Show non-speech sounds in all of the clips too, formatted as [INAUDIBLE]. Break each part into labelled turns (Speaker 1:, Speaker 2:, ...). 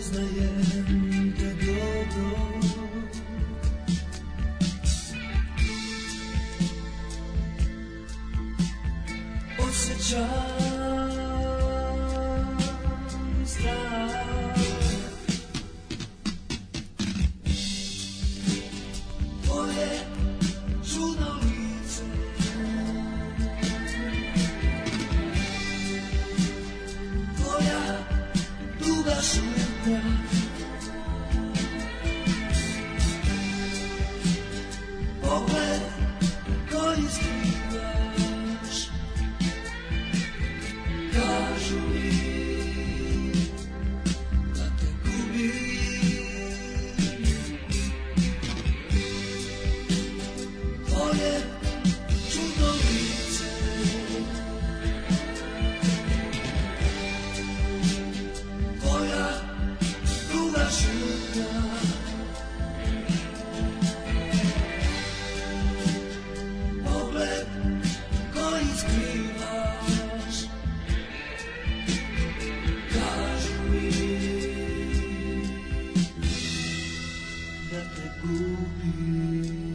Speaker 1: priznajem da dedo Osjećam strah Tvoje čudno lice Tvoja duga šuta Pogled koji skrivaš Kažu mi da te gubim Tvoje čudno lice Tvoja druga šuta Pogled koji skrivaš Kažu mi Da te gubim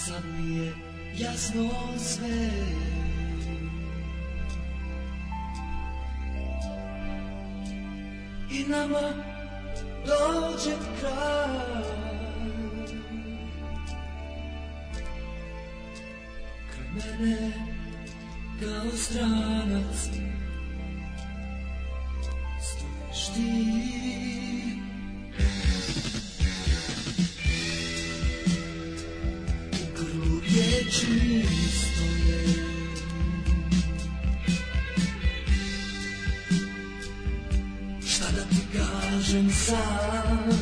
Speaker 1: Sad mi je jasno sve I nama dođe kraj Kraj mene kao stranac Stojiš ti u grlu riječi stoje Šta da ti kažem sad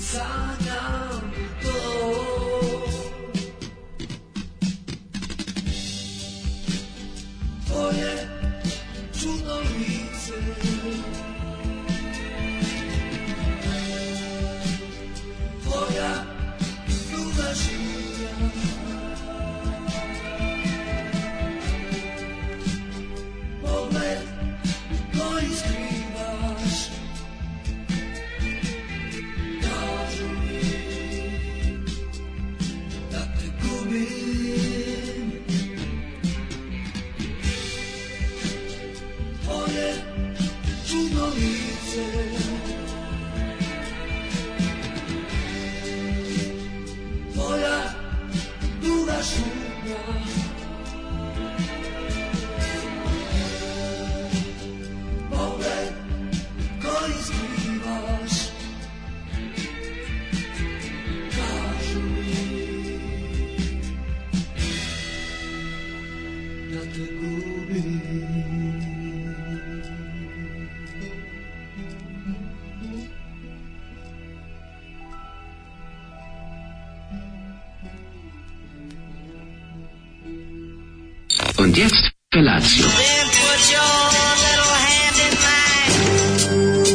Speaker 1: Sanjam to tvoje čudno lice Tvoja ljubav živja Pogled koji skrivaš Kažu mi da te gubim tvoje čudno lice Tvoja duga šuga Pogled koji skrivaš Kažu mi da te gubim
Speaker 2: Und jetzt Felatio.
Speaker 3: Then put your little hand in mine.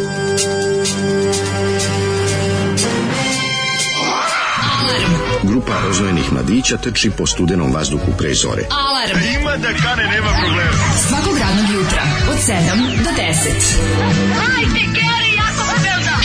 Speaker 4: Grupa rozvojenih mladića teči po studenom vazduhu pre zore.
Speaker 5: Alarm. Ima da kane, nema problema. Svakog radnog jutra, od 7 do 10. Hajde, Geri, jako se belda.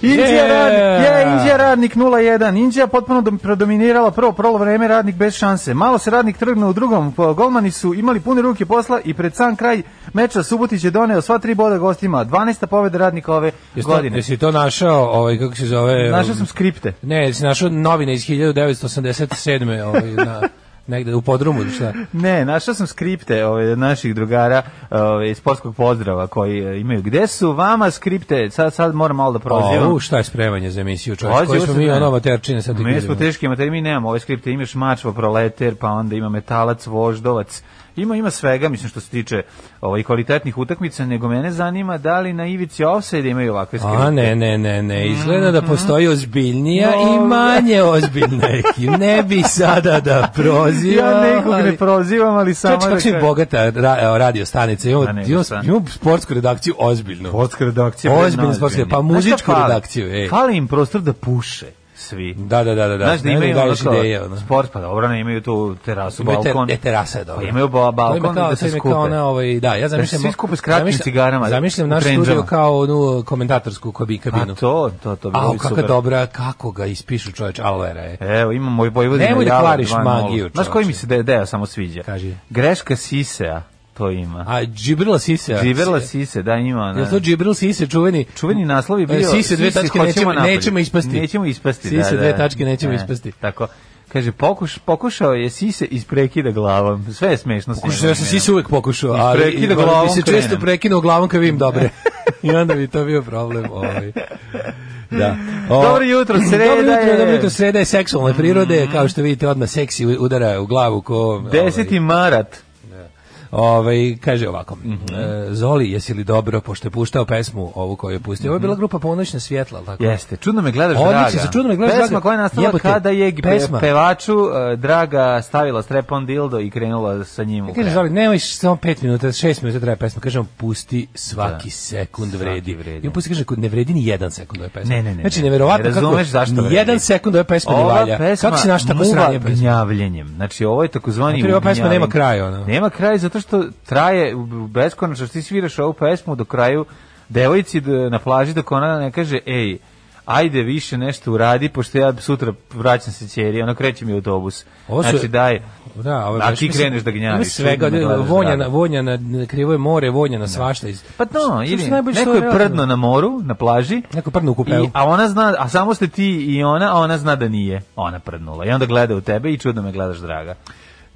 Speaker 6: Indija,
Speaker 7: Yeah.
Speaker 6: radnik, je, Indija radnik 0-1. Indija potpuno dom, predominirala prvo prolo vreme, radnik bez šanse. Malo se radnik trgnuo u drugom, pa golmani su imali pune ruke posla i pred sam kraj meča Subotić je doneo sva tri boda gostima. 12. pobeda radnika ove
Speaker 7: Jesi to,
Speaker 6: godine.
Speaker 7: jesi to našao, ovaj, kako se zove?
Speaker 6: Našao sam skripte.
Speaker 7: Ne, jesi našao novine iz 1987. Ovaj, na, [LAUGHS] negde u podrumu, ili šta?
Speaker 6: Ne, našao sam skripte ove, naših drugara ove, iz sportskog pozdrava koji e, imaju. Gde su vama skripte? Sad, sad moram malo da prozivam.
Speaker 7: O, šta je spremanje za emisiju,
Speaker 6: Pazi,
Speaker 7: čovječ? Koji
Speaker 6: ovo
Speaker 7: smo
Speaker 6: se
Speaker 7: mi
Speaker 6: gleda.
Speaker 7: ono materčine sad
Speaker 6: Mi smo
Speaker 7: gledamo.
Speaker 6: teški amateri, mi nemamo ove skripte, imaš mačva, proleter, pa onda ima metalac, voždovac, ima ima svega, mislim što se tiče ovaj, kvalitetnih utakmica, nego mene zanima da li na ivici offside imaju ovakve skripte.
Speaker 7: A ne, ne, ne, ne, izgleda
Speaker 6: Mhm.
Speaker 7: da postoji ozbiljnija i manje ozbiljna ekipa. Ne bi
Speaker 6: [LAUGHS]
Speaker 7: sada da prozivam.
Speaker 6: Ja nekog ne
Speaker 7: ali-
Speaker 6: prozivam, ali samo
Speaker 7: Čovječ, kako smo mi
Speaker 6: kažem.
Speaker 7: bogata ra, evo, radio stanica, imamo,
Speaker 6: A nego
Speaker 7: imamo,
Speaker 6: šta.
Speaker 7: imamo sportsku redakciju ozbiljnu.
Speaker 6: Sportska redakcija.
Speaker 7: Ozbiljna
Speaker 6: predna
Speaker 7: sportska,
Speaker 6: ozbiljna.
Speaker 7: pa
Speaker 6: Znaš šta
Speaker 7: muzičku
Speaker 6: fali?
Speaker 7: redakciju, ej.
Speaker 6: Fali im prostor da puše svi.
Speaker 7: Da, da, da, da. da.
Speaker 6: Znaš da
Speaker 7: Ne, ne,
Speaker 6: imaju
Speaker 7: daješ
Speaker 6: ono kao
Speaker 7: ideje, ono.
Speaker 6: sport, pa dobro, ne imaju tu terasu,
Speaker 7: Imaju te-
Speaker 6: balkon.
Speaker 7: e, terasa je dobra.
Speaker 6: Pa imaju ba- balkon
Speaker 7: To ima kao-
Speaker 6: da
Speaker 7: to
Speaker 6: se
Speaker 7: ima
Speaker 6: skupe.
Speaker 7: Kao ona, ovaj, da, ja zamišljam...
Speaker 6: svi skupe s kratkim
Speaker 7: zamišljam-
Speaker 6: cigarama,
Speaker 7: Zamišljam
Speaker 6: u
Speaker 7: naš
Speaker 6: trendžama.
Speaker 7: studio kao onu e, komentatorsku kobi
Speaker 6: A
Speaker 7: kabinu.
Speaker 6: Pa to, to, to bi
Speaker 7: A,
Speaker 6: bilo
Speaker 7: kakva
Speaker 6: super.
Speaker 7: dobra, kako ga ispišu čoveč, alvera je.
Speaker 6: Pa Evo, imam moj Vojvodina.
Speaker 7: Nemoj da
Speaker 6: Jala
Speaker 7: kvariš
Speaker 6: 2:0.
Speaker 7: magiju,
Speaker 6: Znaš
Speaker 7: čoveče.
Speaker 6: koji mi se de, deo samo sviđa?
Speaker 7: Kaži.
Speaker 6: Greška sisea, to ima.
Speaker 7: A, Džibrila Sise.
Speaker 6: Džiberla sise, da ima. ona.
Speaker 7: Je to Džibril Sise čuveni?
Speaker 6: Čuveni naslov je bio...
Speaker 7: E, Sise dve tačke
Speaker 6: hoćemo
Speaker 7: nećemo,
Speaker 6: napolje.
Speaker 7: nećemo ispasti.
Speaker 6: Nećemo ispasti, da,
Speaker 7: Sise
Speaker 6: da.
Speaker 7: dve tačke nećemo
Speaker 6: E,
Speaker 7: ispasti.
Speaker 6: Tako. Kaže, pokuš, pokušao je sise isprekida glavom. Sve je smešno. s
Speaker 7: Pokušao,
Speaker 6: njegovim
Speaker 7: ja sam Sise uvek pokušao,
Speaker 6: I
Speaker 7: ali
Speaker 6: prekida
Speaker 7: i-
Speaker 6: glavom
Speaker 7: bi se često
Speaker 6: krenem.
Speaker 7: prekinuo glavom kad vidim
Speaker 6: [LAUGHS]
Speaker 7: dobre. I onda bi to bio problem. Ovaj. Da. O,
Speaker 6: Dobro jutro, sreda
Speaker 7: dobro jutro,
Speaker 6: je. Mm.
Speaker 7: Dobro jutro, sreda je seksualne prirode, kao što vidite, odmah seksi u- udara u glavu ko...
Speaker 6: imenom. 10. marat.
Speaker 7: Ovaj kaže ovako.
Speaker 6: Mhm.
Speaker 7: e, Zoli, jesi li dobro pošto je puštao pesmu ovu koju je pustio? Ovo je bila grupa Ponoćna svjetla, jel tako.
Speaker 6: Mhm. Jeste, čudno me gledaš
Speaker 7: Odlično,
Speaker 6: draga.
Speaker 7: za Čudno me gledaš,
Speaker 6: pesma
Speaker 7: draga.
Speaker 6: koja je nastala
Speaker 7: Jebote,
Speaker 6: kada je pe-
Speaker 7: pesma.
Speaker 6: pevaču eh, draga stavila strep on dildo i krenula sa njim u
Speaker 7: E, Kaže
Speaker 6: krevet.
Speaker 7: Zoli, nemoj samo 5 minuta, 6 minuta traje pesma. Kaže on pusti svaki
Speaker 6: Da.
Speaker 7: sekund
Speaker 6: Svaki
Speaker 7: vredi.
Speaker 6: vredi.
Speaker 7: I on pusti kaže ne vredi ni jedan sekund ove pesme.
Speaker 6: Ne, ne, ne,
Speaker 7: Znači
Speaker 6: ne.
Speaker 7: neverovatno
Speaker 6: Ne
Speaker 7: kako
Speaker 6: razumeš zašto
Speaker 7: ni
Speaker 6: vredi.
Speaker 7: jedan sekund ove pesme ne
Speaker 6: Ova
Speaker 7: valja.
Speaker 6: pesma
Speaker 7: Kako si naš tako
Speaker 6: muva
Speaker 7: sranje pesme?
Speaker 6: gnjavljenjem. Znači, ovo je takozvani
Speaker 7: Znači, ova pesma
Speaker 6: ugnjavljenje.
Speaker 7: nema kraja, ono.
Speaker 6: Nema kraja zato što traje u- u beskonačno. Što ti sviraš ovu pesmu do kraju devojci d- na plaži dok ona ne kaže, ej, ajde više nešto uradi, pošto ja sutra vraćam se ćeri, ona kreće mi autobus.
Speaker 7: Ovo su-
Speaker 6: Znači, daj,
Speaker 7: Da, ovo je
Speaker 6: A
Speaker 7: baš,
Speaker 6: ti
Speaker 7: mislim,
Speaker 6: kreneš da gnjaviš,
Speaker 7: Ima svega, ono,
Speaker 6: čudno me gledaš,
Speaker 7: vonja,
Speaker 6: draga.
Speaker 7: na, vonja na, na krivo je more, vonja na svašta. Iz,
Speaker 6: Pa no,
Speaker 7: Što- što
Speaker 6: ili
Speaker 7: su najbolje
Speaker 6: neko
Speaker 7: što
Speaker 6: je prdno na moru, na plaži.
Speaker 7: Neko je prdno u kupeu.
Speaker 6: I, a ona zna, a samo ste ti i ona, a ona zna da nije. Ona prdnula. I onda gleda u tebe i čudno me gledaš, draga.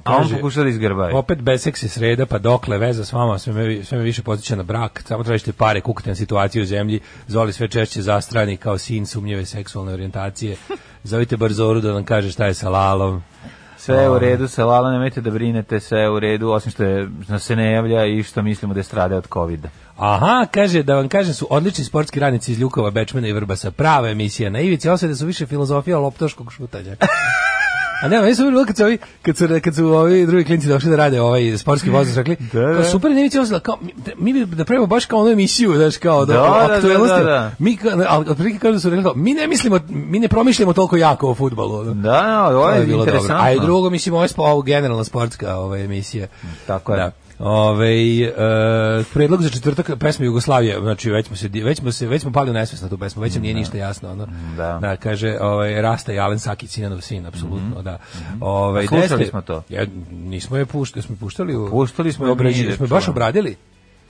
Speaker 6: A on
Speaker 7: Kaže,
Speaker 6: pokuša da izgrbavi.
Speaker 7: Opet bez seksi sreda, pa dokle veza s vama, sve me, vi- sve me više podsjeća na brak, samo tražite pare, kukate na situaciju u zemlji, zvoli sve češće zastrani kao sin sumnjive seksualne orijentacije, zovite Barzoru da nam kaže šta je sa lalom.
Speaker 6: Sve je u redu, sa Lala nemojte da brinete, sve je u redu, osim što, je, što se ne javlja i što mislimo da je strada od covid
Speaker 7: Aha, kaže, da vam kažem, su odlični sportski radnici iz Ljukova, Bečmena i Vrbasa, prava emisija na ivici, osvede su više filozofija loptoškog šutanja. [LAUGHS] A ne, meni su bilo kad su ovi, kad su, kad su ovi drugi klinci došli da rade ovaj sportski vozač, rekli,
Speaker 6: Da, da.
Speaker 7: kao super, ne vidite osla, kao, mi, da- mi bi da pravimo baš kao onu emisiju, znaš, kao, da,
Speaker 6: Da, da,
Speaker 7: da,
Speaker 6: da, da.
Speaker 7: Mi, ka- ali otprilike kao da su rekli, to, mi ne mislimo, mi ne promišljamo toliko jako o futbalu. ono.
Speaker 6: Da, da, ovo
Speaker 7: To
Speaker 6: je,
Speaker 7: bilo dobro.
Speaker 6: interesantno.
Speaker 7: A i drugo, mislim, ovo je spo- ovo generalna sportska ova emisija.
Speaker 6: Tako je.
Speaker 7: Da. Ovaj e, predlog za četvrtak pesma Jugoslavije, znači već smo se di- već smo se već smo pali u nesvest na tu pesmu, već nam nije ništa jasno ono.
Speaker 6: Da.
Speaker 7: kaže ovaj Rasta i Alen Sakić Sinanov sin apsolutno, da. Ovaj
Speaker 6: Mhm. A slušali
Speaker 7: desne-
Speaker 6: smo to?
Speaker 7: Ja, nismo je puštali, smo je puštali u
Speaker 6: Puštali smo je,
Speaker 7: obrađi-
Speaker 6: nije,
Speaker 7: smo je baš
Speaker 6: čujem.
Speaker 7: obradili.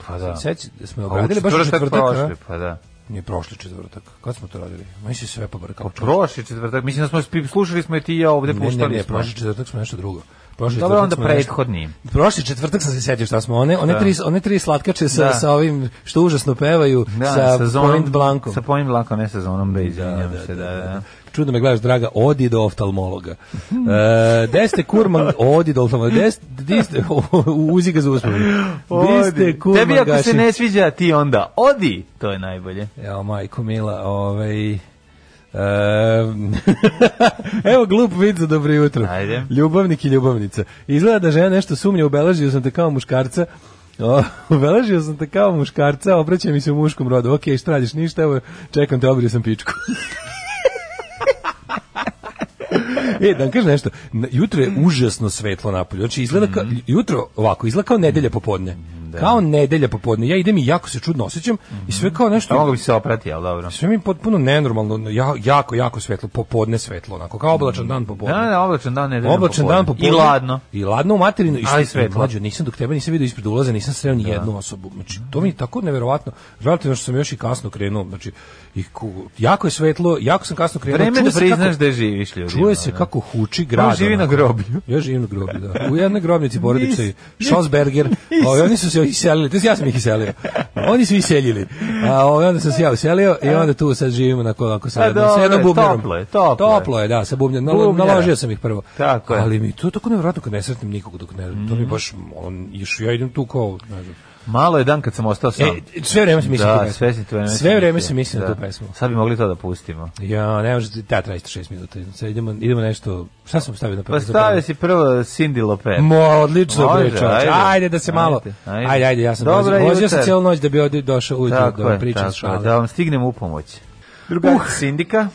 Speaker 6: Pa da.
Speaker 7: Seć, smo je
Speaker 6: A u
Speaker 7: obradili baš u četvrtak,
Speaker 6: prošli,
Speaker 7: prošli.
Speaker 6: pa da.
Speaker 7: Nije prošli četvrtak. Kad smo to radili? Ma se sve
Speaker 6: Pa
Speaker 7: pobrkao.
Speaker 6: Prošli četvrtak, mislim da smo spi- slušali smo i ti i ja ovde,
Speaker 7: Ne, ne,
Speaker 6: puštali
Speaker 7: ne,
Speaker 6: smo.
Speaker 7: prošli četvrtak smo nešto drugo. Prošli
Speaker 6: Dobro,
Speaker 7: četvrtak
Speaker 6: onda
Speaker 7: smo nešto-
Speaker 6: prethodni.
Speaker 7: Prošli četvrtak sam se setio šta smo, one, one,
Speaker 6: Da.
Speaker 7: tri, one tri slatkače sa,
Speaker 6: Da.
Speaker 7: sa ovim što užasno pevaju, sa, Point Blankom.
Speaker 6: Sa Point Blankom, ne sa zonom Bej,
Speaker 7: Da,
Speaker 6: izvinjam
Speaker 7: da,
Speaker 6: se,
Speaker 7: da,
Speaker 6: da, da.
Speaker 7: Čudno me gledaš, draga, odi do oftalmologa. E, gde ste kurman, odi do oftalmologa. Gde ste, gde ste, [LAUGHS] uzi ga za uspomenu. Gde ste
Speaker 6: Odi.
Speaker 7: kurman
Speaker 6: Tebi ako se
Speaker 7: gašin-
Speaker 6: ne sviđa, ti onda odi, to je najbolje.
Speaker 7: Evo, majko Mila, ovaj... em, [LAUGHS] Evo glup vid za dobro jutro.
Speaker 6: Ajde.
Speaker 7: Ljubavnik i ljubavnica. Izgleda da žena nešto sumnja, obeležio sam te kao muškarca. O, [LAUGHS] obeležio sam te kao muškarca, obraća mi se u muškom rodu. Ok, šta radiš, ništa, evo, čekam te, obrio sam pičku. [LAUGHS] E, da vam kažem nešto, na- jutro je užasno svetlo napolju, znači izgleda kao, jutro ovako, izgleda kao nedelja popodne.
Speaker 6: Mhm. da.
Speaker 7: Kao nedelja popodne. Ja idem i jako se čudno osjećam i sve kao
Speaker 6: A
Speaker 7: nešto
Speaker 6: mogu bi se oprati, ali dobro.
Speaker 7: sve mi potpuno nenormalno, ja, jako, jako svetlo, popodne svetlo, onako, kao oblačan dan popodne.
Speaker 6: Da, da, oblačan dan nedeljno
Speaker 7: Oblačan dan popodne.
Speaker 6: I ladno.
Speaker 7: I ladno u materinu. I
Speaker 6: Ali
Speaker 7: što-
Speaker 6: svetlo.
Speaker 7: Mlađo, nisam dok tebe nisam vidio ispred ulaza, nisam sreo ni jednu osobu. Znači, to mi je tako neverovatno. Relativno što sam još i kasno krenuo. Znači, i ku- jako je svetlo, jako sam kasno krenuo.
Speaker 6: Vreme je
Speaker 7: Čuje
Speaker 6: da
Speaker 7: se kako-
Speaker 6: priznaš da živiš ljudi.
Speaker 7: Čuje se kako huči grad.
Speaker 6: On živi na
Speaker 7: onako.
Speaker 6: groblju.
Speaker 7: Ja živim na groblju, da. U jednoj grobnici
Speaker 6: [LAUGHS]
Speaker 7: porodice
Speaker 6: Nis-
Speaker 7: Schosberger. Ovaj, oni su se iselili, to jest ja sam ih iselio. Oni su iseljili. A ovaj, onda sam se ja uselio i onda tu sad živimo na kolako sa
Speaker 6: A
Speaker 7: jednom, sa
Speaker 6: Pa dobro,
Speaker 7: jednom bubnjarom.
Speaker 6: toplo je, toplo je.
Speaker 7: je, da, sa bubnjarom. Nalo-
Speaker 6: Bubnjara.
Speaker 7: Naložio sam ih prvo.
Speaker 6: Tako je. Mhm.
Speaker 7: Ali mi to je tako nevjerojatno kad ne sretnem nikog dok ne, to mi baš on još ja idem tu kao, ne znam.
Speaker 6: Malo je dan kad sam ostao sam.
Speaker 7: E, sve vreme sam mislio tu
Speaker 6: da,
Speaker 7: pesmu.
Speaker 6: sve si tu
Speaker 7: Sve vreme sam mislio na tu pesmu.
Speaker 6: Sad bi mogli to da pustimo.
Speaker 7: Ja, ne može, da traje isto šest minuta. Sad idemo, idemo nešto, šta sam stavio na prvo?
Speaker 6: Pa stavio si prvo Cindy Lopez.
Speaker 7: Mo, odlično
Speaker 6: E, Može,
Speaker 7: bre, čovječe.
Speaker 6: ajde.
Speaker 7: Ajde. da se malo.
Speaker 6: Ajde,
Speaker 7: Ajde,
Speaker 6: ajde.
Speaker 7: ajde, ja sam
Speaker 6: Dobro
Speaker 7: vozio, vozio sam
Speaker 6: jutro.
Speaker 7: celu noć da bi ovde došao ujutro da vam pričam šale.
Speaker 6: da vam stignem u pomoć. Druga uh. Sindika.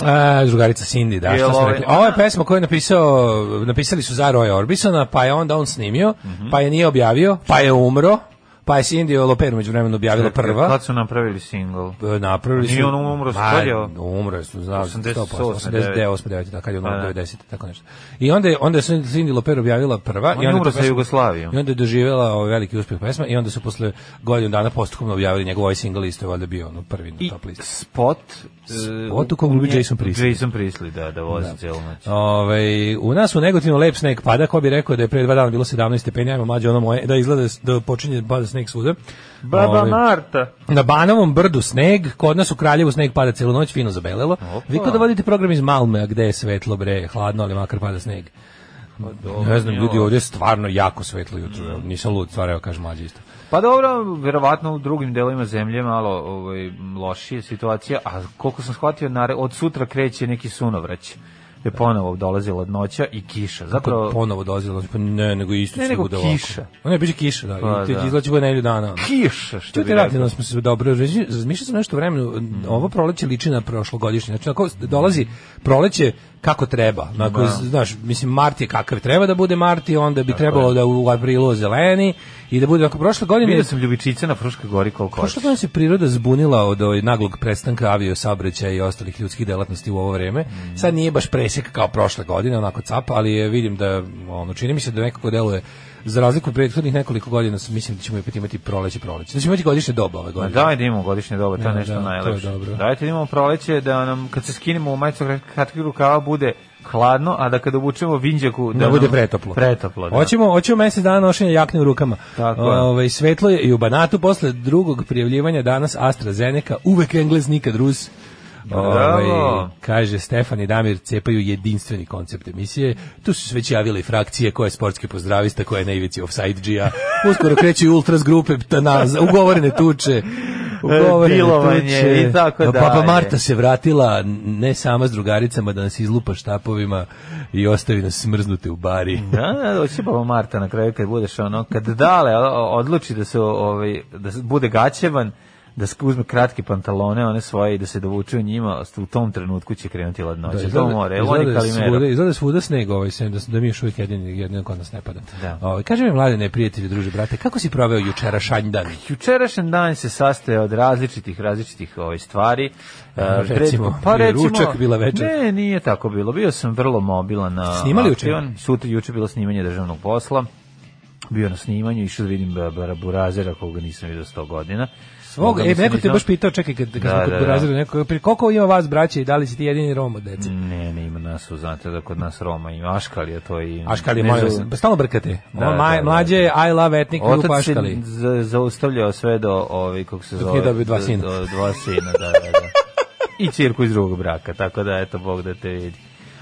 Speaker 7: A, E, drugarica Cindy, da,
Speaker 6: Jel
Speaker 7: šta sam
Speaker 6: ovaj-
Speaker 7: rekli. Ovo je pesma koju je napisao, napisali su za Roy Orbisona, pa je onda on snimio,
Speaker 6: Mhm.
Speaker 7: pa je nije objavio, pa je umro, pa je Cindy Loper među vremenu objavila prva.
Speaker 6: Kad su napravili single?
Speaker 7: E, Napravili su...
Speaker 6: Nije on umro,
Speaker 7: Ma,
Speaker 6: skoljao?
Speaker 7: Umro, su, znam,
Speaker 6: 80,
Speaker 7: 100%,
Speaker 6: 89.
Speaker 7: 89, 89, da, kad je
Speaker 6: Pa
Speaker 7: umro,
Speaker 6: da.
Speaker 7: 90, tako nešto. I onda je, onda je Cindy Loper objavila prva.
Speaker 6: On
Speaker 7: i
Speaker 6: je
Speaker 7: onda
Speaker 6: umro
Speaker 7: to
Speaker 6: sa
Speaker 7: pesma-
Speaker 6: Jugoslavijom.
Speaker 7: I onda je doživjela ovaj veliki uspjeh pesma i onda su posle godinu dana postupno objavili njegov ovaj single isto je valjda bio ono prvi na
Speaker 6: I
Speaker 7: top listi.
Speaker 6: spot. e,
Speaker 7: Spot u kojem glumi
Speaker 6: nje-
Speaker 7: Jason Priestley.
Speaker 6: Jason Priestley, da, da vozi da. cijelu noć.
Speaker 7: Ovaj u nas u Negotinu lep sneg pada, ko bi rekao da je pre dva dana bilo 17 stepeni, ajmo mlađe ono moje, da izgleda da počinje da pada sneg svuda. Ovaj,
Speaker 6: Marta.
Speaker 7: Na Banovom brdu sneg, kod nas u Kraljevu sneg pada celu noć, fino zabelelo. Vi kao da vodite program iz Malme, a gde je svetlo bre, hladno, ali makar pada sneg. Ne znam, ljudi, ovdje je stvarno jako svetlo jutro. evo, Nisam lud, stvar, evo kažem mlađe isto.
Speaker 6: Pa dobro, verovatno u drugim delovima zemlje malo ovaj, lošije situacija, a koliko sam shvatio, nare, od sutra kreće neki sunovrać. Je ponovo dolazi ladnoća i kiša.
Speaker 7: Kako
Speaker 6: Zapravo,
Speaker 7: ponovo dolazilo, pa ne, nego isto
Speaker 6: Ne,
Speaker 7: će
Speaker 6: nego
Speaker 7: bude ovako.
Speaker 6: kiša.
Speaker 7: Ma Ne, biće kiša, da.
Speaker 6: Pa,
Speaker 7: Pa, I
Speaker 6: da.
Speaker 7: da. izlači bude nedelju dana. ono.
Speaker 6: kiša, što bi
Speaker 7: Čujte,
Speaker 6: rekao. Mm.
Speaker 7: relativno smo se ono, dobro razmišljao- razmišljao sam nešto o vremenu, ovo proleće liči na prošlogodišnje, znači ako dolazi proleće kako treba, ako, znaš, mislim, mart je kakav treba da bude mart i onda bi trebalo da u aprilu zeleni i da bude, ako prošle godine
Speaker 6: Vidio sam ljubičice na Fruškoj gori koliko hoćeš.
Speaker 7: Prošle godine se priroda zbunila od ovaj naglog prestanka avio i ostalih ljudskih delatnosti u ovo vreme. Sad nije baš presek kao prošle godine, onako cap, ali je, vidim da ono čini mi se da nekako deluje za razliku od prethodnih nekoliko godina sam mislim da ćemo opet imati proleće proleće. Da ćemo imati godišnje doba ove
Speaker 6: Ma
Speaker 7: godine.
Speaker 6: daj da imamo godišnje doba, to je
Speaker 7: Da,
Speaker 6: nešto
Speaker 7: da, to je
Speaker 6: najlepše.
Speaker 7: dobro.
Speaker 6: Dajte da imamo proleće da nam kad se skinemo u majicu kratkih rukava bude hladno, a da kad obučemo vinđaku da,
Speaker 7: da
Speaker 6: nam-
Speaker 7: bude pretoplo.
Speaker 6: ono Pretoplo, da.
Speaker 7: Hoćemo, hoćemo mesec dana nošenja jakne u rukama.
Speaker 6: Tako je.
Speaker 7: Ovaj, svetlo je i u Banatu posle drugog prijavljivanja danas AstraZeneca, uvek Englez, nikad Rus.
Speaker 6: Pa
Speaker 7: Ovaj,
Speaker 6: Bravo.
Speaker 7: kaže Stefan i Damir cepaju jedinstveni koncept emisije. Tu su se već javile i frakcije koje je sportski pozdravista, koje je na ivici offside džija. Uskoro kreću i ultras grupe ta na, ugovorene tuče. Ugovorene
Speaker 6: Dilovanje
Speaker 7: tuče.
Speaker 6: i tako
Speaker 7: Papa
Speaker 6: dalje.
Speaker 7: Marta se vratila ne sama s drugaricama da nas izlupa štapovima i ostavi nas smrznute u bari.
Speaker 6: Da, da, doći Baba Marta na kraju kad budeš ono, kad dale o- o- odluči da se o- ovaj, da se- bude gaćevan, da se uzme kratke pantalone, one svoje i da se dovuče u njima, u tom trenutku će krenuti ladnoća. to more, evo oni kalimero.
Speaker 7: svuda, izgleda svuda sneg ovaj, sem da, da mi još uvijek jedini, jedino kod nas ne pada.
Speaker 6: Da.
Speaker 7: Ovaj, kaži mi, mlade neprijatelji, druže, brate, kako si proveo jučera šanjdan?
Speaker 6: Jučerašnji dan se sastoje od različitih različitih ovaj stvari. E, pred-
Speaker 7: Pa recimo, bio je ručak, bila večer.
Speaker 6: Ne, nije tako bilo. Bio sam vrlo mobilan na
Speaker 7: Snimali juče?
Speaker 6: Patreon. Sutra juče bilo snimanje državnog posla. Bio na snimanju, išao da vidim Ba- Bara Burazera, koga nisam vidio 100 godina.
Speaker 7: Svog,
Speaker 6: Koga
Speaker 7: e,
Speaker 6: mislim
Speaker 7: neko te
Speaker 6: nisam-
Speaker 7: baš pitao, čekaj, kad, kad
Speaker 6: Da,
Speaker 7: smo kod
Speaker 6: da, da.
Speaker 7: Burazira, neko, pri- koliko ima vas braće i da li si ti jedini Rom od dece?
Speaker 6: Ne, ne ima nas, u- znate da kod nas Roma ima Aškalija, to i...
Speaker 7: Aškali,
Speaker 6: ne
Speaker 7: molim vas, pa
Speaker 6: zovu-
Speaker 7: stalno brkate.
Speaker 6: Da,
Speaker 7: On,
Speaker 6: da,
Speaker 7: maj-
Speaker 6: da.
Speaker 7: mlađe je I love etnik grupa
Speaker 6: Otac se
Speaker 7: Aškali.
Speaker 6: za- zaustavljao sve do ovi kako se zove.
Speaker 7: nije dobio dva
Speaker 6: do-
Speaker 7: sina.
Speaker 6: do- dva sina, da, da, da. I cirku iz drugog braka, tako da eto Bog da te vidi.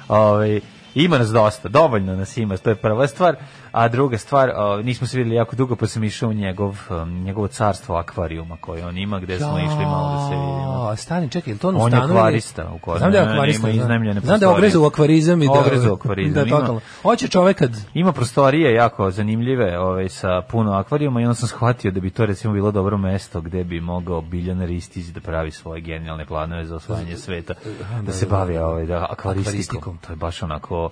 Speaker 6: Ovaj ima nas dosta, dovoljno nas ima, to je prva stvar, a druga stvar, o, nismo se videli jako dugo, pa sam išao u njegov, um, njegovo carstvo akvarijuma koje on ima, gde smo išli malo da se vidimo.
Speaker 7: A, Stani, čekaj, je li to on,
Speaker 6: On je
Speaker 7: stanu ili-
Speaker 6: akvarista u kojoj-
Speaker 7: Znam da je
Speaker 6: ne, ne,
Speaker 7: akvarista.
Speaker 6: ima
Speaker 7: da.
Speaker 6: iznajmljene
Speaker 7: Znam da je
Speaker 6: prostorije.
Speaker 7: ogrezao u akvarizam i da...
Speaker 6: Ogrezao u akvarizam,
Speaker 7: [LAUGHS] Da,
Speaker 6: ima.
Speaker 7: totalno. Hoće čovek kad...
Speaker 6: Ima prostorije jako zanimljive ovaj, sa puno akvarijuma i onda sam shvatio da bi to recimo bilo dobro mesto gde bi mogao Biljan Ristić da pravi svoje genijalne planove za osvajanje sveta, da se bavi ovaj, da, akvaristikom.
Speaker 7: Akvaristikom.
Speaker 6: To je baš onako nekako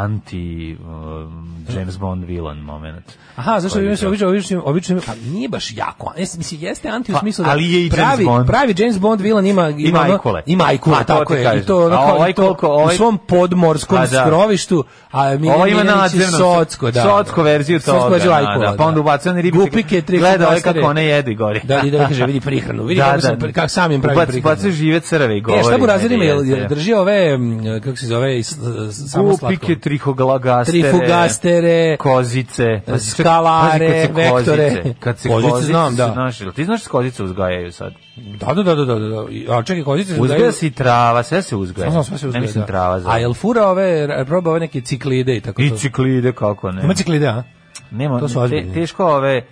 Speaker 6: anti um, James Bond vilan moment.
Speaker 7: Aha, zašto
Speaker 6: Koji
Speaker 7: bi
Speaker 6: bi
Speaker 7: se
Speaker 6: to-
Speaker 7: obično obično obično pa nije baš jako. Jes mislim jeste anti u
Speaker 6: Pa,
Speaker 7: smislu da
Speaker 6: ali je i James
Speaker 7: pravi
Speaker 6: Bond.
Speaker 7: pravi James Bond vilan ima ima
Speaker 6: Ima
Speaker 7: ono-
Speaker 6: ajkule.
Speaker 7: Ima ajkule,
Speaker 6: Pa, to
Speaker 7: tako
Speaker 6: ti
Speaker 7: je. I
Speaker 6: kažem.
Speaker 7: to ono
Speaker 6: A
Speaker 7: kao
Speaker 6: ovaj
Speaker 7: i to
Speaker 6: koliko, ovaj-
Speaker 7: u svom podmorskom
Speaker 6: Pa da.
Speaker 7: skrovištu, a mi
Speaker 6: Ovo ima nadzirno.
Speaker 7: nadzirno socsko, da.
Speaker 6: Socko verziju toga.
Speaker 7: Socsko verziju ajkula,
Speaker 6: da, da, pa onda ubacuje one ribice.
Speaker 7: Gupike, tri
Speaker 6: Gleda ove kako one jedu i gori.
Speaker 7: Da, i da kaže vidi prihranu. Vidi
Speaker 6: Da,
Speaker 7: kako sam
Speaker 6: da.
Speaker 7: pri- kako sam im pravi
Speaker 6: Ubac-
Speaker 7: prihranu.
Speaker 6: Ubacuje žive crve i govori.
Speaker 7: E, šta mu razred ima, jel,
Speaker 6: meni,
Speaker 7: jel
Speaker 6: jeste.
Speaker 7: drži ove, mm, kako se zove, s- s- samo slatko?
Speaker 6: Gupike, trihoglagagastere,
Speaker 7: Trifugastere,
Speaker 6: kozice, pa si-
Speaker 7: skalare,
Speaker 6: pazi kad se kozice-
Speaker 7: vektore.
Speaker 6: Kad se
Speaker 7: Kozice
Speaker 6: kozice,
Speaker 7: znam, da.
Speaker 6: su naši- jel ti znaš da se kozice uzgajaju sad?
Speaker 7: Da, da, da, da, da, da. I- A čekaj, kozice se
Speaker 6: Uzgaja
Speaker 7: daju-
Speaker 6: se i trava, sve se uzgaja.
Speaker 7: Znam, znam, sve se uzgaja,
Speaker 6: Ne mislim
Speaker 7: da.
Speaker 6: trava. za-
Speaker 7: A jel fura ove, ra- proba ove neke ciklide i tako
Speaker 6: I
Speaker 7: to?
Speaker 6: ciklide, kako ne.
Speaker 7: Ima ciklide, a?
Speaker 6: Nema,
Speaker 7: To su
Speaker 6: te-
Speaker 7: ozbiljni.
Speaker 6: teško ove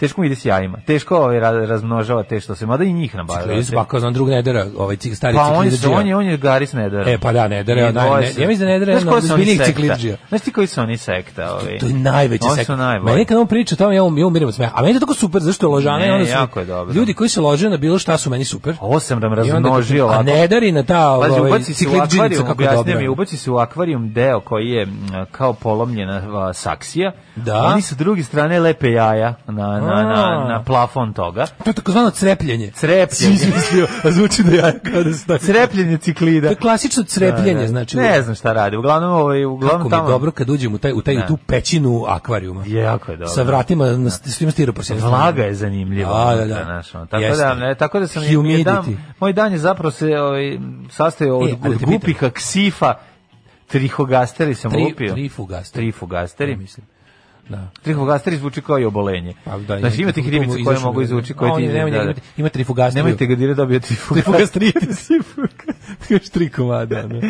Speaker 6: teško mi ide s jajima. Teško ove ra- razmnožava te što se, mada i njih nabavlja.
Speaker 7: Ciklide su bako, znam, drug nedera, ovaj cik, stari
Speaker 6: Pa on,
Speaker 7: ciklide
Speaker 6: je- on je on je Garis Nedera.
Speaker 7: E, pa da, Nedera je
Speaker 6: I
Speaker 7: onaj-
Speaker 6: dvoje
Speaker 7: ne-
Speaker 6: su.
Speaker 7: ja mislim da Nedera je
Speaker 6: Znaš
Speaker 7: jedan
Speaker 6: ko
Speaker 7: od
Speaker 6: su oni
Speaker 7: ozbiljnijih
Speaker 6: sekta?
Speaker 7: ciklidžija.
Speaker 6: Znaš ti koji su oni sekta, ovi?
Speaker 7: To je najveći
Speaker 6: Oni su
Speaker 7: sekta.
Speaker 6: najbolji.
Speaker 7: Meni kad on priča o tome, ja, um, ja umirim od smeha. A meni je to tako super, zašto je ložana
Speaker 6: Ne,
Speaker 7: i onda su...
Speaker 6: jako je dobro.
Speaker 7: Ljudi koji se lože na bilo šta su meni super.
Speaker 6: Ovo sam nam
Speaker 7: I onda-
Speaker 6: razmnožio
Speaker 7: A
Speaker 6: ovako.
Speaker 7: ne dari na ta
Speaker 6: Pazi,
Speaker 7: ovaj,
Speaker 6: ubaci se u
Speaker 7: ciklidžinica
Speaker 6: akvarijum,
Speaker 7: kako
Speaker 6: objasnio
Speaker 7: dobra.
Speaker 6: mi, ubaci se u akvarijum deo koji je m, kao polomljena a, saksija.
Speaker 7: Da.
Speaker 6: Oni sa druge strane lepe jaja na, na, na, na plafon toga.
Speaker 7: To je takozvano crepljenje. [LAUGHS] Si
Speaker 6: Crepljenje.
Speaker 7: izmislio, a zvuči da ja kada se tako...
Speaker 6: Crepljenje ciklida.
Speaker 7: To je klasično crepljenje, znači...
Speaker 6: Ne znam šta radi. Uglavnom, ovaj,
Speaker 7: Kako
Speaker 6: uglavnom
Speaker 7: mi je
Speaker 6: tamo...
Speaker 7: dobro kad uđem u, taj, u, taj, u tu pećinu akvarijuma.
Speaker 6: Jako je dobro.
Speaker 7: Sa vratima, na, s tim stiropor. s jedne strane.
Speaker 6: Vlaga je zanimljiva.
Speaker 7: A, da, da.
Speaker 6: znaš, ono, tako,
Speaker 7: Jeste.
Speaker 6: da, ne, tako da sam...
Speaker 7: Humidity.
Speaker 6: Dan, moj dan je zapravo se ovaj, sastojao od,
Speaker 7: E, ali
Speaker 6: od
Speaker 7: te pitam.
Speaker 6: gupika, ksifa, trihogasteri sam
Speaker 7: Tri,
Speaker 6: lupio.
Speaker 7: trifugasteri.
Speaker 6: Trifugasteri.
Speaker 7: mislim. Da.
Speaker 6: Trifugasteri zvuči kao i obolenje.
Speaker 7: Pa da,
Speaker 6: znači, ima tih ribica koje mogu izvući, koje ti...
Speaker 7: Nema,
Speaker 6: da, da.
Speaker 7: nema, ima trifugastriju.
Speaker 6: Nemojte
Speaker 7: [LAUGHS]
Speaker 6: ga dire dobio trifugasteri.
Speaker 7: trifugastritis. Još tri komada.
Speaker 6: [LAUGHS]
Speaker 7: ono.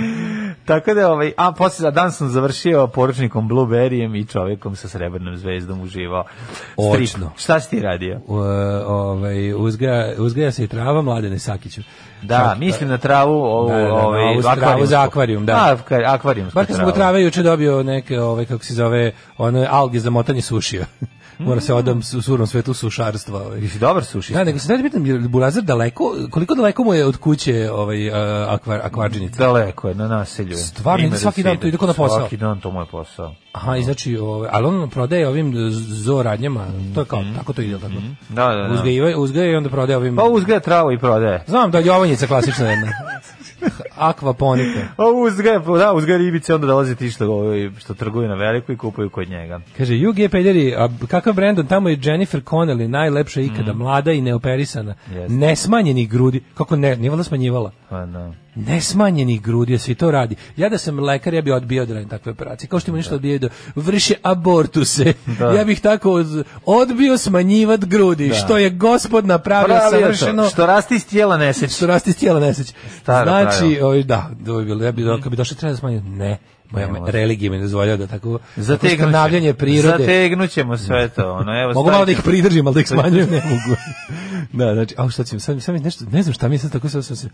Speaker 6: Tako da, ovaj, a posle za dan sam završio poručnikom Blueberryjem i čovekom sa srebrnom zvezdom uživao. Strip.
Speaker 7: Odlično.
Speaker 6: Šta si ti radio?
Speaker 7: U, e, ovaj, uzgaja, uzgaja se i trava, mladene Sakiću.
Speaker 6: Da,
Speaker 7: Čak,
Speaker 6: mislim na travu, ovu,
Speaker 7: Da,
Speaker 6: da,
Speaker 7: da, da,
Speaker 6: ovaj,
Speaker 7: ovu travu
Speaker 6: akvarijumsku.
Speaker 7: za akvarijum, da.
Speaker 6: A, akvar- akvarijumsku
Speaker 7: Bar kad sam
Speaker 6: travu.
Speaker 7: kod trave juče dobio neke, ove, kako se zove, one alge za motanje sušija. [LAUGHS] Mora se odam su, surom svetu sušarstva. Ovaj.
Speaker 6: Jesi dobar suši?
Speaker 7: Da, nego se da pitam, je li Burazir daleko, koliko daleko mu je od kuće ovaj, e, akvar, akvarđenica?
Speaker 6: Daleko je, na naselju. je.
Speaker 7: Stvarno,
Speaker 6: Ima
Speaker 7: ide svaki dan
Speaker 6: ide.
Speaker 7: to, ide ko na posao.
Speaker 6: Svaki dan to moj posao.
Speaker 7: Aha, i znači, ovaj, ali on prodaje ovim zoo radnjama, to je kao, tako to ide, jel tako?
Speaker 6: Da, da, da.
Speaker 7: Uzgajiva, uzgaja i onda prodaje ovim...
Speaker 6: Pa uzgaja travu i prodaje.
Speaker 7: Znam da Jovanjica klasična jedna. Akvaponika.
Speaker 6: A uzgaja, Pa da, uzgaja ribice, onda dolaze ti što, ovaj, što trguju na veliko i kupuju kod njega.
Speaker 7: Kaže, UG Pederi, a kakav Brandon, tamo je Jennifer Connelly, najlepša ikada, mlada i neoperisana,
Speaker 6: Mhm. Jeste.
Speaker 7: nesmanjenih grudi, kako ne, nije valjda smanjivala,
Speaker 6: Pa, da.
Speaker 7: nesmanjenih grudi, svi to radi. Ja da sam lekar, ja bi odbio da radim takve operacije, kao što ima ništa odbijaju da vrše
Speaker 6: [LAUGHS]
Speaker 7: abortuse, ja bih tako od- odbio smanjivat grudi, što je gospod napravio
Speaker 6: Pravio to,
Speaker 7: savršeno,
Speaker 6: Pa što rasti iz tijela neseći.
Speaker 7: što rasti iz tijela neseć.
Speaker 6: Staro
Speaker 7: Znači,
Speaker 6: pravilo. Mhm.
Speaker 7: ovaj, da, to bi bilo, ja bi, kad bi došao treba da smanjim, ne, moja
Speaker 6: Ne
Speaker 7: me-
Speaker 6: može.
Speaker 7: religija mi ne dozvoljava da tako, tako
Speaker 6: Zategnuće-
Speaker 7: skrnavljanje prirode,
Speaker 6: Zategnućemo sve to. Ono, evo,
Speaker 7: Mogu malo da ih
Speaker 6: stavit
Speaker 7: pridržim, ali da ih smanjujem ne mogu. da, znači, a šta ćemo, sad, mi- sad mi nešto, ne znam šta mi je sad tako, sad sam se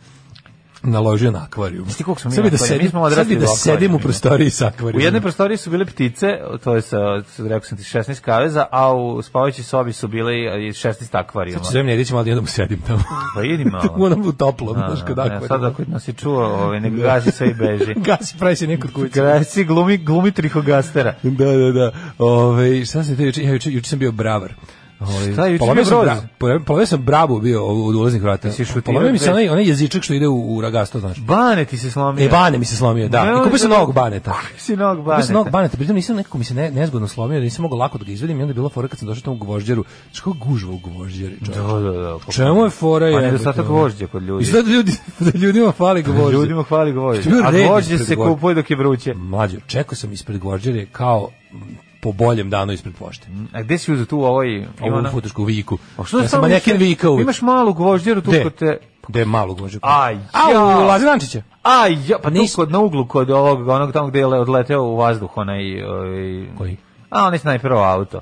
Speaker 7: naložio na akvarijum.
Speaker 6: Znaš ti koliko smo mi
Speaker 7: Sad bi da
Speaker 6: na akvarijum? Mi
Speaker 7: sedim,
Speaker 6: smo odrasli
Speaker 7: sad bi da
Speaker 6: do akvarijuma.
Speaker 7: sedim u prostoriji sa
Speaker 6: U
Speaker 7: akvarijumom.
Speaker 6: jednoj prostoriji su bile ptice, to je sa, rekao sam ti, 16 kaveza, a u spavajućoj sobi su bile i 16 akvarijuma.
Speaker 7: Sad ću zemlje, idemo, ali jednom sedim
Speaker 6: [LAUGHS]
Speaker 7: tamo. [LAUGHS]
Speaker 6: Pa idi malo.
Speaker 7: u onom u toplom,
Speaker 6: Da,
Speaker 7: znaš, kod
Speaker 6: da, ne,
Speaker 7: akvarijuma.
Speaker 6: Sad ako nas je čuo, ovaj, nek gazi sve i
Speaker 7: [LAUGHS]
Speaker 6: beži.
Speaker 7: Gasi, pravi se neko od kuće.
Speaker 6: Gasi glumi, glumi trihogastera.
Speaker 7: Da, da, da. Ove, šta sam ti juče, ja juče, juče sam bio bravar. Ove,
Speaker 6: Šta je juče
Speaker 7: polomio
Speaker 6: bio
Speaker 7: sam
Speaker 6: broz?
Speaker 7: bra- polomio- Polomio sam bravu bio u- od ulaznih vrata.
Speaker 6: Jesi šutirao
Speaker 7: Polomio mi se
Speaker 6: dve?
Speaker 7: onaj, onaj jezičak što ide u, u ragasto, znaš.
Speaker 6: Bane ti se slomio.
Speaker 7: E, bane mi se slomio, da.
Speaker 6: Ne, ono
Speaker 7: I kupio sam
Speaker 6: ne,
Speaker 7: novog baneta.
Speaker 6: Kupio si novog
Speaker 7: Kupio sam novog
Speaker 6: baneta.
Speaker 7: baneta, pritom nisam nekako mi se ne, nezgodno slomio, da nisam mogao lako da ga izvedim i onda je bila fora kad sam došao tamo u gvožđeru. Znaš kako gužva u gvožđeri, čovječe?
Speaker 6: Da, da, da. Pa-
Speaker 7: Čemu je fora?
Speaker 6: Pa
Speaker 7: jebote,
Speaker 6: nedostatak
Speaker 7: ono?
Speaker 6: vožđe kod ljudi.
Speaker 7: Izgleda da, ljudi, [LAUGHS] da ljudima fali gvožđe.
Speaker 6: Ljudima hvali gvožđe.
Speaker 7: Što je bio
Speaker 6: A
Speaker 7: red
Speaker 6: gvožđe
Speaker 7: ispred
Speaker 6: se
Speaker 7: gvožđe.
Speaker 6: kupuje dok je vruće.
Speaker 7: Mlađo, čekao sam ispred gvožđere kao m, po boljem danu ispred pošte.
Speaker 6: A gde si uzeo tu ovaj...
Speaker 7: Ovo
Speaker 6: Mm, Ivana?
Speaker 7: u futušku viku.
Speaker 6: A što
Speaker 7: ja sam
Speaker 6: samo
Speaker 7: manjakin
Speaker 6: više-
Speaker 7: vika uvijek.
Speaker 6: Imaš malu gvožđeru tu
Speaker 7: Gde?
Speaker 6: kod te...
Speaker 7: Gde je malo gvožđe?
Speaker 6: Aj,
Speaker 7: A,
Speaker 6: ja.
Speaker 7: u Lazirančića.
Speaker 6: A, ja, pa tu
Speaker 7: Nis-
Speaker 6: kod, na uglu kod ovog, onog tamo gde je le- odleteo u vazduh, onaj... Ovaj,
Speaker 7: Koji?
Speaker 6: A, onaj snajperov auto.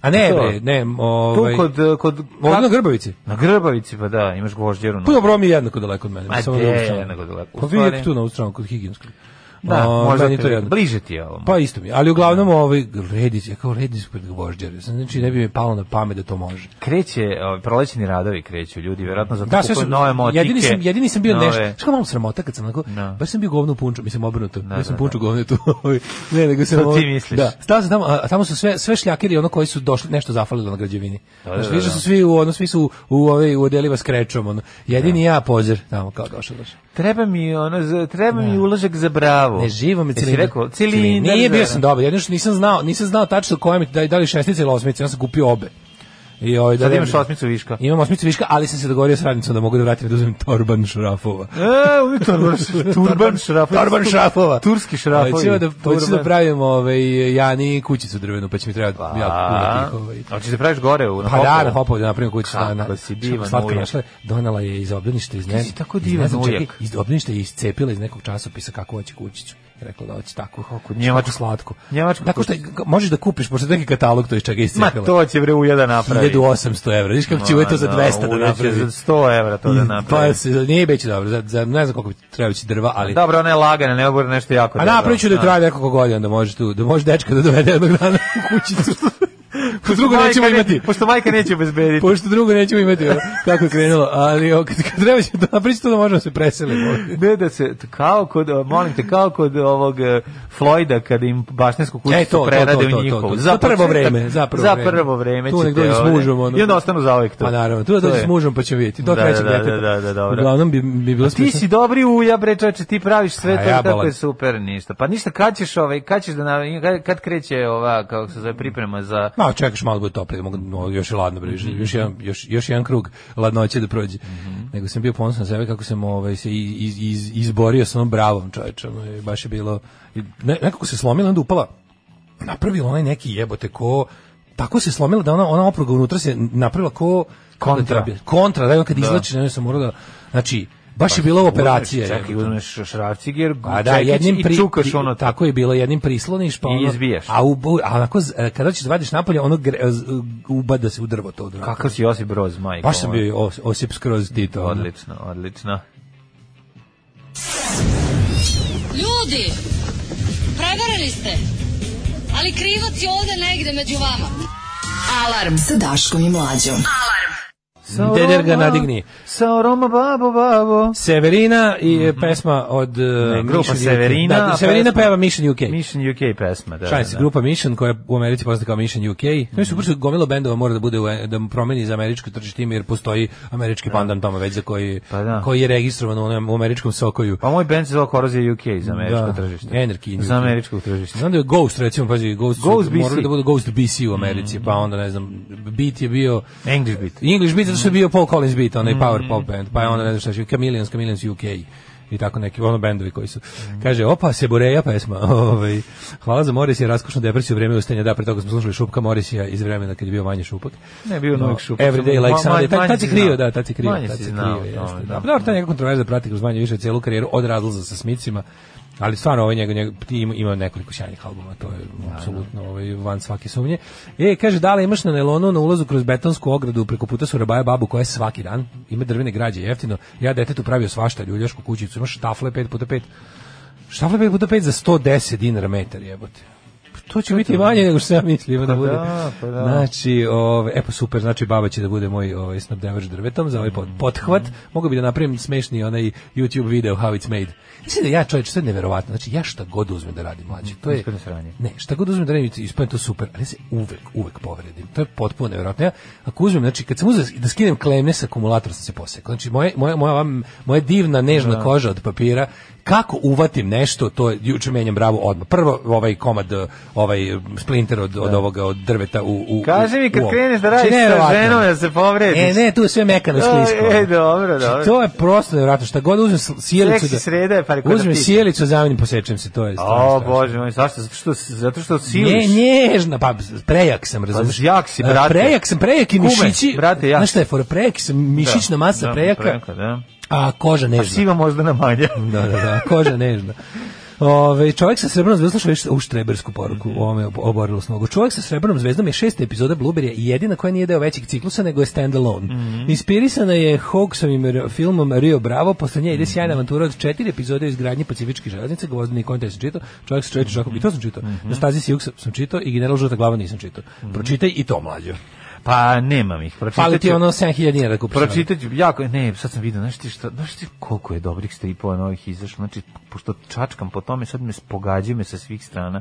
Speaker 7: A ne,
Speaker 6: To.
Speaker 7: bre, ne,
Speaker 6: Tu
Speaker 7: ovaj...
Speaker 6: kod... eh, kod
Speaker 7: Ovdje na Grbavici.
Speaker 6: Na Grbavici, pa da, imaš gvožđeru.
Speaker 7: Pa dobro, mi je jednako daleko od mene.
Speaker 6: Ma
Speaker 7: samo
Speaker 6: gde
Speaker 7: na
Speaker 6: je
Speaker 7: drugu stranu.
Speaker 6: jednako daleko? U
Speaker 7: Pa vi je
Speaker 6: stvari-
Speaker 7: tu na ovu stranu, kod Higinskog.
Speaker 6: Da,
Speaker 7: O,
Speaker 6: možda
Speaker 7: meni je to
Speaker 6: otprilike.
Speaker 7: jedno.
Speaker 6: Bliže ti je ono. ovo.
Speaker 7: Pa isto mi, je. ali uglavnom ovaj Redić, ja kao Redić pod gvožđare. Znači ne bi mi palo na pamet da to može.
Speaker 6: kreće, ovaj, prolećni radovi kreću, ljudi, verovatno zato
Speaker 7: Da, sve
Speaker 6: kupuju
Speaker 7: su
Speaker 6: nove motike.
Speaker 7: Jedini sam, jedini sam bio
Speaker 6: nove-
Speaker 7: nešto. Što malo sramota kad sam onako,
Speaker 6: Da.
Speaker 7: baš sam bio govno u punču, mislim obrnuto. Da, ja sam
Speaker 6: da,
Speaker 7: punču govno tu. [LAUGHS] ovaj, ne, nego sam
Speaker 6: To ti
Speaker 7: ovaj-
Speaker 6: misliš.
Speaker 7: Da, stao sam tamo, a a tamo su sve sve šljakeri ono koji su došli nešto zafalilo na građevini.
Speaker 6: da,
Speaker 7: Znači,
Speaker 6: da,
Speaker 7: više
Speaker 6: da.
Speaker 7: su svi u ono svi su u ove u odelima s krečom, ono. Jedini ja pozer tamo kao došao baš.
Speaker 6: Treba mi, ono, za- treba mi uložak za bravo.
Speaker 7: Ne E, živo mi
Speaker 6: Jesi
Speaker 7: cilindar.
Speaker 6: rekao, cilindar.
Speaker 7: Nije
Speaker 6: za-
Speaker 7: bio sam dobar, jedino što nisam znao, nisam znao tačno koja mi da li- da li šestica ili osmica, ja sam kupio obe. I ovaj da
Speaker 6: Sad
Speaker 7: ne
Speaker 6: imaš
Speaker 7: bi-
Speaker 6: osmicu viška.
Speaker 7: Imam osmicu viška, ali sam se dogovorio s radnicom da mogu da vratim da uzmem torban šrafova.
Speaker 6: E, oni
Speaker 7: [LAUGHS]
Speaker 6: turban, turban šrafovi.
Speaker 7: Torban šrafova.
Speaker 6: Turski šrafovi.
Speaker 7: Hoćemo da hoću da
Speaker 6: Turban.
Speaker 7: pravim ovaj Jani kućicu drvenu, pa će mi trebati
Speaker 6: Pa,
Speaker 7: jako puno tih ovaj.
Speaker 6: Hoćeš da praviš gore u na
Speaker 7: Pa da,
Speaker 6: Hopovu?
Speaker 7: na Hopovu da napravim kuću.
Speaker 6: Kako
Speaker 7: na, na,
Speaker 6: si divan
Speaker 7: slatko
Speaker 6: ujak.
Speaker 7: našla je, donela je iz obdaništa iz ne.
Speaker 6: si tako
Speaker 7: iz
Speaker 6: divan
Speaker 7: ne znam čega,
Speaker 6: ujak.
Speaker 7: Iz obdaništa je iscepila iz nekog časopisa kako hoće kućicu. Je rekla da hoće tako, kako
Speaker 6: Njemačku.
Speaker 7: slatko.
Speaker 6: Njemačku
Speaker 7: Tako što je- možeš da kupiš, pošto je neki katalog to iz čega je
Speaker 6: Ma
Speaker 7: iscepila.
Speaker 6: to će bre uja da napravi.
Speaker 7: 1800 evra. Viš kako će uvijek to za
Speaker 6: Ma,
Speaker 7: 200 da
Speaker 6: Uja će
Speaker 7: napravi.
Speaker 6: Za 100 evra to da
Speaker 7: I-
Speaker 6: napravi.
Speaker 7: [LAUGHS] Pa se, nije biće dobro, za, za, ne znam koliko bi trebao će drva, ali...
Speaker 6: Dobro, ona je lagana, ne obor nešto jako.
Speaker 7: A
Speaker 6: dobro.
Speaker 7: napravit ću da
Speaker 6: Da.
Speaker 7: traje nekoliko godina, da može tu, da može dečka da dovede jednog dana u kućicu.
Speaker 6: [LAUGHS]
Speaker 7: Pošto drugo
Speaker 6: Majka
Speaker 7: nećemo
Speaker 6: ne-
Speaker 7: imati.
Speaker 6: Pošto majka neće obezbediti.
Speaker 7: [LAUGHS] Pošto drugo nećemo imati, ono, kako je krenulo. Ali o, kad, kad treba će da napravit ću to da možemo da se preselimo.
Speaker 6: Ne da se kao kod o, molim te kao kod ovog e, Floyda kada im bašnesku kuću
Speaker 7: E, to, to,
Speaker 6: prerade
Speaker 7: to, to,
Speaker 6: u
Speaker 7: to,
Speaker 6: njihovu.
Speaker 7: to. Za prvo
Speaker 6: početak-
Speaker 7: vreme, za prvo
Speaker 6: za
Speaker 7: vreme.
Speaker 6: prvo vreme.
Speaker 7: Tu
Speaker 6: ćete
Speaker 7: nek dođu s
Speaker 6: ovde-
Speaker 7: mužem, ono.
Speaker 6: I onda ostanu zauvek tu.
Speaker 7: Pa naravno, tu da
Speaker 6: To
Speaker 7: dođe
Speaker 6: je.
Speaker 7: s mužem pa će vidjeti. Do
Speaker 6: Da,
Speaker 7: trećeg
Speaker 6: da, da,
Speaker 7: deteta.
Speaker 6: da, da, dobro.
Speaker 7: pa- Uglavnom bi, bi bilo
Speaker 6: Ti
Speaker 7: smišno.
Speaker 6: si dobri uja bre čoveče, ti praviš
Speaker 7: A
Speaker 6: sve to
Speaker 7: ja
Speaker 6: tako
Speaker 7: bolan.
Speaker 6: je super ništa. Pa ništa kad ćeš ovaj kad ćeš da na, kad, kad kreće ova kako se zove priprema za
Speaker 7: Ma, čekaš malo da bude toplije, mogu no, još je ladno bre, još,
Speaker 6: Mhm.
Speaker 7: još jedan još još jedan krug ladnoće da prođe. Nego sam bio ponosan na sebe kako sam ovaj se i- iz, iz, izborio sa onom bravom čoveče, ono, i baš je bilo i ne, nekako se slomila, onda upala. Napravila onaj neki jebote ko tako se slomila da ona ona opruga unutra se napravila ko
Speaker 6: Kontra.
Speaker 7: kako da bi- kontra, da ono kad izlači, ne sam morao da znači baš je bila operacija.
Speaker 6: Uzmeš, Pa, čekaj,
Speaker 7: jebote.
Speaker 6: uzmeš šrafciger,
Speaker 7: A Pa da,
Speaker 6: čekić
Speaker 7: jednim pri,
Speaker 6: i čukaš ono tako.
Speaker 7: tako je bilo, jednim prisloniš pa
Speaker 6: I
Speaker 7: ono,
Speaker 6: izbijaš.
Speaker 7: A u a onako z- e, kada ćeš vadiš napolje, ono gre, z- ubada se u drvo to drvo.
Speaker 6: Kakav si Josip Broz, majko.
Speaker 7: Baš sam
Speaker 6: moja.
Speaker 7: bio os, osip skroz Tito. ono.
Speaker 6: Odlično, odlično.
Speaker 8: Ljudi, prevarili ste. Ali krivac je ovde negde među vama.
Speaker 9: Alarm sa Daškom i Mlađom.
Speaker 7: Deder ga nadigni.
Speaker 6: Sa Roma babo babo.
Speaker 7: Severina i e, pesma od e,
Speaker 6: Mhm. grupa
Speaker 7: Mission UK.
Speaker 6: Severina,
Speaker 7: Da,
Speaker 6: a
Speaker 7: Severina
Speaker 6: pesma-
Speaker 7: peva Mission UK.
Speaker 6: Mission UK pesma, da.
Speaker 7: Šta je se,
Speaker 6: da. Mhm.
Speaker 7: grupa Mission koja je u Americi poznata kao Mission UK. Oni su prosto gomila bendova mora da bude u- e, da promeni za američko tržište ime jer postoji američki pandan tamo već za koji
Speaker 6: Pa da.
Speaker 7: koji je registrovan u onom u američkom sokoju.
Speaker 6: Pa moj band se zove Korozija UK za američko
Speaker 7: Da,
Speaker 6: tržište.
Speaker 7: Anarchy in
Speaker 6: Za
Speaker 7: UK.
Speaker 6: američko tržište.
Speaker 7: Znam da je Ghost, recimo, pazi, Ghost,
Speaker 6: Ghost
Speaker 7: Ghost
Speaker 6: BC.
Speaker 7: morali da bude Ghost BC u Americi, pa onda, ne znam, beat je bio...
Speaker 6: English beat.
Speaker 7: English beat, zato što je bio Paul Collins beat, onaj power pop band, pa je onda, ne znam šta će, Chameleons, Chameleons UK i tako neki, ono bendovi koji su. Kaže, opa, se boreja pesma. [LAUGHS] Ovaj, hvala za Morisija, raskošnu depresiju u vreme ustajanja. Da, pre toga smo slušali Šupka Morisija iz vremena kad je bio manje Šupak.
Speaker 6: Ne, bio je
Speaker 7: No,
Speaker 6: novih šupak.
Speaker 7: Everyday like
Speaker 6: Ma- ma-
Speaker 7: Sunday. Tad,
Speaker 6: manje
Speaker 7: tad si
Speaker 6: si znao.
Speaker 7: krio, da, tad si krio.
Speaker 6: Manje
Speaker 7: Tad
Speaker 6: si
Speaker 7: si
Speaker 6: znao,
Speaker 7: krio,
Speaker 6: to,
Speaker 7: jeste.
Speaker 6: da.
Speaker 7: Da, dobro, ta njega kontroverza prati kroz manje više celu karijeru od razlaza sa smicima. Ali stvarno ovaj njegov, njegov ti ima, ima nekoliko sjajnih albuma, to je apsolutno ovaj, van svake sumnje. E, kaže, da li imaš na nelonu na ulazu kroz betonsku ogradu preko puta su rabaja babu koja je svaki dan, ima drvene građe jeftino, ja detetu pravio svašta ljuljašku kućicu, imaš štafle 5x5, štafle 5x5 za 110 dinara metar jebote. To će biti manje nego što sam ja mislio da bude.
Speaker 6: da, pa da.
Speaker 7: Znači, ovaj e pa super, znači baba će da bude moj ovaj snabdevač drvetom za ovaj pot, pothvat. Mogu bi da napravim smešni onaj YouTube video how it's made. Mislim da ja čovjek sve neverovatno. Znači ja šta god uzmem da radim mlađe, to je
Speaker 6: Iskreno sranje.
Speaker 7: Ne, šta god uzmem da radim ispadne to super, ali ja se uvek uvek povredim. To je potpuno neverovatno. Ja ako uzmem, znači kad sam uzeo da skinem klemne sa akumulatora sam se posekao. Znači moje moja moja vam- moja divna nežna koža od papira kako uvatim nešto, to je juče menjam bravu odmah. Prvo ovaj komad eh, ovaj splinter od od ovoga od drveta u u
Speaker 6: Kaži mi kad
Speaker 7: u ovo.
Speaker 6: kreneš da radiš
Speaker 7: Znači,
Speaker 6: sa
Speaker 7: neverovatno.
Speaker 6: ženom da se povrediš.
Speaker 7: E, ne, tu je sve mekano i sklisko.
Speaker 6: E, dobro, dobro.
Speaker 7: Znači, To je prosto nevjerojatno. Šta god uzmem s- sjelicu
Speaker 6: Seksi
Speaker 7: da...
Speaker 6: sreda je, pa rekao da
Speaker 7: Uzmem
Speaker 6: piše.
Speaker 7: sjelicu, zamenim, posečem se, to je stvarno
Speaker 6: O,
Speaker 7: strašno.
Speaker 6: bože moj, zašto? Zato što, zato što siliš.
Speaker 7: Nje, nježna, pa prejak sam, razumiješ?
Speaker 6: jak si, brate.
Speaker 7: Prejak sam, prejak i
Speaker 6: Kume,
Speaker 7: mišići.
Speaker 6: brate, jak
Speaker 7: Znaš šta je, for prejak sam, mišićna masa
Speaker 6: da, Pa
Speaker 7: prejaka, Mm.
Speaker 6: prejaka, da.
Speaker 7: a koža
Speaker 6: A
Speaker 7: nežna.
Speaker 6: siva možda na manje.
Speaker 7: Da, da, da, koža nežna. Ove, čovjek sa srebrnom zvezdom sluša u štrebersku poruku, u ovome ob- oborilo s nogu. Čovjek sa srebrnom zvezdom je šesta epizoda Blueberry i jedina koja nije deo većeg ciklusa, nego je standalone.
Speaker 6: Mhm.
Speaker 7: Inspirisana je Hawksovim re- filmom Rio Bravo, posle nje
Speaker 6: Mhm.
Speaker 7: ide sjajna avantura od četiri epizode o izgradnji pacifičkih železnica, gvozdeni kontakt sam čitao, čovjek sa čovječim šakom, i to sam čitao,
Speaker 6: Mhm.
Speaker 7: na stazi Sijuks sam čitao i general Žuta glava nisam čitao. Pročitaj i to mlađo.
Speaker 6: Pa nemam ih.
Speaker 7: Fali
Speaker 6: Pročitat
Speaker 7: ti
Speaker 6: ću-
Speaker 7: ono 7000 dinara da kupiš.
Speaker 6: Pročitat ću, jako, ne, sad sam vidio, znaš ti, šta, znaš ti koliko je dobrih stripova novih izašlo, znači, pošto čačkam po tome, sad me spogađaju me sa svih strana,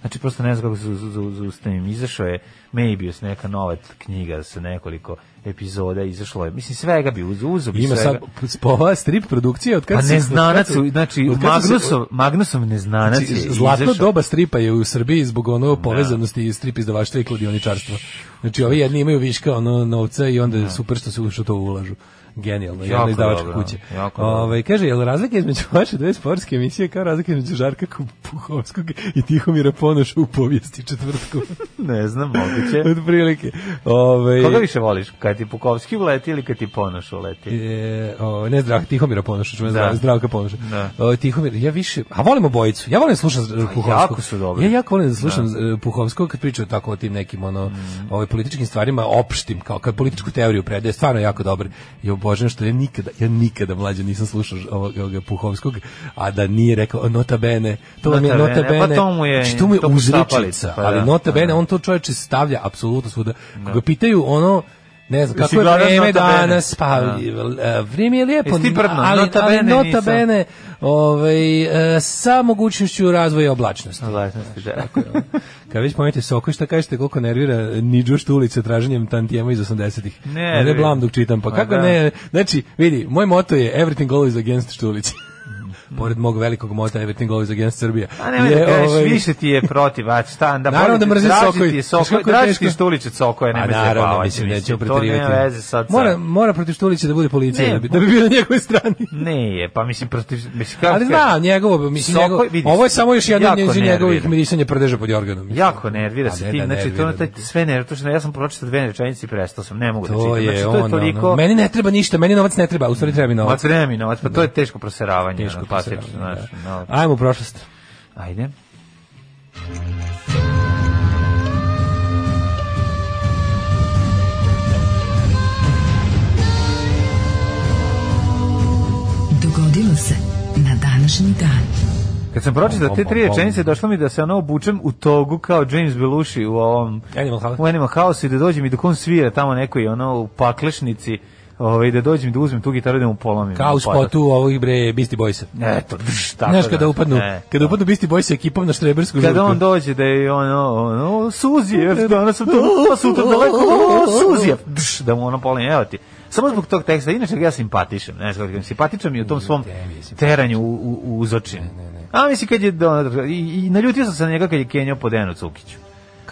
Speaker 6: znači, prosto ne znam kako se zu- zu- zaustavim, izašao je Maybius, neka nova t- knjiga sa nekoliko epizoda, izašlo je, mislim, svega bi uz, uzo bi
Speaker 7: Ima sad
Speaker 6: svega.
Speaker 7: spova strip produkcije od kad
Speaker 6: Pa
Speaker 7: se-
Speaker 6: neznanac,
Speaker 7: od kad se-
Speaker 6: znači,
Speaker 7: od kad se-
Speaker 6: Magnusov, Magnusov neznanac
Speaker 7: Znači,
Speaker 6: je
Speaker 7: zlatno
Speaker 6: izašao.
Speaker 7: doba stripa je u Srbiji zbog ono povezanosti i strip izdavaštva i kladioničarstva. Znači, ovi jedni imaju viška ono, novca i onda je super što se u što to ulažu. Genijalno, jedna
Speaker 6: Jako
Speaker 7: izdavačka
Speaker 6: dobro,
Speaker 7: kuća.
Speaker 6: jako dobro.
Speaker 7: Ove, kaže, je li razlika između [LAUGHS] vaše dve sportske emisije kao razlika između Žarka Puhovskog i Tihomira Ponoša u povijesti [LAUGHS] četvrtku?
Speaker 6: Ne znam,
Speaker 7: [LAUGHS]
Speaker 6: moguće.
Speaker 7: Od prilike. Ove,
Speaker 6: Koga više voliš, kad ti Pukovski uleti ili kad ti Ponoš uleti?
Speaker 7: E, o, ne zdravka, Tihomira Ponoša, čujem
Speaker 6: Da.
Speaker 7: da. zdravka Ponoša.
Speaker 6: Da.
Speaker 7: O, Tihomir, ja više, a volim obojicu, ja volim slušati Puhovskog.
Speaker 6: jako su dobri.
Speaker 7: Ja jako volim da slušam da. Puhovskog kad pričaju tako o tim nekim ono,
Speaker 6: Mm.
Speaker 7: ovaj, političkim stvarima, opštim, kao kad političku teoriju predaje, stvarno je jako dobar. I obožavam što ja nikada, ja nikada mlađe nisam slušao ž- ovog, ovoga Puhovskog, a da nije rekao nota bene, to vam je
Speaker 6: Nota
Speaker 7: nota
Speaker 6: bene,
Speaker 7: bene,
Speaker 6: pa to mu je-
Speaker 7: znači, to mu je
Speaker 6: to mu
Speaker 7: uzrečica,
Speaker 6: šapalica, pa
Speaker 7: ali
Speaker 6: da,
Speaker 7: nota
Speaker 6: pa
Speaker 7: bene,
Speaker 6: da.
Speaker 7: on to čoveče stavlja apsolutno svuda. Koga pitaju ono, ne
Speaker 6: Jesi
Speaker 7: znam, kako je
Speaker 6: gledao Nota
Speaker 7: vreme
Speaker 6: Bene?
Speaker 7: danas, pa
Speaker 6: Da.
Speaker 7: e, vrijeme je lijepo,
Speaker 6: Jesi ti prdno?
Speaker 7: ali,
Speaker 6: Nota
Speaker 7: ali
Speaker 6: bene
Speaker 7: nota
Speaker 6: nisam.
Speaker 7: bene ovaj, e, sa mogućnošću razvoja oblačnosti.
Speaker 6: Zlatnosti, da.
Speaker 7: Kad već pomenite Soko, šta kažete koliko nervira Niđo Štulica traženjem tantijema iz 80-ih?
Speaker 6: Ne,
Speaker 7: ne
Speaker 6: nervira.
Speaker 7: blam dok čitam, pa
Speaker 6: Ma
Speaker 7: kako
Speaker 6: da.
Speaker 7: ne? Znači, vidi, moj moto je Everything always against Štulici. Pored mog velikog mota Everything always against Srbija.
Speaker 6: A Mhm. Pa nemoj da
Speaker 7: Je,
Speaker 6: kažeš,
Speaker 7: ovaj,
Speaker 6: više ti je protiv, a šta, da
Speaker 7: Naravno da mrzim Sokoj.
Speaker 6: Ti je
Speaker 7: Znaš
Speaker 6: sokoj,
Speaker 7: kako je
Speaker 6: draži
Speaker 7: teško?
Speaker 6: ti štuliće Sokoja,
Speaker 7: Pa
Speaker 6: nemoj
Speaker 7: naravno,
Speaker 6: zajebavati,
Speaker 7: mislim, nećemo
Speaker 6: to
Speaker 7: preterivati.
Speaker 6: nema veze sad sa-
Speaker 7: Mora, mora protiv Štulića da bude policija,
Speaker 6: Ne,
Speaker 7: da, bi, da bi bio na njegovoj
Speaker 6: [LAUGHS]
Speaker 7: strani.
Speaker 6: Ne je, pa mislim, protiv, mislim, kako
Speaker 7: Ali
Speaker 6: ti
Speaker 7: znam,
Speaker 6: kažem,
Speaker 7: njegovo, mislim,
Speaker 6: Sokoj,
Speaker 7: njegovo,
Speaker 6: vidiš,
Speaker 7: ovo je samo još jedno
Speaker 6: jako
Speaker 7: iz njegovih
Speaker 6: nervira.
Speaker 7: mirisanja prdeža pod jorganom. mislim.
Speaker 6: Jako nervira
Speaker 7: A
Speaker 6: se
Speaker 7: Pa ne
Speaker 6: ti,
Speaker 7: da
Speaker 6: znači to
Speaker 7: nervira,
Speaker 6: na taj sve nervira, to što ja sam pročitao dve rečenice i prestao sam, ne mogu da
Speaker 7: To
Speaker 6: čitam. Znači,
Speaker 7: je
Speaker 6: to je
Speaker 7: ono, ono,
Speaker 6: toliko...
Speaker 7: meni ne treba ništa, meni novac ne treba, u stvari treba mi
Speaker 6: Ma
Speaker 7: novac.
Speaker 6: treba mi novac, pa to je teško proseravanje.
Speaker 7: Teško
Speaker 6: ono,
Speaker 7: proseravanje,
Speaker 6: klasično, znaš, novac.
Speaker 7: Ajmo u prošlost.
Speaker 6: Ajde.
Speaker 9: Dogodilo se na današnji dan.
Speaker 6: Kad sam pročitao te tri
Speaker 7: Bom, bom,
Speaker 6: rečenice, došlo mi da se ono obučem u togu kao James Belushi u ovom
Speaker 7: Animal House.
Speaker 6: u Animal House i da dođem i dok on svira tamo nekoj ono u paklešnici, ovaj da dođem i da uzmem tu gitaru i da mu polomim.
Speaker 7: Kao u
Speaker 6: Podac.
Speaker 7: spotu ovih bre Beastie Boysa.
Speaker 6: Eto, drž, tako
Speaker 7: Znaš
Speaker 6: da.
Speaker 7: kada upadnu,
Speaker 6: E,
Speaker 7: kada
Speaker 6: to.
Speaker 7: upadnu Beastie Boysa ekipom na Štrebersku žurku.
Speaker 6: Kada on dođe da je ono, ono, Suzijev, danas sam tu, pa sutra daleko, o, Suzijev, drž, da mu ono polim, evo ti. Samo zbog tog teksta, inače ja simpatišem, znaš kako ti kažem, simpatičan mi je u tom svom teranju u, u, u uzočinu. A mislim kad je, do- ono, i, i naljutio sam se na njega kad je Kenjo po Dejanu Cukiću.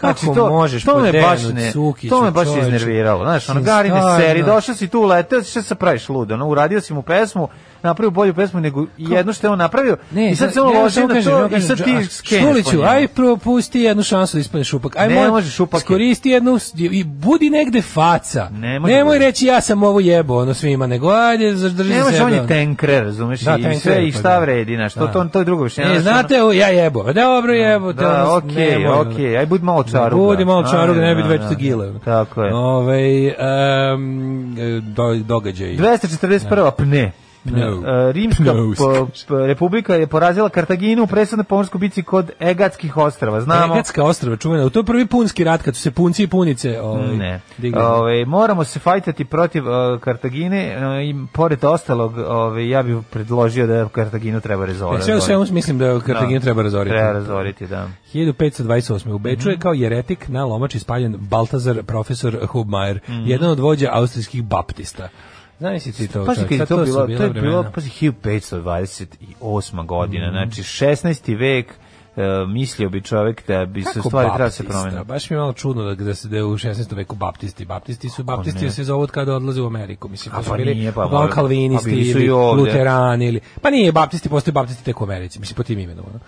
Speaker 6: Znači,
Speaker 7: Kako možeš
Speaker 6: to
Speaker 7: po
Speaker 6: me
Speaker 7: Dejanu
Speaker 6: baš ne,
Speaker 7: Cukiću,
Speaker 6: To me baš
Speaker 7: čoveče?
Speaker 6: iznerviralo, znaš, ono,
Speaker 7: Mislim,
Speaker 6: gari ne
Speaker 7: stvarno.
Speaker 6: seri, došao si tu, leteo, si, šta se praviš ludo, ono, uradio si mu pesmu, napravio bolju pesmu nego jedno što je on napravio, i sad se on ložio na to, i sad ti skeneš po
Speaker 7: Šuliću,
Speaker 6: njemu.
Speaker 7: aj propusti jednu šansu da ispane šupak. Aj
Speaker 6: Ne
Speaker 7: moj,
Speaker 6: može, šupak je.
Speaker 7: Skoristi jednu s- i budi negde faca.
Speaker 6: Ne može
Speaker 7: Nemoj
Speaker 6: da-
Speaker 7: reći ja sam ovo jebo, ono svima, nego ajde zadrži
Speaker 6: Ne
Speaker 7: se
Speaker 6: može, on
Speaker 7: sebe.
Speaker 6: je tenkre, razumeš,
Speaker 7: Da,
Speaker 6: i
Speaker 7: tenkre,
Speaker 6: sve, i
Speaker 7: pa
Speaker 6: šta
Speaker 7: da.
Speaker 6: vredi, znaš, to,
Speaker 7: Da.
Speaker 6: to, to je drugo Ono više.
Speaker 7: Ne,
Speaker 6: znaš,
Speaker 7: E, znate, o, ja jebo. A Dobro jebo.
Speaker 6: ono,
Speaker 7: to
Speaker 6: Da,
Speaker 7: ono,
Speaker 6: okej,
Speaker 7: nemoj, ono.
Speaker 6: okej, aj budi malo čaruga.
Speaker 7: Budi malo
Speaker 6: Aj,
Speaker 7: čaruga, ne bi
Speaker 6: da,
Speaker 7: već
Speaker 6: da.
Speaker 7: to gile. ono.
Speaker 6: Tako je.
Speaker 7: Ovaj em, e, do, događaj.
Speaker 6: ono, 241. pne.
Speaker 7: Pneu.
Speaker 6: E, Rimska
Speaker 7: Pneu,
Speaker 6: po-
Speaker 7: skače.
Speaker 6: p- republika je porazila Kartaginu u presudnoj pomorskoj bici kod Egatskih ostrava. Znamo.
Speaker 7: Egatska ostrava čuvena, to je prvi punski rat kad su se punci i punice ovaj,
Speaker 6: Ne.
Speaker 7: digli.
Speaker 6: Ove, moramo se fajtati protiv e, Kartagine e, i pored ostalog ove, ja bih predložio da Kartaginu treba rezolati.
Speaker 7: E, Sve u svemu mislim da Kartaginu treba razoriti.
Speaker 6: Pa Treba razoriti, Mhm. da.
Speaker 7: 1528. U Beču je kao jeretik na lomači spaljen Baltazar profesor Hubmeier,
Speaker 6: Mhm.
Speaker 7: jedan od vođa austrijskih baptista. Znaš si ti to?
Speaker 6: Pazi, kad je
Speaker 7: čovječe,
Speaker 6: to
Speaker 7: sad su
Speaker 6: bilo, to
Speaker 7: bila Mhm.
Speaker 6: je bilo,
Speaker 7: vremena.
Speaker 6: pazi, 1528. godina, znači 16. vek, e, e, mislio bi čovjek da bi se
Speaker 7: Kako
Speaker 6: stvari treba da se
Speaker 7: baptista?
Speaker 6: promene.
Speaker 7: Baš mi je malo čudno da, da se da je u 16. veku baptisti. Baptisti su baptisti
Speaker 6: ne?
Speaker 7: se zovu od kada odlaze u Ameriku. Mislim,
Speaker 6: A
Speaker 7: to su
Speaker 6: pa
Speaker 7: bili
Speaker 6: nije, pa
Speaker 7: uglavnom
Speaker 6: mora-
Speaker 7: kalvinisti
Speaker 6: pa bili su i
Speaker 7: ili
Speaker 6: ovde.
Speaker 7: luterani. Ili, pa nije, baptisti postoje baptisti tek u Americi, mislim, po tim imenom. Ono.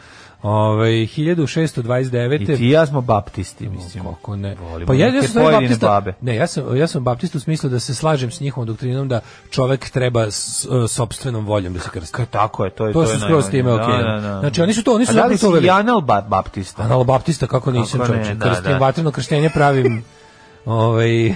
Speaker 7: Ovaj, Ove, 1629.
Speaker 6: I ti i ja smo baptisti, mislim.
Speaker 7: Kako ne?
Speaker 6: Volimo
Speaker 7: Pa ja, ja
Speaker 6: neke
Speaker 7: sam stvarno
Speaker 6: pojedine
Speaker 7: baptista.
Speaker 6: babe.
Speaker 7: Ne, ja sam ja sam baptista u smislu da se slažem s njihovom doktrinom da čovek treba s, e, sopstvenom voljom da se krsti.
Speaker 6: Ka- Tako je, to je
Speaker 7: To
Speaker 6: to.
Speaker 7: su
Speaker 6: je
Speaker 7: skroz time
Speaker 6: najbolje.
Speaker 7: okej.
Speaker 6: Da, da, da.
Speaker 7: Znači, oni su to- oni su
Speaker 6: A da
Speaker 7: zapravo
Speaker 6: li
Speaker 7: to uveli.
Speaker 6: si anal ba- baptista?
Speaker 7: Analbaptista, kako nisam
Speaker 6: Kako ne,
Speaker 7: čovječe.
Speaker 6: da,
Speaker 7: Krstim
Speaker 6: da.
Speaker 7: vatreno krštenje
Speaker 6: [LAUGHS]
Speaker 7: pravim. ovaj,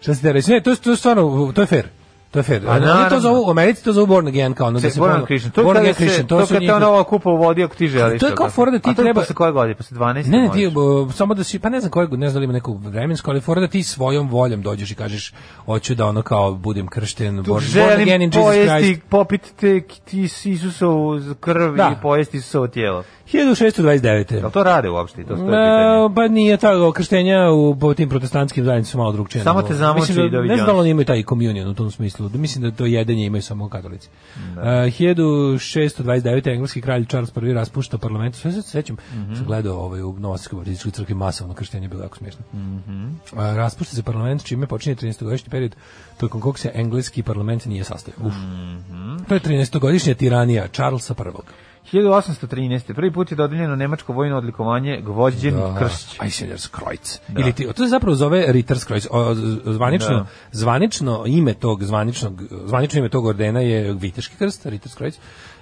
Speaker 7: šta ste reći? Ne, to, je- to je stvarno, to je fair. To je fair.
Speaker 6: Pa
Speaker 7: A oni to
Speaker 6: naravno.
Speaker 7: zovu, u Americi to zovu born again, kao ono.
Speaker 6: To
Speaker 7: da
Speaker 6: je
Speaker 7: se
Speaker 6: Born
Speaker 7: ponovo-
Speaker 6: Again Christian. To je
Speaker 7: born
Speaker 6: kada
Speaker 7: again
Speaker 6: se-
Speaker 7: Christian,
Speaker 6: to
Speaker 7: to su
Speaker 6: kad te
Speaker 7: njihovi-
Speaker 6: ono ova kupa uvodi, ako ti želiš.
Speaker 7: To je kao
Speaker 6: tako.
Speaker 7: fora da ti
Speaker 6: A to je
Speaker 7: treba-
Speaker 6: Posle koje godine? Posle 12?
Speaker 7: Ne, ne,
Speaker 6: možeš?
Speaker 7: ti, uh, samo da si, pa ne znam kojeg, ne znam da li ima neku vremensku, ali fora da ti svojom voljom dođeš i kažeš, hoću da ono kao budem kršten, born, born again in
Speaker 6: Želim
Speaker 7: Jesus Christ.
Speaker 6: pojesti, popiti te, ti s- Isusovu krv
Speaker 7: Da.
Speaker 6: i pojesti Isusovo tijelo.
Speaker 7: 1629.
Speaker 6: Jel to rade uopšte? To, to je pitanje.
Speaker 7: E, pa nije tako, krštenja u po tim protestantskim zajednicama su malo drugčije.
Speaker 6: Samo
Speaker 7: nego-
Speaker 6: te zamoči
Speaker 7: Mislim da-
Speaker 6: i doviđenja.
Speaker 7: Ne znam da li oni imaju taj komunion u tom smislu. Da Mislim da to jedenje imaju samo katolici. E, Da. 1629. engleski kralj Charles I raspušta parlament. Sve se sećam,
Speaker 6: Mhm.
Speaker 7: sam gledao ovaj, u Novosadskoj baptističkoj crkvi masovno krštenje, bilo jako smiješno.
Speaker 6: Mhm.
Speaker 7: A, raspušta se parlament, čime počinje 13-godišnji period tokom kog se engleski parlament nije sastavio. Uf.
Speaker 6: Mhm.
Speaker 7: To je 13-godišnja tiranija Charlesa I.
Speaker 6: 1813. Prvi put je dodeljeno nemačko vojno odlikovanje Gvođđen
Speaker 7: Da.
Speaker 6: Kršć.
Speaker 7: Eisenherz-Kreuz. Ili ti, to se zapravo zove Ritterskreuz. O, z- Zvanično,
Speaker 6: Da.
Speaker 7: zvanično ime tog zvaničnog zvanično ime tog ordena je Viteški krst, Ritterskreuz.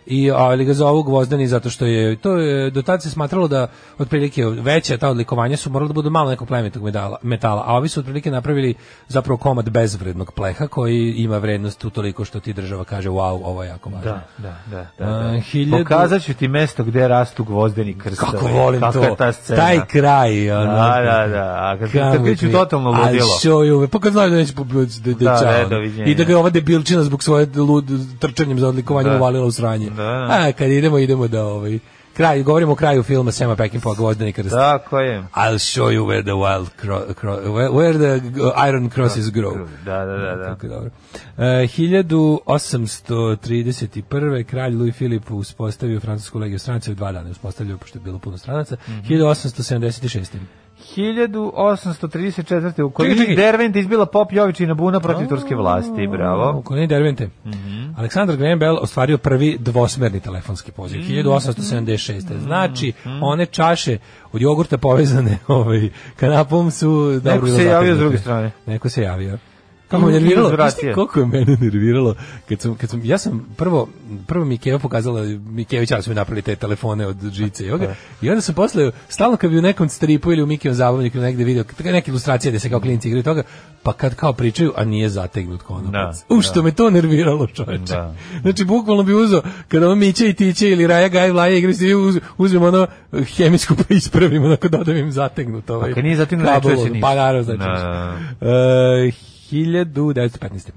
Speaker 7: I ali ga zovu gvozdeni zato što je to je do tad se smatralo da otprilike veća ta odlikovanja su morala da budu malo nekog plemenitog medala, metala, a ovi su otprilike napravili zapravo komad bezvrednog pleha koji ima vrednost u toliko što ti država kaže wow, ovo je jako važno.
Speaker 6: Da, da, da. da,
Speaker 7: A,
Speaker 6: da.
Speaker 7: hiljadu-
Speaker 6: Pokazat ću ti mesto gde rastu gvozdeni krstovi.
Speaker 7: Kako volim
Speaker 6: Kakva
Speaker 7: to.
Speaker 6: je ta scena.
Speaker 7: Taj kraj. ono.
Speaker 6: Da, da, da. A kad
Speaker 7: Kako
Speaker 6: kad
Speaker 7: ti
Speaker 6: priču
Speaker 7: je?
Speaker 6: totalno ludilo.
Speaker 7: Ali show you, pa kad znaš da neće poblući, da, da,
Speaker 6: Da,
Speaker 7: čao,
Speaker 6: ne,
Speaker 7: ono.
Speaker 6: doviđenja.
Speaker 7: I da ga je ova debilčina zbog svoje lud, trčanjem za odlikovanje
Speaker 6: Da.
Speaker 7: uvalila u sranje.
Speaker 6: Da, da.
Speaker 7: A kad idemo, idemo da ovaj... Kraj, govorimo o kraju filma Sema Peckinpah, Gvozdeni krst.
Speaker 6: Tako je.
Speaker 7: I'll show you where the wild cro, cro, where, where the uh, iron crosses grow.
Speaker 6: Da, da, da, da.
Speaker 7: Tako je dobro. E, 1831. kralj Louis Filip uspostavio francusku legiju stranaca u dva dana je uspostavljao, pošto je bilo puno stranaca.
Speaker 6: Mhm.
Speaker 7: 1876.
Speaker 6: 1834. u
Speaker 7: Čekaj, čekaj.
Speaker 6: Kolini Dervent izbila Pop Jovičina buna protiv turske vlasti.
Speaker 7: U
Speaker 6: Bravo. Mhm.
Speaker 7: koloniji Dervente. Aleksandar Graham Bell ostvario prvi dvosmerni telefonski poziv.
Speaker 6: Mhm.
Speaker 7: 1876. Znači, one čaše od jogurta povezane [LAUGHS] ovaj, kanapom su... dobro
Speaker 6: Neko
Speaker 7: bilo
Speaker 6: se javio s
Speaker 7: zategnute.
Speaker 6: druge strane.
Speaker 7: Neko se javio. Kako me
Speaker 6: Ima
Speaker 7: nerviralo,
Speaker 6: uzvratio.
Speaker 7: znaš ti koliko je mene nerviralo kad sam, kad sam, ja sam prvo, prvo mi je Keva pokazala, Mikević ja su mi napravili te telefone od žice i ovoga, i onda sam posle, stalno kad bi u nekom stripu ili u Mikijem zabavniku negde video, kad- neke ilustracije gde se kao klinici igraju toga, pa kad kao pričaju, a nije zategnut ono konopac.
Speaker 6: Da,
Speaker 7: U, što me to nerviralo, čoveče.
Speaker 6: Da.
Speaker 7: Znači, bukvalno bi uzeo, kada on miće i tiće ili Raja Gaj Vlaje igraju, se, uz, uzmem ono hemijsku pa ispravim, onako dodam im zategnut ovaj.
Speaker 6: A Pa kad nije zategnut, ne
Speaker 7: kabel,
Speaker 6: čuje se ništa.
Speaker 7: Pa naravno, znači.
Speaker 6: Da, da, Mhm.
Speaker 7: E, 1915.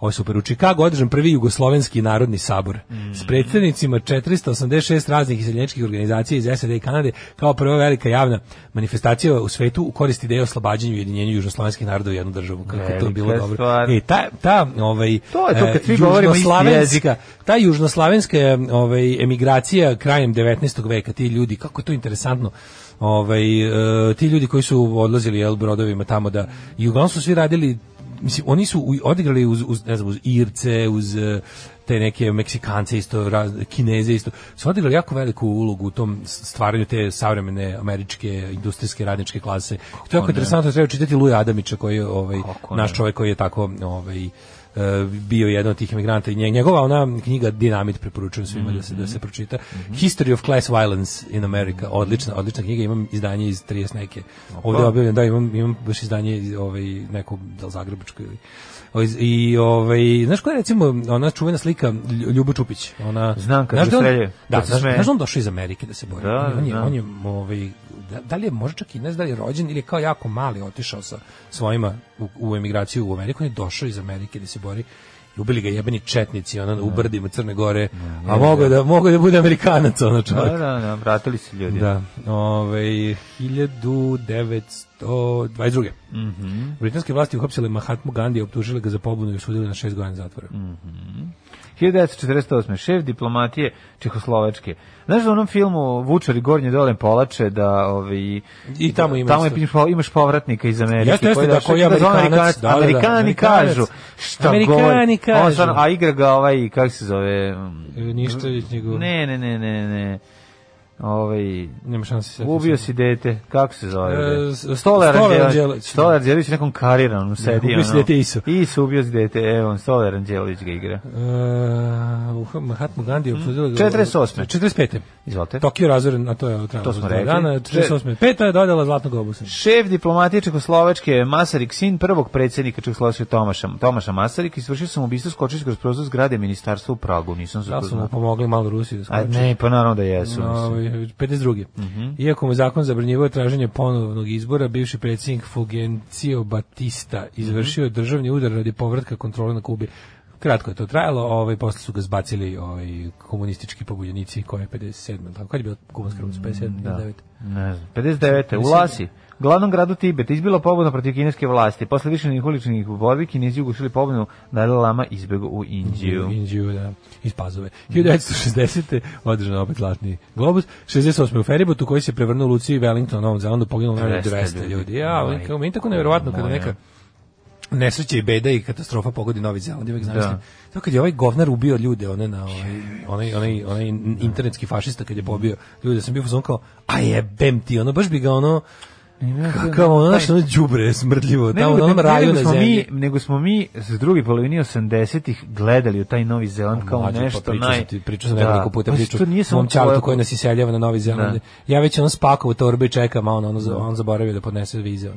Speaker 7: Ovo je super. U Čikagu održan prvi jugoslovenski narodni sabor
Speaker 6: Mhm.
Speaker 7: s predstavnicima 486 raznih iseljeničkih organizacija iz SAD i Kanade kao prva velika javna manifestacija u svetu u korist ideje o oslobađanju i ujedinjenju južnoslovenskih naroda u jednu državu. Kako je to
Speaker 6: Velika
Speaker 7: bilo dobro.
Speaker 6: stvar.
Speaker 7: E, ta, ta, ovaj,
Speaker 6: To je to,
Speaker 7: e,
Speaker 6: kad svi govorimo isti
Speaker 7: južnoslavenska-
Speaker 6: jezik.
Speaker 7: ta južnoslavenska e, ovaj emigracija krajem 19. veka, ti ljudi kako je to interesantno. Ovaj e, ti ljudi koji su odlazili jel brodovima tamo da i uglavnom su svi radili mislim oni su u- odigrali uz, uz ne znam uz Irce, uz e, te neke Meksikance isto, raz, Kineze isto, su odigrali jako veliku ulogu u tom s- stvaranju te savremene američke industrijske radničke klase. to je jako interesantno, treba čitati Luja Adamića koji je ovaj,
Speaker 6: Kako
Speaker 7: naš
Speaker 6: ne.
Speaker 7: čovjek koji je tako ovaj, e, bio jedan od tih emigranata i nje- njegova ona knjiga Dinamit preporučujem svima da se da
Speaker 6: Mhm.
Speaker 7: se pročita History of Class Violence in America odlična odlična knjiga imam izdanje iz 30 neke ovdje je objavljeno da imam imam baš izdanje iz, ovaj neko da li zagrebačko ili o, iz- i ovaj znaš koja je recimo ona čuvena slika Lju- Ljubo Čupić ona
Speaker 6: Znam kad
Speaker 7: znaš
Speaker 6: se
Speaker 7: da on-
Speaker 6: streljaju,
Speaker 7: da
Speaker 6: kad se
Speaker 7: znaš,
Speaker 6: smeje.
Speaker 7: znaš da on došao iz Amerike da se bori
Speaker 6: Da,
Speaker 7: on, je,
Speaker 6: da.
Speaker 7: on je ovaj, da, da li je možda čak i ne znam da li je rođen ili je kao jako mali otišao sa svojima u, u emigraciju u Ameriku, on je došao iz Amerike da se bori i ubili ga jebeni četnici ono, u brdima Crne Gore, a mogo je da, mogo je da bude Amerikanac ono čovjek.
Speaker 6: Da, da, da, vratili se ljudi.
Speaker 7: Da, ovaj 1922. Mhm. Britanske vlasti uhapsile Mahatmu Gandhi, optužile ga za pobunu i osudile na šest godina zatvora. Mm
Speaker 6: 1948. šef diplomatije Čehoslovačke. Znaš da u onom filmu Vučari gornje dole polače da ovi
Speaker 7: I tamo ima
Speaker 6: tamo
Speaker 7: isto.
Speaker 6: imaš pa- imaš povratnika iz Amerike
Speaker 7: Jeste, jeste,
Speaker 6: koji
Speaker 7: da,
Speaker 6: došao-
Speaker 7: koji je
Speaker 6: zove
Speaker 7: Amerikanac, da, da, da,
Speaker 6: Amerikani
Speaker 7: Amerikanac.
Speaker 6: kažu šta
Speaker 7: Amerikani
Speaker 6: god. On stvarno-
Speaker 7: kažu.
Speaker 6: a igra ga ovaj kako se zove? mm,
Speaker 7: Ništa već njegov. Ne.
Speaker 6: Ne, ne, ne, ne, ne. Ovaj
Speaker 7: Nema šanse. setim
Speaker 6: Ubio
Speaker 7: se.
Speaker 6: si dete, kako se zove?
Speaker 7: E,
Speaker 6: bre? Stolar
Speaker 7: s- Stolar
Speaker 6: Anđelović.
Speaker 7: Anđelović.
Speaker 6: Stolar Anđelović nekom kariranom sedi.
Speaker 7: ubio si
Speaker 6: ono.
Speaker 7: dete Isu.
Speaker 6: Isu ubio si dete, evo, Stolar Anđelović ga igra.
Speaker 7: Uh, Mahatma Gandhi je optužila... ga-
Speaker 6: 48..
Speaker 7: 45.
Speaker 6: Hmm. Izvolite.
Speaker 7: Tokio razoren, a to je trajalo
Speaker 6: To smo
Speaker 7: za dva
Speaker 6: rekli.
Speaker 7: Dana, 48. Peta je dodala Zlatnog obusa.
Speaker 6: Šef diplomatije Čekoslovačke Masarik, sin prvog predsjednika Čekoslovačke Tomaša, Tomaša Masarik, izvršio sam ubistvo skočeći kroz prozor zgrade ministarstva u Pragu, nisam za
Speaker 7: Da
Speaker 6: to
Speaker 7: su mu
Speaker 6: znao.
Speaker 7: pomogli malo Rusiju da
Speaker 6: A
Speaker 7: skoči.
Speaker 6: ne, pa naravno da jesu.
Speaker 7: Na,
Speaker 6: mislim.
Speaker 7: ovaj, 52.
Speaker 6: Mhm.
Speaker 7: Iako mu zakon zabranjivao traženje ponovnog izbora, bivši predsjednik Fulgencio Batista izvršio
Speaker 6: Mhm.
Speaker 7: je državni udar radi povratka kontrole na Kubi. Kratko je to trajalo, ovaj, posle su ga zbacili ovaj, komunistički pobunjenici koje je 57. Tako, kad je bila kubanska
Speaker 6: Mm,
Speaker 7: revolucija? 57. Da.
Speaker 6: Ne znam. 59. U Lasi, glavnom gradu Tibeta, izbila pobuna protiv kineske vlasti. Posle više njih uličnih borbi, kinezi ugušili pobunu Dalai Lama izbegu u Indiju.
Speaker 7: Indiju, da, iz Pazove. 1960. održano opet zlatni globus. 68. u Feribotu koji se prevrnuo u Luciju i Wellington u Novom Zelandu poginulo najmanje
Speaker 6: 200
Speaker 7: 200 ljudi. Ja,
Speaker 6: ljudi.
Speaker 7: meni- kao meni tako nevjerovatno kada
Speaker 6: Moja.
Speaker 7: neka nesreća i beda i katastrofa pogodi Novi Zeland, uvek zamislim.
Speaker 6: Da.
Speaker 7: To kad je ovaj govnar ubio ljude, one na ovaj, onaj, onaj, onaj internetski fašista kad je pobio ljude, sam bio u kao, a jebem ti, ono, baš bi ga ono, kakav ono, znaš, ono đubre smrdljivo,
Speaker 6: Ne,
Speaker 7: Pa tamo na
Speaker 6: nego-
Speaker 7: onom
Speaker 6: ne,
Speaker 7: raju
Speaker 6: nego
Speaker 7: na
Speaker 6: smo
Speaker 7: zemlji.
Speaker 6: Mi, nego smo mi s druge polovine 80-ih gledali u taj Novi Zeland kao
Speaker 7: Mlađe,
Speaker 6: nešto
Speaker 7: pa
Speaker 6: naj...
Speaker 7: Pričao sam, ti- pričao sam nekoliko puta priču mom čaltu koji nas iseljava na Novi Zeland.
Speaker 6: Da.
Speaker 7: Ja već ono spakovo torbe čekam, a on, on, on zaboravio da podnese vize.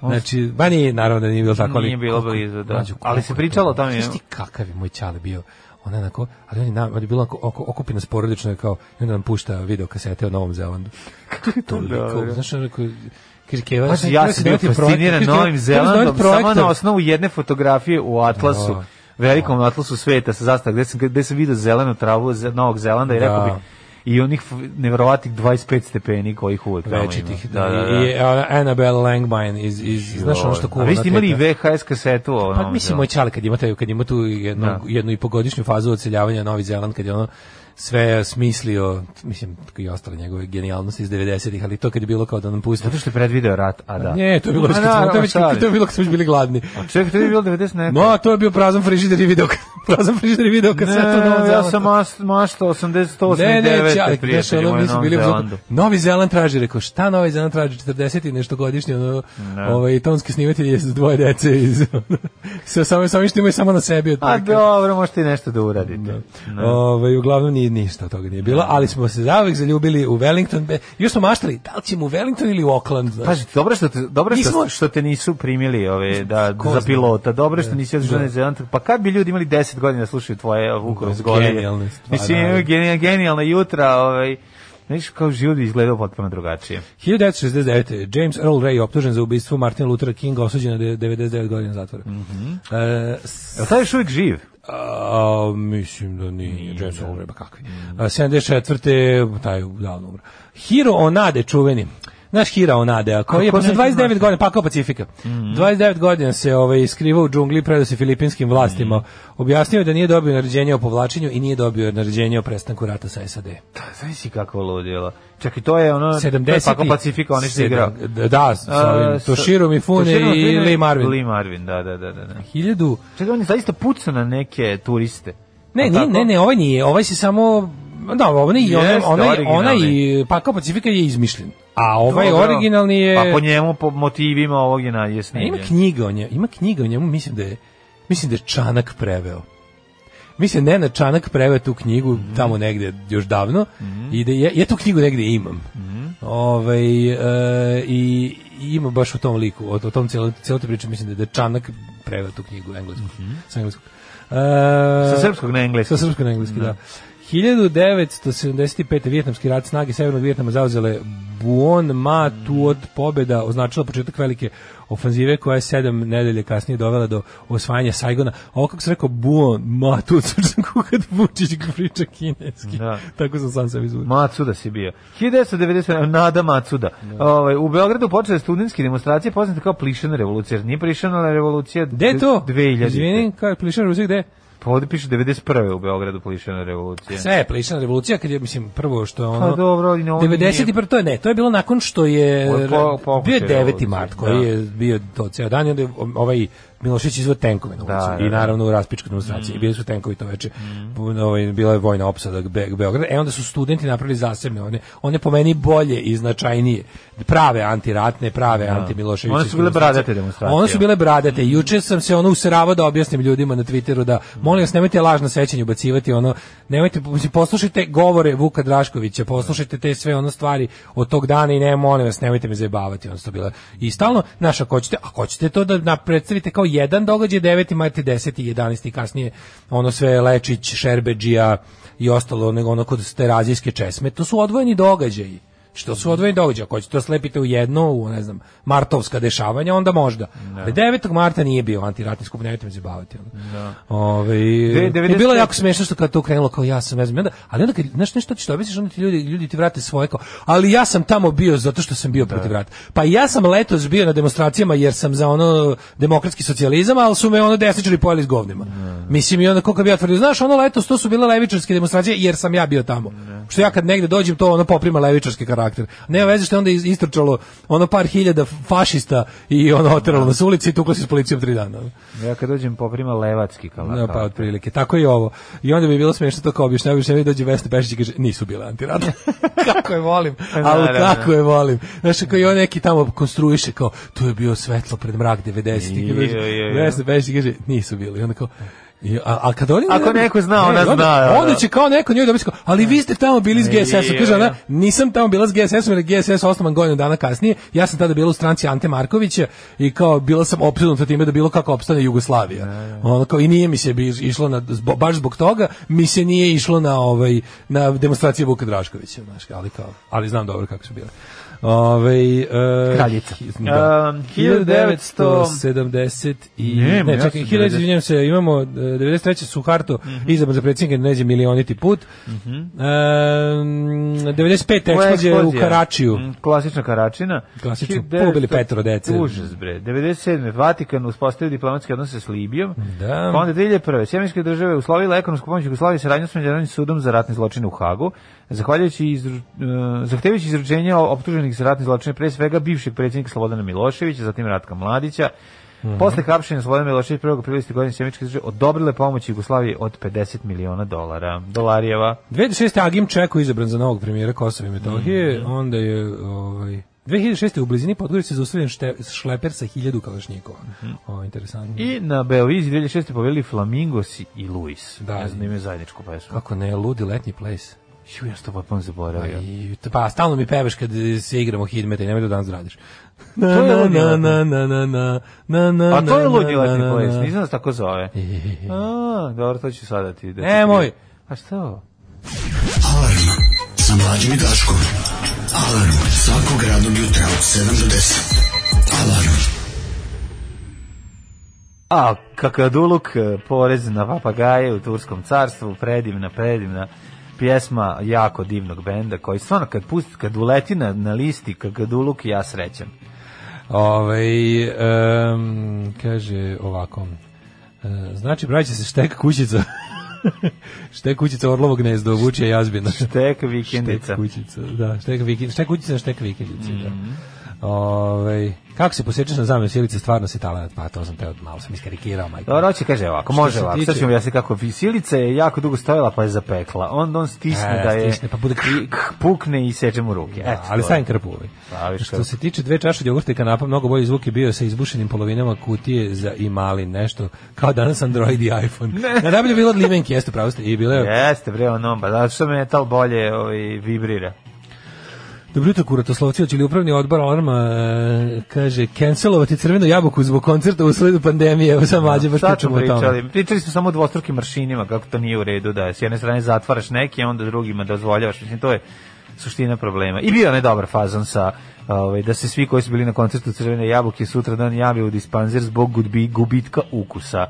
Speaker 7: Ono. Znači, ba nije, naravno da nije bilo tako. ali
Speaker 6: Nije bilo
Speaker 7: koliko-
Speaker 6: blizu, da.
Speaker 7: mlađo,
Speaker 6: Ali se
Speaker 7: koliko je
Speaker 6: pričalo
Speaker 7: to-
Speaker 6: o tome,
Speaker 7: Znaš ti
Speaker 6: jel?
Speaker 7: kakav je moj čale bio? Ona onako, ali on je, nam, on je bilo oko, oko, okupi nas porodično i kao, i onda nam pušta video kasete o Novom Zelandu. Kako je toliko?
Speaker 6: dobro.
Speaker 7: Znaš, on rekao, kaže, Keva,
Speaker 6: Pazi, ja sam bio fasciniran Novim Zelandom samo na osnovu jedne fotografije u Atlasu.
Speaker 7: Da.
Speaker 6: Velikom atlasu sveta sa zastava gde sam gde sam video zelenu travu ze- Novog Zelanda i
Speaker 7: Da.
Speaker 6: rekao bi i onih f- neverovatnih 25 stepeni kojih uvek tamo ima.
Speaker 7: večitih.
Speaker 6: Da, da, da.
Speaker 7: I, ona Annabelle Langmine iz, iz znaš ono što kuva.
Speaker 6: A vi ste
Speaker 7: ona
Speaker 6: imali i
Speaker 7: teta.
Speaker 6: VHS kasetu ono.
Speaker 7: Pa mislim moj čale kad ima taj kad ima tu jednu
Speaker 6: Da.
Speaker 7: jednu i pogodišnju fazu odseljavanja na Novi Zeland kad je ono sve smislio, mislim i ostale njegove genijalnosti iz 90-ih, ali to kad je bilo kao da nam pusti.
Speaker 6: Zato što je predvideo rat, a da.
Speaker 7: Ne, to je
Speaker 6: Ma,
Speaker 7: bilo kad smo, to je
Speaker 6: naravno,
Speaker 7: već-
Speaker 6: sad.
Speaker 7: to je bilo kad smo već bili gladni.
Speaker 6: A Čekaj, to je bilo 90 neka.
Speaker 7: No, to je bio prazan frižider i video, [LAUGHS] prazan frižider i video kad se to Novom
Speaker 6: Ne,
Speaker 7: Zelandu.
Speaker 6: ja sam mas, mašta 88
Speaker 7: Ne, ne,
Speaker 6: ja,
Speaker 7: čak, znaš, ono, mi smo bili u fazonu,
Speaker 6: Zelandu.
Speaker 7: Novi Zeland traži, rekao, šta Novi Zeland traži, 40 i nešto godišnje, ono, ovaj, tonski snimatelj je s dvoje dece iz, [LAUGHS] ono, sa samo, samo što imaju samo na sebi. od
Speaker 6: A
Speaker 7: prilike.
Speaker 6: dobro, možete i nešto da uradite. No.
Speaker 7: Ovaj, uglavnom nije ništa od toga nije bilo, ali smo se zauvek zaljubili u Wellington. Be- Još smo maštali, da li ćemo u Wellington ili u Auckland, znaš?
Speaker 6: Pazi, dobro što te, dobro
Speaker 7: Nismo-
Speaker 6: što, što te nisu primili ove da
Speaker 7: Ko
Speaker 6: za
Speaker 7: zna.
Speaker 6: pilota. Dobro što nisi otišao
Speaker 7: Da.
Speaker 6: na Zeland. Pa kad bi ljudi imali 10 godina da slušaju tvoje Vukove zgodije.
Speaker 7: Genijalne stvari.
Speaker 6: Mislim, imaju geni- genijalna jutra, ovaj Znaš kao život bi izgledao potpuno drugačije.
Speaker 7: 1969. James Earl Ray optužen za ubistvo Martina Luthera Kinga, osuđen na de- 99 godina zatvora.
Speaker 6: Mhm.
Speaker 7: E, s-
Speaker 6: Jel taj još uvijek živ?
Speaker 7: A, mislim da nije James Earl Ray, pa kakvi.
Speaker 6: Mm.
Speaker 7: A, 74. taj je davno umro. Hiro Onade, čuveni. Naš Hira Onade, a koji je
Speaker 6: Kako
Speaker 7: posle
Speaker 6: neću Mhm.
Speaker 7: 29
Speaker 6: znati?
Speaker 7: godina pakao Pacifika. 29 godina se ovaj iskrivao u džungli predao se filipinskim vlastima.
Speaker 6: Mhm.
Speaker 7: Objasnio je da nije dobio naređenje o povlačenju i nije dobio naređenje o prestanku rata sa SAD.
Speaker 6: Da, znaš si kako ludilo. Čak i to je ono... to je
Speaker 7: 70
Speaker 6: Paco Pacifika, on je što je igrao.
Speaker 7: Da, da, sa ovim
Speaker 6: A, sa-
Speaker 7: Toshiro Mifune
Speaker 6: Toshiro
Speaker 7: i
Speaker 6: Mifune
Speaker 7: Lee Marvin.
Speaker 6: Lee Marvin, da, da, da. da. da.
Speaker 7: 1000
Speaker 6: Čekaj, on je zaista pucao na neke turiste.
Speaker 7: Ne,
Speaker 6: Jel
Speaker 7: nije,
Speaker 6: tako?
Speaker 7: ne, ne, ovaj nije, ovaj se samo da, ovaj i onaj,
Speaker 6: Jeste,
Speaker 7: onaj, onaj
Speaker 6: originalni.
Speaker 7: i Pakao Pacifika je izmišljen. A ovaj
Speaker 6: Pa Dobro.
Speaker 7: originalni je...
Speaker 6: Pa po njemu, po motivima ovog je na- je
Speaker 7: Ne, ima
Speaker 6: snimljen.
Speaker 7: knjiga o njemu, ima knjiga o njemu, mislim da je, mislim da je Čanak preveo. Mislim, Nena Čanak preveo tu knjigu
Speaker 6: Mhm.
Speaker 7: tamo negde još davno i da ja, ja tu knjigu negde imam.
Speaker 6: Mhm.
Speaker 7: Ovaj, e, i, i ima baš u tom liku, o, o tom celo, celo te priče, mislim da je- da je Čanak preveo tu knjigu englesku, sa engleskog. E,
Speaker 6: Mhm. Sa srpskog na engleski.
Speaker 7: sa srpskog na engleski, da. 1975. Vjetnamski rat snage Severnog Vjetnama zauzele Buon Ma Tuot pobjeda označila početak velike ofanzive koja je sedam nedelje kasnije dovela do osvajanja Saigona. Ovo kako se rekao Buon Ma Tuot, sam kukad Vučić ga priča kineski.
Speaker 6: Da.
Speaker 7: Tako sam sam sebi izvučio.
Speaker 6: Macuda si bio. 1990, Nada Macuda. Ovaj, u Beogradu počele studentske demonstracije poznate kao plišana revolucija. jer Nije plišana revolucija
Speaker 7: Gde je to?
Speaker 6: 2000.
Speaker 7: Izvini, kao je plišan Rusik, gde?
Speaker 6: ovde piše 91. u Beogradu plišana revolucija.
Speaker 7: Sve je plišana revolucija kad je mislim prvo što je ono
Speaker 6: Pa dobro, i na ovo
Speaker 7: 91 to je ne, to je bilo nakon što je
Speaker 6: Ovo je po- pokušaj
Speaker 7: bio je 9.
Speaker 6: revolucije,
Speaker 7: mart koji
Speaker 6: da.
Speaker 7: je bio to ceo dan i onda je ovaj Milošić izveo tenkove na ulicu
Speaker 6: Da, da, Mm.
Speaker 7: i
Speaker 6: da.
Speaker 7: naravno u raspičku demonstraciju. Bili su tenkovi to veče. Bu- Ovaj bila je vojna opsada Be Beograda. E onda su studenti napravili zasebne one, one po meni bolje i značajnije, prave antiratne, prave antimiloševićevske.
Speaker 6: One su bile
Speaker 7: demonstracije.
Speaker 6: bradate demonstracije.
Speaker 7: One su bile bradate. Juče sam se ono useravao da objasnim ljudima na Twitteru da molim vas nemojte lažna sećanja ubacivati ono nemojte mislim poslušajte govore Vuka Draškovića, poslušajte te sve ono stvari od tog dana i ne molim vas nemojte me zajebavati, ono što bila. I stalno naša hoćete, ako hoćete to da na- predstavite kao jedan događaj 9. mart i 10. i 11. i kasnije ono sve Lečić, Šerbedžija i ostalo nego ono kod terazijske česme, to su odvojeni događaji što su odvojeni događaji. Ako ćete to slepite u jedno, u, ne znam, martovska dešavanja, onda možda. Ali 9. marta nije bio antiratni skup, nemojte me zabaviti. Da. Ove,
Speaker 6: De-
Speaker 7: I bilo je
Speaker 6: 95.
Speaker 7: jako smešno što kad to krenulo, kao ja sam, ne znam, i onda, ali onda kad, znaš, nešto ti što obisiš, onda ti ljudi, ljudi ti vrate svoje, kao, ali ja sam tamo bio zato što sam bio protiv rata. Pa i ja sam letos bio na demonstracijama jer sam za ono demokratski socijalizam, ali su me ono desničari pojeli s govnima. Mislim, i onda koliko bi ja tvrdio, znaš, ono letos to su bile levičarske demonstracije jer sam ja bio tamo. Što ja kad negde dođem, to ono poprima levičarski karakter. Nema veze što je onda iz- istrčalo ono par hiljada fašista i ono oteralo nas s ulici i tuklo se s policijom tri dana.
Speaker 6: Ja kad dođem poprima levatski kalakal.
Speaker 7: Da, pa otprilike. Tako i ovo. I onda bi bilo smešno to kao objašnjava, objašnjava i dođe Vesna Pešić i kaže, nisu bile
Speaker 6: [LAUGHS]
Speaker 7: antirata. kako je volim, ali
Speaker 6: Pa Naravno.
Speaker 7: kako je volim. Znaš, kao i on neki tamo konstruiše kao, tu je bio svetlo pred mrak 90. I kaže,
Speaker 6: Jo, jo, jo.
Speaker 7: Vesna Pešić kaže, nisu bile. I onda kao, I, a, a kad oni
Speaker 6: Ako neko zna, ona
Speaker 7: i onda,
Speaker 6: zna, ono. da,
Speaker 7: onda
Speaker 6: da.
Speaker 7: će Znači, kao neko njoj dobiti kao, ali vi ste tamo bili s GSS-om. Kaže ona, nisam tamo bila s GSS-om, jer je GSS osnovan godinu dana kasnije. Ja sam tada bila u stranci Ante Markovića i kao bila sam opsednuta time da bilo kako opstane Jugoslavija. Ono kao i nije mi se bi išlo na zbo- baš zbog toga, mi se nije išlo na ovaj na demonstracije Vuka Draškovića, znaš, ali kao, ali znam dobro kako su bile. Ovaj e,
Speaker 6: Kraljica.
Speaker 7: Da.
Speaker 6: Um,
Speaker 7: 1970 i
Speaker 6: Ne,
Speaker 7: ne,
Speaker 6: ja
Speaker 7: čekaj,
Speaker 6: sam
Speaker 7: 1900, izvinjam se, imamo e, 93. Suharto,
Speaker 6: Mhm.
Speaker 7: izabran za predsjednika Indonezije milioniti put. Ehm, 95. eksplozija u Karačiju.
Speaker 6: Mm, Klasična Karačina.
Speaker 7: Klasično,
Speaker 6: 1900
Speaker 7: pobili petoro dece.
Speaker 6: Užas bre. 97. Vatikan uspostavio diplomatske odnose s Libijom.
Speaker 7: Da.
Speaker 6: Pa onda 2001. Sjemeničke države uslovila ekonomsku pomoć Jugoslavije saradnju s Međunarodnim sudom za ratne zločine u Hagu, zahvaljujući izru, eh, zahtevajući izručenje optuženih za ratne zločine pre svega bivšeg predsjednika Slobodana Miloševića, zatim Ratka Mladića.
Speaker 7: Mhm.
Speaker 6: Posle hapšenja Slobodana Miloševića 1. aprila iste godine Sjemeničke države odobrile pomoć Jugoslavije od 50 miliona dolara. Dolarijeva.
Speaker 7: 2006. Agim Čeko izabran za novog premijera Kosova i Metohije,
Speaker 6: Mhm.
Speaker 7: onda je ovaj 2006. u blizini Podgorice zaustavljen šte- šleper sa 1000 kalašnjikova. Ovo, interesantno.
Speaker 6: Mhm. I na Beovizi 2006. poveli Flamingos i Luis.
Speaker 7: Da.
Speaker 6: Da. Ja znam da imaju zajedničku pesmu.
Speaker 7: Kako ne, ludi letnji place.
Speaker 6: Ju, ja sam to potpuno zaboravio.
Speaker 7: I, pa stalno mi pevaš kad se igramo hidmeta i nemoj da danas radiš. Na,
Speaker 6: To je ludi
Speaker 7: na,
Speaker 6: letnji.
Speaker 7: na, na, na, na, na, na,
Speaker 6: Pa to je
Speaker 7: na,
Speaker 6: ludi
Speaker 7: na,
Speaker 6: letni
Speaker 7: na,
Speaker 6: ples,
Speaker 7: na.
Speaker 6: nisam da se tako zove. A, dobro, to ću sada ti. Da ti-
Speaker 7: Nemoj.
Speaker 6: A što?
Speaker 2: Sa mlađim i Daškom. Alarm svakog radnog jutra od 7 do 10. Alarm.
Speaker 6: A, kakaduluk, eh, porez na papagaje u Turskom carstvu, predivna, predivna pjesma jako divnog benda koji stvarno kad pusti, kad uleti na, na listi kakaduluk ja srećan.
Speaker 7: Ovaj, em, kaže ovako. E, znači, pravit će se štek kućica. [LAUGHS] štek kućica Orlovo gnezdo, Vučija jazbina.
Speaker 6: Tek vikendica.
Speaker 7: Štek kućica, da, štek vikendica, štek kućica, štek vikendica,
Speaker 6: Mhm.
Speaker 7: da. Ovaj, kako se posjećaš na zamenu sjelice, stvarno si talenat, pa to sam te od malo sam iskarikirao, majko.
Speaker 6: Dobro, hoće kaže ovako,
Speaker 7: Što
Speaker 6: može
Speaker 7: se
Speaker 6: ovako.
Speaker 7: tiče-
Speaker 6: Sad ćemo jasniti kako visilica je jako dugo stojala pa je zapekla. Onda on stisne
Speaker 7: E,
Speaker 6: da je
Speaker 7: stisne, pa bude k-
Speaker 6: i- k- pukne i seče mu ruke.
Speaker 7: Da,
Speaker 6: Eto,
Speaker 7: E, ali
Speaker 6: to je.
Speaker 7: stavim krpu ovaj.
Speaker 6: Staviš
Speaker 7: Što
Speaker 6: krpu.
Speaker 7: se tiče dve čaše jogurta i kanapa, mnogo bolji zvuk je bio sa izbušenim polovinama kutije za i mali nešto, kao danas Android i iPhone. Ne. Najbolje je bilo od limenki, jeste pravo ste, i bilo je...
Speaker 6: Jeste bre ono, pa zato što metal bolje ovaj, vibrira.
Speaker 7: Dobro jutro, kuratoslovci, hoće li upravni odbor Alarma, e, kaže, cancelovati crvenu jabuku zbog koncerta u sledu pandemije, evo sam mlađe, baš
Speaker 6: Sad
Speaker 7: pričamo
Speaker 6: smo
Speaker 7: o tome.
Speaker 6: pričali, pričali smo samo o dvostrukim maršinima, kako to nije u redu, da s jedne strane zatvaraš neke, a onda drugima dozvoljavaš, mislim, to je suština problema. I bio je onaj dobar fazon sa ovaj, da se svi koji su bili na koncertu Crvene jabuke sutra dan jave u dispanzer zbog gudbi, gubitka ukusa.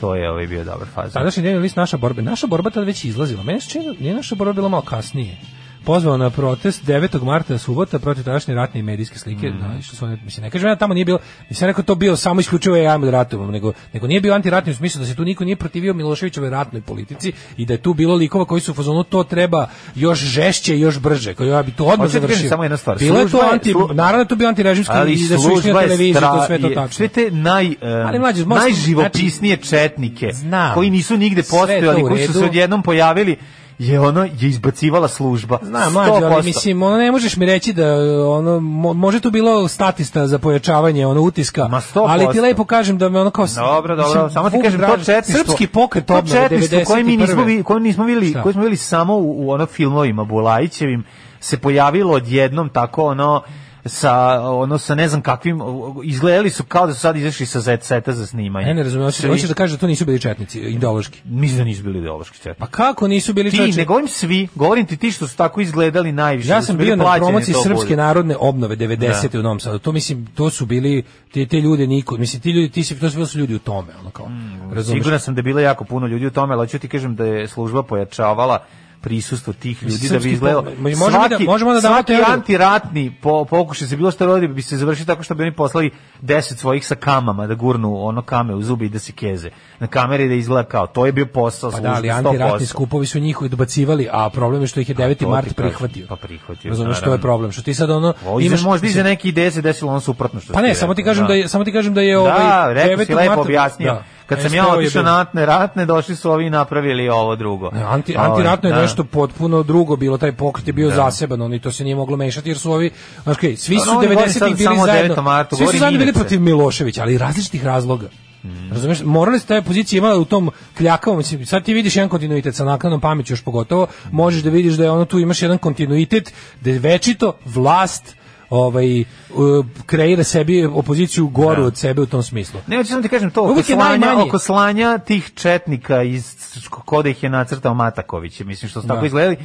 Speaker 6: To je ovaj, bio dobar fazon.
Speaker 7: Tadašnji dnevni list naša borba, naša borba tad već izlazila. Meni se čini da je naša borba bila malo kasnije. pozvao na protest 9. marta subota protiv tadašnje ratne i medijske slike,
Speaker 6: Mhm.
Speaker 7: mm. da, što su one, mislim, ne kažem ja tamo nije bilo, nisam rekao to bio samo isključivo je ajmo ratom, nego, nego nije bio antiratni u smislu da se tu niko nije protivio Miloševićevoj ratnoj politici i da je tu bilo likova koji su u fazonu to treba još žešće i još brže, koji ja bi to odmah
Speaker 6: Hoćete da kažem
Speaker 7: završio.
Speaker 6: samo jedna stvar.
Speaker 7: Bilo je to
Speaker 6: Služba je-
Speaker 7: anti,
Speaker 6: slu-
Speaker 7: naravno to bio antirežimski
Speaker 6: Ali
Speaker 7: i da su išli
Speaker 6: služba
Speaker 7: na
Speaker 6: je
Speaker 7: televiziju, to je sve to
Speaker 6: stra- je-
Speaker 7: tačno.
Speaker 6: Sve te naj, em,
Speaker 7: Ali, mlađe, možda- znači,
Speaker 6: najživopisnije četnike,
Speaker 7: Znam.
Speaker 6: koji nisu nigde
Speaker 7: Sve je to
Speaker 6: postojali,
Speaker 7: u
Speaker 6: koji su se
Speaker 7: redu.
Speaker 6: odjednom pojavili, je ono je izbacivala služba.
Speaker 7: Znam, mlađe, ali
Speaker 6: 100%.
Speaker 7: mislim, ono ne možeš mi reći da e, ono mo- može tu bilo statista za pojačavanje ono utiska,
Speaker 6: Ma 100%.
Speaker 7: ali ti lepo kažem da me ono kao
Speaker 6: Dobro, dobro,
Speaker 7: mislim,
Speaker 6: samo ti
Speaker 7: Vuk
Speaker 6: kažem to
Speaker 7: Draž-
Speaker 6: četništvo.
Speaker 7: Srpski pokret
Speaker 6: to
Speaker 7: obnove
Speaker 6: četništvo koje mi nismo
Speaker 7: 91..
Speaker 6: vi, koje nismo videli,
Speaker 7: Šta?
Speaker 6: koje smo videli samo u, u ono filmovima Bulajićevim se pojavilo odjednom tako ono sa ono sa ne znam kakvim izgledali su kao da su sad izašli sa Z seta za snimanje.
Speaker 7: E, Ne, ne razumijem, hoćeš,
Speaker 6: Svi-
Speaker 7: hoćeš da kažeš da to nisu bili četnici ideološki.
Speaker 6: mislim da nisu bili ideološki četnici.
Speaker 7: Pa kako nisu bili
Speaker 6: Ti,
Speaker 7: četnici?
Speaker 6: ne govorim svi, govorim ti ti što su tako izgledali najviše.
Speaker 7: Ja
Speaker 6: da su
Speaker 7: sam
Speaker 6: bili
Speaker 7: bio na
Speaker 6: plaćeni
Speaker 7: promociji
Speaker 6: to
Speaker 7: srpske
Speaker 6: bude.
Speaker 7: narodne obnove 90. u Novom Sadu. To mislim to su bili te te ljude niko, mislim ti ljudi ti si to su bili su ljudi u tome, ono kao.
Speaker 6: Mm,
Speaker 7: razumeš?
Speaker 6: Siguran sam da je bilo jako puno ljudi u tome, ali hoću ti kažem da je služba pojačavala prisustvo tih ljudi da
Speaker 7: Srpski
Speaker 6: bi izgledalo.
Speaker 7: pokret. Ma, možemo da- možemo da damo
Speaker 6: svaki
Speaker 7: teoriju.
Speaker 6: antiratni po, pokušaj se bilo što rodi bi se završio tako što bi oni poslali deset svojih sa kamama da gurnu ono kame u zubi i da se keze. Na kameri da izgleda kao, to je bio posao
Speaker 7: Pa
Speaker 6: službe,
Speaker 7: da, ali
Speaker 6: 100%.
Speaker 7: antiratni skupovi su njihovi dobacivali, a problem je što ih je 9.
Speaker 6: Pa to ti
Speaker 7: mart
Speaker 6: kažem.
Speaker 7: prihvatio.
Speaker 6: Pa prihvatio,
Speaker 7: Razumeš što
Speaker 6: naravno.
Speaker 7: je problem? Što ti sad ono
Speaker 6: Ovo, iza,
Speaker 7: imaš
Speaker 6: možda iza neke ideje se desilo ono suprotno što
Speaker 7: Pa
Speaker 6: si
Speaker 7: ne,
Speaker 6: rekao,
Speaker 7: samo ti kažem da je samo ti kažem da je ovaj
Speaker 6: Da, rekao si
Speaker 7: 9.
Speaker 6: lepo
Speaker 7: marta-
Speaker 6: objasnio.
Speaker 7: da.
Speaker 6: Kad sam
Speaker 7: SPO
Speaker 6: ja
Speaker 7: je
Speaker 6: otišao
Speaker 7: bio-
Speaker 6: na ratne, ratne, došli su ovi i napravili ovo drugo.
Speaker 7: Ne, Anti,
Speaker 6: Ovaj,
Speaker 7: antiratno je
Speaker 6: da.
Speaker 7: nešto potpuno drugo bilo, taj pokret je bio zaseban, oni to se nije moglo mešati jer su ovi, znaš kaj, svi
Speaker 6: Pa,
Speaker 7: su
Speaker 6: no, oni govore
Speaker 7: 90-ih
Speaker 6: sad
Speaker 7: bili
Speaker 6: samo o 9.
Speaker 7: zajedno,
Speaker 6: martu,
Speaker 7: svi su
Speaker 6: govori Mm.
Speaker 7: zajedno bili
Speaker 6: Mimice.
Speaker 7: protiv Miloševića, ali iz različitih razloga. Razumeš, morali ste ta pozicija imala u tom kljakavom, mislim, sad ti vidiš jedan kontinuitet sa naknadnom pameću još pogotovo, možeš da vidiš da je ono tu imaš jedan kontinuitet, da je večito vlast ovaj, e, kreira sebi opoziciju goru od sebe u tom smislu.
Speaker 6: Ne, hoću samo ti kažem to, oko
Speaker 7: Uvijek je
Speaker 6: slanja,
Speaker 7: najmanje.
Speaker 6: oko slanja tih četnika iz koda ih je nacrtao Mataković, mislim što su tako
Speaker 7: Da.
Speaker 6: izgledali.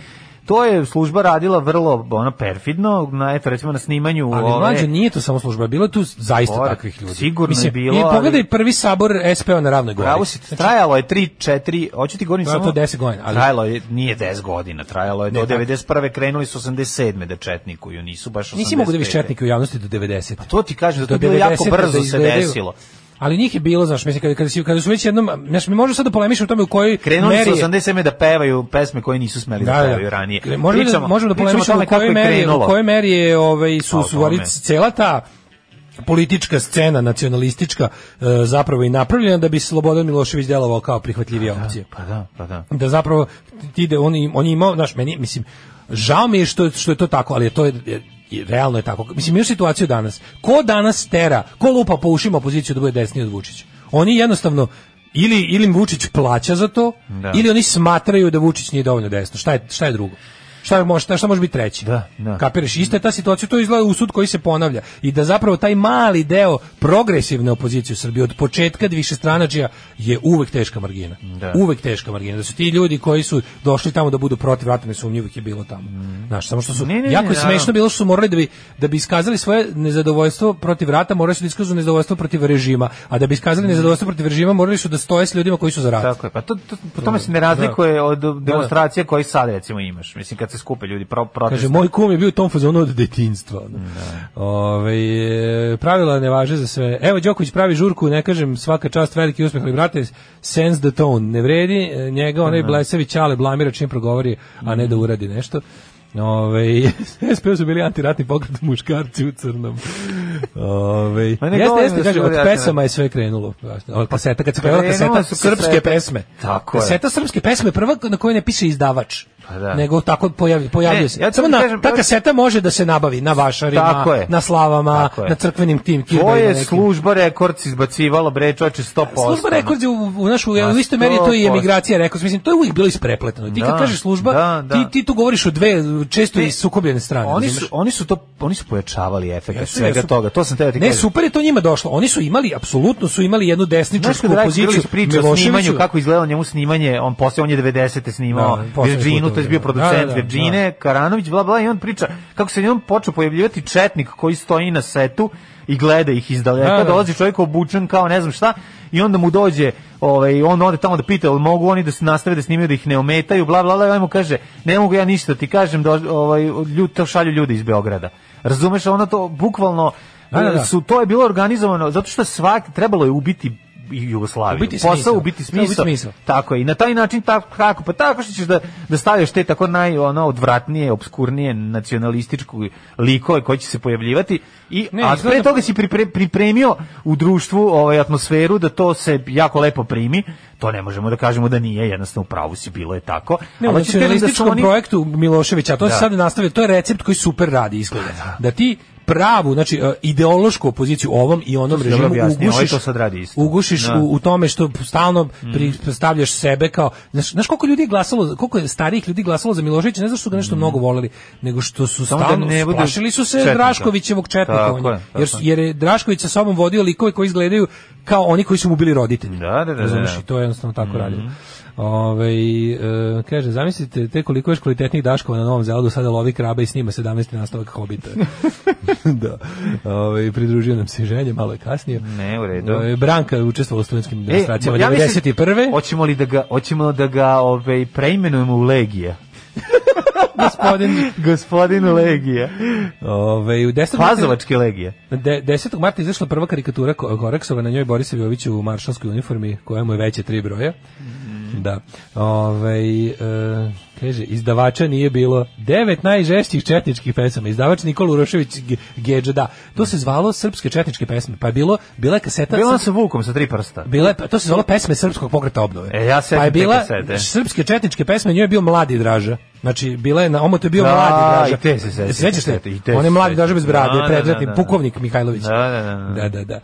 Speaker 6: To je služba radila vrlo ono perfidno, na eto recimo na snimanju
Speaker 7: Ali
Speaker 6: ove-
Speaker 7: mlađe nije to samo služba, bilo je tu zaista
Speaker 6: Bor,
Speaker 7: takvih ljudi.
Speaker 6: sigurno je bilo,
Speaker 7: I pogledaj
Speaker 6: ali-
Speaker 7: prvi sabor SPO na ravnoj gori.
Speaker 6: Pravo si, trajalo je 3, 4, hoću ti govorim
Speaker 7: Trajalo
Speaker 6: samo...
Speaker 7: Znači- to 10 godina, ali-
Speaker 6: Trajalo je, nije 10 godina, trajalo je do
Speaker 7: Ne, tako.
Speaker 6: 91. krenuli su 87. da četnikuju, nisu baš 85.
Speaker 7: Nisi mogu da viš četnike u javnosti do 90. Pa
Speaker 6: To ti kažem, da to je bilo jako brzo se desilo.
Speaker 7: Ali njih je bilo, znaš, mislim, kada, kada, si- kada su već jednom, znaš, mi možemo sad da polemišemo o tome u kojoj
Speaker 6: Krenuli
Speaker 7: meri
Speaker 6: su
Speaker 7: je-
Speaker 6: 87. da pevaju pesme koje nisu smeli da,
Speaker 7: Da, da.
Speaker 6: pevaju ranije.
Speaker 7: Kre- Možemo, da,
Speaker 6: Pričamo-
Speaker 7: možemo da
Speaker 6: pričamo o
Speaker 7: polemišemo
Speaker 6: tome
Speaker 7: u kojoj
Speaker 6: kako je
Speaker 7: meri, je- u
Speaker 6: krenulo.
Speaker 7: kojoj meri je ovaj,
Speaker 6: A,
Speaker 7: su,
Speaker 6: o
Speaker 7: su vari-
Speaker 6: tome.
Speaker 7: cela ta politička scena nacionalistička e, zapravo i napravljena da bi Slobodan Milošević delovao kao prihvatljivija opcija.
Speaker 6: Pa da, pa da.
Speaker 7: da zapravo ti ide on on je imao znaš meni mislim žao mi je što što je to tako ali to je, je- je- realno je tako mislim imaš situaciju danas ko danas tera ko lupa po ušima opoziciju da bude desniji od Vučića oni jednostavno ili ili im Vučić plaća za to
Speaker 6: Da.
Speaker 7: ili oni smatraju da Vučić nije dovoljno desno šta je šta je drugo Šta je može, šta, šta može biti treći?
Speaker 6: Da, da.
Speaker 7: Kapiraš? Ista je ta situacija, to izgleda u sud koji se ponavlja. I da zapravo taj mali deo progresivne opozicije u Srbiji od početka više stranačija je uvek teška margina.
Speaker 6: Da.
Speaker 7: Uvek teška margina. Da su ti ljudi koji su došli tamo da budu protiv rata, nesumnjivo ih je bilo tamo. Znaš, samo što su
Speaker 6: Mhm. Ne, ne, ne,
Speaker 7: jako je
Speaker 6: naravno.
Speaker 7: smešno bilo što su morali da bi da bi iskazali svoje nezadovoljstvo protiv rata, morali su da iskažu nezadovoljstvo protiv režima, a da bi
Speaker 6: Mhm.
Speaker 7: iskazali nezadovoljstvo protiv režima, morali su da stoje s ljudima koji su za rat.
Speaker 6: Tako je, pa to, to, po tome se ne razlikuje od demonstracije koje sad recimo imaš. Mislim, kad se skupe ljudi pro,
Speaker 7: Kaže,
Speaker 6: protest.
Speaker 7: moj kum je bio u tom fazonu od detinjstva. ono. Ovaj, e, pravila ne važe za sve. Evo, Đoković pravi žurku, ne kažem, svaka čast, veliki uspeh, ali brate, sense the tone, ne vredi, e, njega onaj Blesević, čale blamira čim progovori, a ne da uradi nešto. Ove, [LAUGHS] SPO su bili antiratni pokret muškarci u crnom. Ove,
Speaker 6: Ma ne
Speaker 7: jeste,
Speaker 6: govorim
Speaker 7: jeste,
Speaker 6: da
Speaker 7: kaže,
Speaker 6: su
Speaker 7: od
Speaker 6: bili
Speaker 7: pesama je sve krenulo. Od kaseta, kad se pojavila
Speaker 6: Krenule
Speaker 7: kaseta,
Speaker 6: su
Speaker 7: srpske
Speaker 6: kasete.
Speaker 7: pesme.
Speaker 6: Tako je.
Speaker 7: Kaseta srpske pesme, je prva na kojoj ne piše izdavač.
Speaker 6: Pa da.
Speaker 7: Nego tako pojavi, pojavljuje
Speaker 6: Ne,
Speaker 7: se.
Speaker 6: E, ja ću
Speaker 7: Samo
Speaker 6: vam
Speaker 7: na,
Speaker 6: kažem,
Speaker 7: ta
Speaker 6: ja-
Speaker 7: kaseta može da se nabavi na vašarima,
Speaker 6: Tako je.
Speaker 7: na slavama,
Speaker 6: Tako je.
Speaker 7: na crkvenim tim
Speaker 6: To
Speaker 7: kirbanima
Speaker 6: je
Speaker 7: nekim.
Speaker 6: služba rekords izbacivala, bre, čovječe, 100%.
Speaker 7: Služba rekord je u, u našu
Speaker 6: Ma,
Speaker 7: u istoj meri je to i
Speaker 6: 100%.
Speaker 7: emigracija rekord. Mislim to je uvijek bilo isprepleteno. Ti
Speaker 6: Da,
Speaker 7: kad kažeš služba,
Speaker 6: da, da.
Speaker 7: Ti, ti tu govoriš o dve često
Speaker 6: Ne,
Speaker 7: i sukobljene strane.
Speaker 6: Oni
Speaker 7: razumeš?
Speaker 6: su, oni su to oni su pojačavali efekt
Speaker 7: Jesu,
Speaker 6: svega
Speaker 7: jesu.
Speaker 6: toga. To sam teo ti
Speaker 7: Ne,
Speaker 6: kažem.
Speaker 7: super je to njima došlo. Oni su imali, apsolutno su imali jednu
Speaker 6: Znaš
Speaker 7: desničarsku
Speaker 6: kad Rajko
Speaker 7: poziciju.
Speaker 6: Grlić priča o snimanju,
Speaker 7: Miloševiću-
Speaker 6: kako izgledalo njemu snimanje, on posle, on je 90. snimao
Speaker 7: Da, poslednji
Speaker 6: Virginu,
Speaker 7: put,
Speaker 6: to je bio
Speaker 7: da.
Speaker 6: producent
Speaker 7: Da, da, da,
Speaker 6: Virgine, Karanović, bla, bla, i on priča kako se njom počeo pojavljivati četnik koji stoji na setu i gleda ih iz daleka,
Speaker 7: Da, da.
Speaker 6: dolazi čovjek obučen kao ne znam šta, i onda mu dođe ovaj on ode tamo da pita jel mogu oni da se nastave da snimaju da ih ne ometaju bla bla bla i on mu kaže ne mogu ja ništa ti kažem da ovaj ljudi to šalju ljudi iz Beograda razumeš ona to bukvalno
Speaker 7: Da, da, da.
Speaker 6: su to je bilo organizovano zato što svaki trebalo je ubiti Jugoslaviju.
Speaker 7: Ubiti
Speaker 6: Posao
Speaker 7: smisao.
Speaker 6: ubiti
Speaker 7: Treba ubiti
Speaker 6: smisao.
Speaker 7: smisao.
Speaker 6: Tako je. I na taj način tako, tako pa tako što ćeš da da staviš te tako naj ono odvratnije, obskurnije nacionalističke likove koji će se pojavljivati i
Speaker 7: Ne,
Speaker 6: a pre
Speaker 7: izgleda-
Speaker 6: toga si pripre- pripremio u društvu ovaj atmosferu da to se jako lepo primi. To ne možemo da kažemo da nije, jednostavno u pravu si bilo ono je tako.
Speaker 7: Ne,
Speaker 6: Ali
Speaker 7: u
Speaker 6: hoću ti kažem da su
Speaker 7: nacionalističkom
Speaker 6: oni-
Speaker 7: projektu Miloševića, a to
Speaker 6: Da.
Speaker 7: se sad nastavlja, to je recept koji super radi izgleda. Da ti pravu, znači e, ideološku opoziciju ovom i onom
Speaker 6: To si dobro
Speaker 7: režimu
Speaker 6: objasnio, ovaj
Speaker 7: ugušiš,
Speaker 6: to sad radi isto.
Speaker 7: ugušiš
Speaker 6: Da. Mm.
Speaker 7: u, u tome što stalno pri- stavljaš sebe kao, znaš, znaš koliko ljudi je glasalo, za- koliko je starijih ljudi glasalo za Miloševića, ne zato što su ga nešto mnogo voleli, nego što su
Speaker 6: Mm. Samo da
Speaker 7: stalno,
Speaker 6: ne bude
Speaker 7: splašili su se
Speaker 6: četnika.
Speaker 7: Draškovićevog četnika,
Speaker 6: Tako
Speaker 7: on je,
Speaker 6: je, tako
Speaker 7: jer, su-
Speaker 6: je.
Speaker 7: jer je Drašković sa sobom vodio likove koji izgledaju kao oni koji su mu bili roditelji.
Speaker 6: Da, da, da, da,
Speaker 7: Razumeš?
Speaker 6: da.
Speaker 7: I to je jednostavno tako radio.
Speaker 6: Mhm.
Speaker 7: Ove, e, kaže, zamislite te koliko još kvalitetnih daškova na Novom Zeladu sada lovi krabe i snima 17. nastavak
Speaker 6: [LAUGHS]
Speaker 7: Hobita. da. Ove, pridružio nam se i ženje, malo je kasnije.
Speaker 6: Ne, u redu.
Speaker 7: Ove, Branka je učestvovala u studentskim
Speaker 6: E,
Speaker 7: demonstracijama
Speaker 6: ja mislim-
Speaker 7: 91.
Speaker 6: Hoćemo li da ga hoćemo da ga ovaj preimenujemo u Legija?
Speaker 7: gospodin
Speaker 6: Gospodin Legija.
Speaker 7: ove, Ovaj, u 10.
Speaker 6: Pazovačke Legije.
Speaker 7: De, 10. marta je izašla prva karikatura Ko- Koraksova, na njoj Boris Jović u maršalskoj uniformi, koja mu je veće tri broja. Da. Ovaj e, kaže, izdavača nije bilo devet najžešćih četničkih pesama. Izdavač Nikola Urošević Ge- Gedža, da. To se zvalo srpske četničke pesme, pa je bilo, bila je kaseta...
Speaker 6: Bilo sa Vukom sa tri prsta.
Speaker 7: Bila je, to se zvalo pesme srpskog pokreta obnove.
Speaker 6: E, ja sećam
Speaker 7: pa je
Speaker 6: te
Speaker 7: bila
Speaker 6: kasete.
Speaker 7: srpske četničke pesme, njoj je bio mladi draža. Znači, bila je na omotu je bio
Speaker 6: Da,
Speaker 7: mladi draža.
Speaker 6: i te se sećam,
Speaker 7: Sećaš te?
Speaker 6: i te se sećam.
Speaker 7: On je mladi draža bez brade,
Speaker 6: Da, da,
Speaker 7: predratni
Speaker 6: da, da.
Speaker 7: pukovnik Mihajlović.
Speaker 6: Da, da, da, da.
Speaker 7: Da, da, da.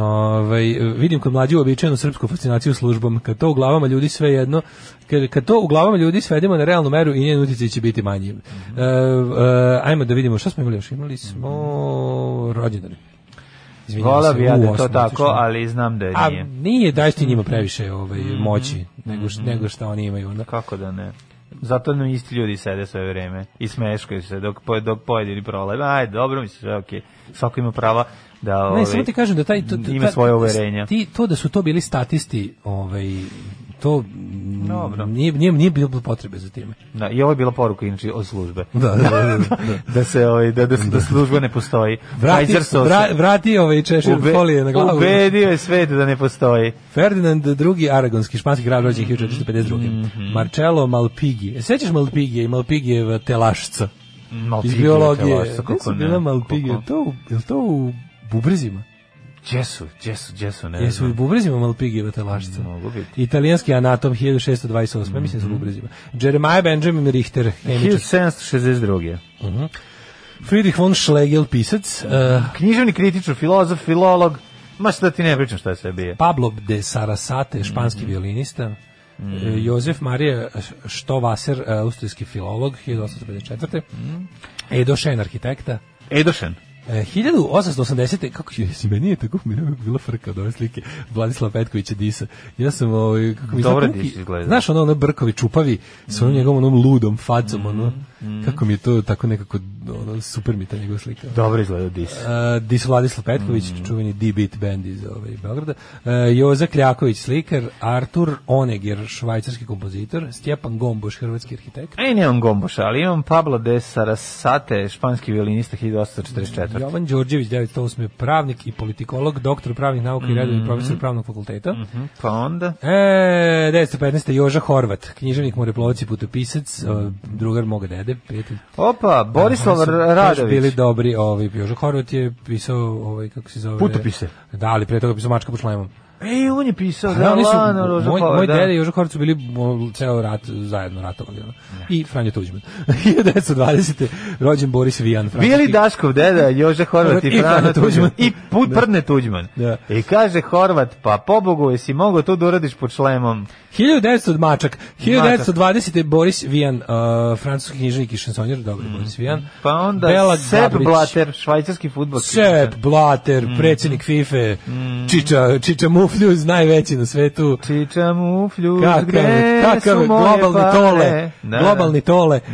Speaker 7: Ovaj, vidim kod mlađi uobičajenu srpsku fascinaciju službom, kad to u glavama ljudi sve jedno, kad, kad to u glavama ljudi svedemo na realnu meru i njen utjecaj će biti manji. E, e, ajmo da vidimo, šta smo imali još? Imali smo rođendane. Izvinjavam
Speaker 6: Volao
Speaker 7: se,
Speaker 6: bi ja
Speaker 7: u
Speaker 6: da je
Speaker 7: osam
Speaker 6: to
Speaker 7: otišlo.
Speaker 6: tako, ali znam da je
Speaker 7: A
Speaker 6: nije. Znači, Mhm.
Speaker 7: nije daješ ti njima previše ovaj, moći nego, š- nego šta oni imaju. Onda.
Speaker 6: Kako da ne? Zato nam isti ljudi sede sve vreme i smeškaju se dok, po- dok pojedini prolaze. Ajde, dobro mi se, sve okej. Svako ima prava da... ovaj,
Speaker 7: Ne, samo ti kažem da taj... To, to-
Speaker 6: ima
Speaker 7: ta-
Speaker 6: svoje uverenja.
Speaker 7: Ti, to da su to bili statisti, ovaj, to mm, Nije, nije, nije bilo potrebe za time.
Speaker 6: Da, I ovo je bila poruka inače od službe.
Speaker 7: Da, da, da, da,
Speaker 6: [LAUGHS] da se ovaj, da, da, se- da služba ne postoji.
Speaker 7: Vrati,
Speaker 6: Kaisersov se-
Speaker 7: vra, vrati ovaj češir
Speaker 6: Ube-
Speaker 7: folije na glavu.
Speaker 6: Ubedio je svet da ne postoji.
Speaker 7: Ferdinand II. Aragonski, španski kralj rođen 1452.
Speaker 6: Mhm.
Speaker 7: Marcello Malpighi. E, Sećaš Malpigija i Malpigijeva telašca?
Speaker 6: Malpigija,
Speaker 7: Iz biologije.
Speaker 6: telašca,
Speaker 7: Gde
Speaker 6: kako
Speaker 7: su
Speaker 6: ne,
Speaker 7: bila
Speaker 6: kako-
Speaker 7: Malpigija? To, u- je li to u Bubrzima?
Speaker 6: Gdje su, gdje su, gdje su, ne
Speaker 7: Jesu i
Speaker 6: znam.
Speaker 7: bubrezima Malpigijeva telašca.
Speaker 6: Mogu biti. Mhm.
Speaker 7: Italijanski anatom 1628, mislim da su bubrezima. Jeremiah Benjamin Richter, hemičar.
Speaker 6: 1762.
Speaker 7: Friedrich von Schlegel, pisac. eh,
Speaker 6: Književni kritičar, filozof, filolog, ma šta ti ne pričam šta je sve bio. Pa,
Speaker 7: Pablo de
Speaker 6: Mhm.
Speaker 7: Sarasate, španski violinista. eh, Jozef Marija Štovaser, eh, austrijski filolog, 1854.
Speaker 6: Mhm.
Speaker 7: Edo Shen, arhitekta.
Speaker 6: Edošen.
Speaker 7: Eh, 1880. kako je, si meni je tako mi je uvijek bila frka od ove slike Vladislava Petkovića Disa. Ja sam ovaj kako mi
Speaker 6: Dobro
Speaker 7: izgleda,
Speaker 6: Dis izgleda. Mm.
Speaker 7: Znaš ono ono Brkovi čupavi sa onom njegovom onom ludom facom ono.
Speaker 6: Mm-hmm.
Speaker 7: Kako mi je to tako nekako ono super mi je ta njegova slika.
Speaker 6: Dobro izgleda dis.
Speaker 7: Uh, Dis Vladislav Petković,
Speaker 6: Mm-hmm.
Speaker 7: čuveni D-Beat band iz ovaj, Beograda, uh, Joza Kljaković, slikar, Artur Oneger, švajcarski kompozitor, Stjepan Gomboš, hrvatski arhitekt,
Speaker 6: Ej, E, nemam gomboša, ali imam Pablo de Sarasate, španski violinista 1844.
Speaker 7: Jovan Đorđević, 908. pravnik i politikolog, doktor pravnih nauka i redovni profesor pravnog fakulteta,
Speaker 6: Mhm, Pa onda...
Speaker 7: E, 915. Joža Horvat, književnik, moreplovac i putopisac, e,
Speaker 6: Mhm.
Speaker 7: drugar moga dede, prijatelj.
Speaker 6: Opa, Borislav
Speaker 7: Oni su baš Bili
Speaker 6: Radović.
Speaker 7: dobri, ovaj, Joža Horvat je pisao, ovaj, kako se zove...
Speaker 6: Putopise.
Speaker 7: Da, ali prije toga je pisao Mačka po šlajmom.
Speaker 6: Ej, on je pisao,
Speaker 7: Da,
Speaker 6: da,
Speaker 7: oni su,
Speaker 6: Lano
Speaker 7: moj,
Speaker 6: Rožakova,
Speaker 7: moj
Speaker 6: da.
Speaker 7: dede i Joža Horvat su bili mo, ceo rat zajedno ratovali. Ono. I Franjo Tuđman. [LAUGHS] 1920. rođen Boris Vijan.
Speaker 6: Bili
Speaker 7: francuski-
Speaker 6: Daškov deda, Jože Horvat i
Speaker 7: [LAUGHS] I Frane
Speaker 6: Frana Tuđman.
Speaker 7: Tuđman.
Speaker 6: I put prdne Tuđman.
Speaker 7: Da.
Speaker 6: I kaže Horvat, pa pobogu, jesi mogao to da uradiš pod šlemom?
Speaker 7: 1900 mačak. 1920. Boris Vijan, uh, francuski književnik i šansonjer, dobro Boris Vijan.
Speaker 6: Pa onda
Speaker 7: Bela
Speaker 6: Sepp Mm.
Speaker 7: Gabrić.
Speaker 6: Blatter, švajcarski futbolski. Mm.
Speaker 7: Sepp Blatter, predsjednik FIFA, Čiča, Čiča Muf, mufljuz najveći na svetu.
Speaker 6: Čiča mufljuz,
Speaker 7: Kakav,
Speaker 6: gde
Speaker 7: kakav
Speaker 6: su moje
Speaker 7: globalni
Speaker 6: pare?
Speaker 7: tole,
Speaker 6: Da, Mm. da.
Speaker 7: globalni tole. Uh,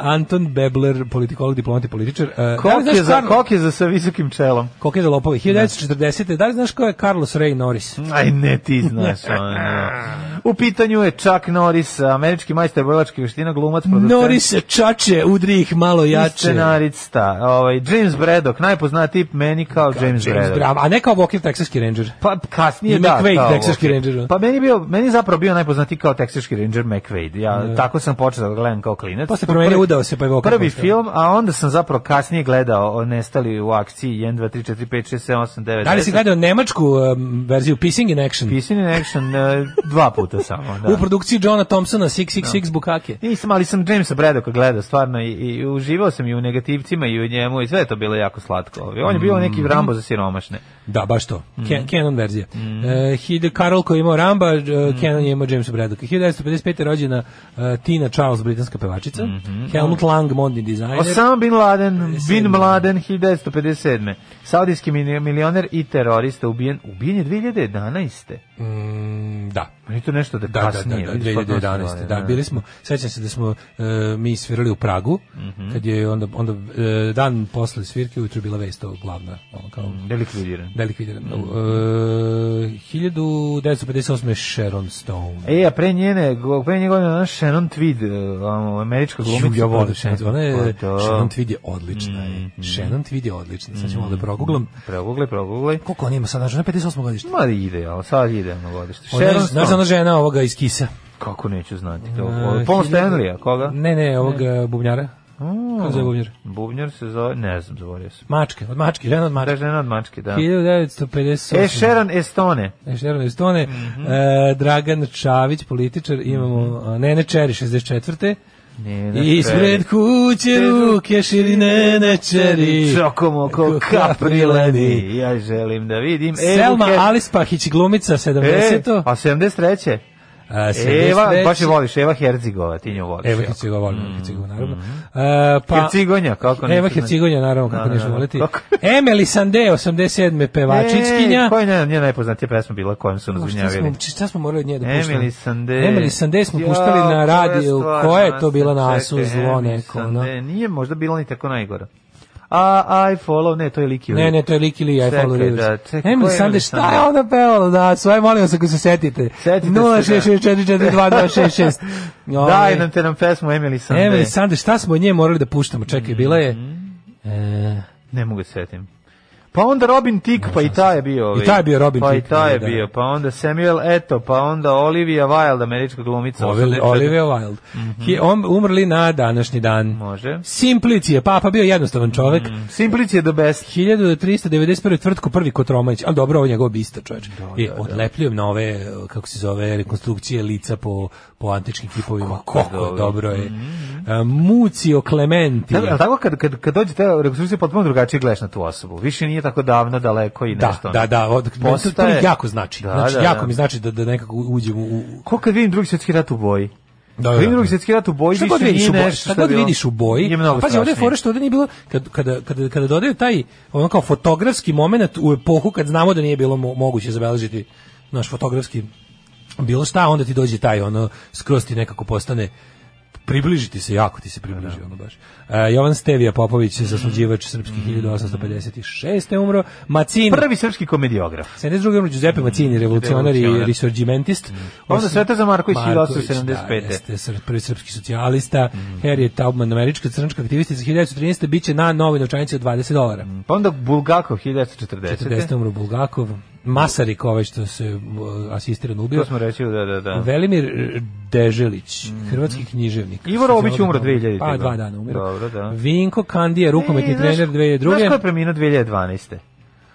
Speaker 7: Anton Bebler, politikolog, diplomat i političar. Uh, da
Speaker 6: Kok
Speaker 7: li znaš
Speaker 6: je, za,
Speaker 7: Karl-
Speaker 6: kok je za sa visokim čelom?
Speaker 7: Koke za lopove, 1940. Da li znaš ko je Carlos Ray Norris?
Speaker 6: Aj ne, ti znaš. ono.
Speaker 7: [LAUGHS]
Speaker 6: U pitanju je Chuck Norris, američki majster bojlačkih veština, glumac, producent.
Speaker 7: Norris čače, udri ih malo
Speaker 6: i
Speaker 7: jače.
Speaker 6: scenarista. Ovaj, James Braddock, najpoznatiji meni kao, James,
Speaker 7: James
Speaker 6: Braddock.
Speaker 7: Brown, a ne kao Walker Texaski Ranger.
Speaker 6: Pa kasnije
Speaker 7: I
Speaker 6: da,
Speaker 7: McQuaid,
Speaker 6: kao,
Speaker 7: Texaški
Speaker 6: ok.
Speaker 7: Ranger, ono.
Speaker 6: Pa meni je bio meni je zapravo bio najpoznatiji kao Texaški Ranger McQuaid. Ja tako sam počeo da gledam kao klinac.
Speaker 7: Posle promenio,
Speaker 6: Prvi-
Speaker 7: udao se, pa je Walker
Speaker 6: Prvi
Speaker 7: postao.
Speaker 6: film, a onda sam zapravo kasnije gledao o, Nestali u akciji 1 2 3 4 5 6 7 8 9.
Speaker 7: Da li si gledao nemačku um, verziju Pissing in Action?
Speaker 6: Pisani in Action e, dva puta samo, da.
Speaker 7: U produkciji Johna Thompsona 666 Bukake.
Speaker 6: Nisam, ali sam Jamesa Bradocka gledao stvarno i, i uživao sam i u negativcima i u njemu i sve je to bilo jako slatko. On je
Speaker 7: Mm.
Speaker 6: bio neki Rambo za siromašne.
Speaker 7: Da, baš to. Ken- Canon verzija. E, Hilde Carol koji je imao Ramba, e, Canon je imao Jamesa Bradocka. 1955. je rođena e, Tina Charles, britanska pevačica. Helmut Lang, modni dizajner.
Speaker 6: Osama Bin Laden, Bin Laden 1957. Saudijski mili- milioner i terorista ubijen, ubijen je 2011.
Speaker 7: Mm, da.
Speaker 6: Meni to nešto da,
Speaker 7: Da, da, da,
Speaker 6: kasnije.
Speaker 7: da,
Speaker 6: vidiš, pa potpuno sam
Speaker 7: 2011. Da,
Speaker 6: zaboravio,
Speaker 7: bili smo, sećam se da smo e, mi svirali u Pragu, kad je onda, onda e, dan posle svirke ujutro je bila vest ovo glavna, ono kao
Speaker 6: Da je likvidiran.
Speaker 7: velik E, vidiran.
Speaker 6: Mm.
Speaker 7: E, 1958. je Sharon Stone.
Speaker 6: E, a pre njene, go- pre njene godine ona Shannon Tweed, e, ono, američka glumica.
Speaker 7: Ju, ja volim Shannon Tweed. Ona je,
Speaker 6: Pa da. Mm,
Speaker 7: Shannon Tweed je odlična. je. Shannon Tweed je odlična. Sad ćemo malo da proguglam.
Speaker 6: Proguglaj, proguglaj.
Speaker 7: Koliko ona ima sad? Znači, ona je 58. godište.
Speaker 6: mm. Ma ide, ali sad ide na godište.
Speaker 7: Ona je,
Speaker 6: Sharon
Speaker 7: znaš, ona
Speaker 6: Stone.
Speaker 7: žena ovoga iz Kisa.
Speaker 6: Kako neću znati.
Speaker 7: E,
Speaker 6: Paul
Speaker 7: hiljadu-
Speaker 6: Stanley, koga?
Speaker 7: Ne, ne, ovoga bubnjara. Kako se
Speaker 6: Mm.
Speaker 7: zove bubnjar?
Speaker 6: Bubnjar se zove, ne znam, zaborio sam.
Speaker 7: Mačke, od mačke, žena od mačke.
Speaker 6: Da, žena od mačke, da.
Speaker 7: 1958.
Speaker 6: E, Sharon Estone.
Speaker 7: E, Sharon Estone,
Speaker 6: Mhm.
Speaker 7: e, Dragan Čavić, političar, imamo a, Nene Čeri, 64.
Speaker 6: Nena Čeri.
Speaker 7: Ispred kuće ruke širi Nene Čeri.
Speaker 6: Čokomoko kaprileni. Ja želim da vidim. Evu
Speaker 7: Selma
Speaker 6: Ker-
Speaker 7: Alispahić, glumica,
Speaker 6: E,
Speaker 7: 70.
Speaker 6: a 73.
Speaker 7: A,
Speaker 6: Eva,
Speaker 7: 73.
Speaker 6: baš je Mhm. voliš, Eva Hercigova, ti nju voliš.
Speaker 7: Eva
Speaker 6: jako.
Speaker 7: Hercegova, volim Eva Hercegova, naravno. E, pa,
Speaker 6: Hercigonja, kako ne.
Speaker 7: Eva Hercegonja, naravno, kako
Speaker 6: Da, da,
Speaker 7: nešto
Speaker 6: da.
Speaker 7: voliti.
Speaker 6: Kako?
Speaker 7: Emily Sande, 87. pevačićkinja.
Speaker 6: E, koja je njena, njena najpoznatija pesma bila kojom su nas
Speaker 7: O, Šta
Speaker 6: gunjavili?
Speaker 7: smo, šta smo morali od nje da puštamo?
Speaker 6: Emily Sande.
Speaker 7: Emily Sande smo
Speaker 6: Ja,
Speaker 7: puštali
Speaker 6: koja
Speaker 7: na
Speaker 6: je
Speaker 7: radiju.
Speaker 6: stvar,
Speaker 7: Koja je to bila
Speaker 6: čekaj,
Speaker 7: nasu zlo
Speaker 6: Emily
Speaker 7: neko? ono?
Speaker 6: Sande, Nije možda bila ni tako najgora. A, I follow, ne, to je Liki.
Speaker 7: Ne, ne, to je Liki ili I
Speaker 6: Čekaj,
Speaker 7: Follow
Speaker 6: da,
Speaker 7: Rivers.
Speaker 6: čekaj, ko
Speaker 7: Emily
Speaker 6: je
Speaker 7: Sande,
Speaker 6: Emily
Speaker 7: šta
Speaker 6: Sande?
Speaker 7: je ona pevala? Da, svoje molim vas ako se setite.
Speaker 6: Setite se,
Speaker 7: 066442266.
Speaker 6: [LAUGHS] Daj nam te nam pesmu Emily Sande.
Speaker 7: Ovaj, Emily Sande, šta smo od nje morali da puštamo? Čekaj, bila je...
Speaker 6: Mhm.
Speaker 7: E,
Speaker 6: Ne mogu se setim. Pa onda Robin Tick, pa i ta je bio. ovaj.
Speaker 7: I taj je bio Robin
Speaker 6: pa
Speaker 7: Thicke,
Speaker 6: Pa i ta je
Speaker 7: da, da.
Speaker 6: bio, pa onda Samuel Eto, pa onda Olivia Wilde, američka glumica. 84.
Speaker 7: Olivia, Olivia Wilde. Hi- on- umrli na današnji dan.
Speaker 6: Mhm. Može. Mhm.
Speaker 7: Simplici je papa bio jednostavan čovek.
Speaker 6: Simplic je the best.
Speaker 7: 1391. tvrtko prvi Kotromanić, ali dobro, ovo je njegov bista, čovječ. I odlepljuje nove, kako se zove, rekonstrukcije lica po, po antičkim kipovima. Kako dobro, je. A, Mucio Clementi.
Speaker 6: Mhm. Da, ali tako kad, kad, kad dođe ta rekonstrukcija potpuno drugačije gledaš na tu osobu. Više nije tako davno, daleko i
Speaker 7: Da,
Speaker 6: nešto. ono.
Speaker 7: da, da, od, meni to- to mi
Speaker 6: Postaje-
Speaker 7: jako znači.
Speaker 6: Da,
Speaker 7: znači
Speaker 6: da,
Speaker 7: jako
Speaker 6: da.
Speaker 7: mi znači da, da nekako uđem u... u-
Speaker 6: Ko kad vidim drugi svjetski rat u boji?
Speaker 7: Da,
Speaker 6: Kad
Speaker 7: da,
Speaker 6: vidim
Speaker 7: da.
Speaker 6: drugi svjetski rat u boji,
Speaker 7: šta
Speaker 6: više
Speaker 7: god vidiš
Speaker 6: nije
Speaker 7: u boji,
Speaker 6: nešto
Speaker 7: šta
Speaker 6: što
Speaker 7: god
Speaker 6: je bilo-
Speaker 7: vidiš u boji,
Speaker 6: Je mnogo
Speaker 7: pazi, ovdje je
Speaker 6: strašnije.
Speaker 7: fora što ovdje nije bilo, kad, kada, kada, kada dodaju taj, ono kao fotografski moment u epohu kad znamo da nije bilo mo- moguće zabeležiti naš fotografski bilo šta, onda ti dođe taj, ono, skroz ti nekako postane približiti se, jako ti se približi, ono baš. E, Jovan Stevija Popović, zasluđivač srpskih 1856. je umro, Macini,
Speaker 6: Mm. Prvi srpski komediograf.
Speaker 7: 72. umro Giuseppe
Speaker 6: Mm,
Speaker 7: Macini, revolucionar i
Speaker 6: Revolucionar.
Speaker 7: risorgimentist.
Speaker 6: Mm. Onda Svetozar Marković, 1875.
Speaker 7: Da, jeste, sr- prvi srpski socijalista,
Speaker 6: Mm.
Speaker 7: Harriet Taubman, američka crnačka aktivistica 1913. bit će na novoj novčanici od 20 dolara.
Speaker 6: Pa onda Bulgakov, 1940.
Speaker 7: 40. umro Bulgakov, Masarik, ovaj što se uh, asistirano ubio,
Speaker 6: To smo reći, da, da, da.
Speaker 7: Velimir eh, Deželić, hrvatski književnik.
Speaker 6: Ivo Robić je umro 2000.
Speaker 7: Pa, dva dana umro.
Speaker 6: Dobro, da.
Speaker 7: Vinko Kandija, rukometni
Speaker 6: E,
Speaker 7: trener
Speaker 6: znaš- Znaš ko je
Speaker 7: 2002.
Speaker 6: preminuo 2012.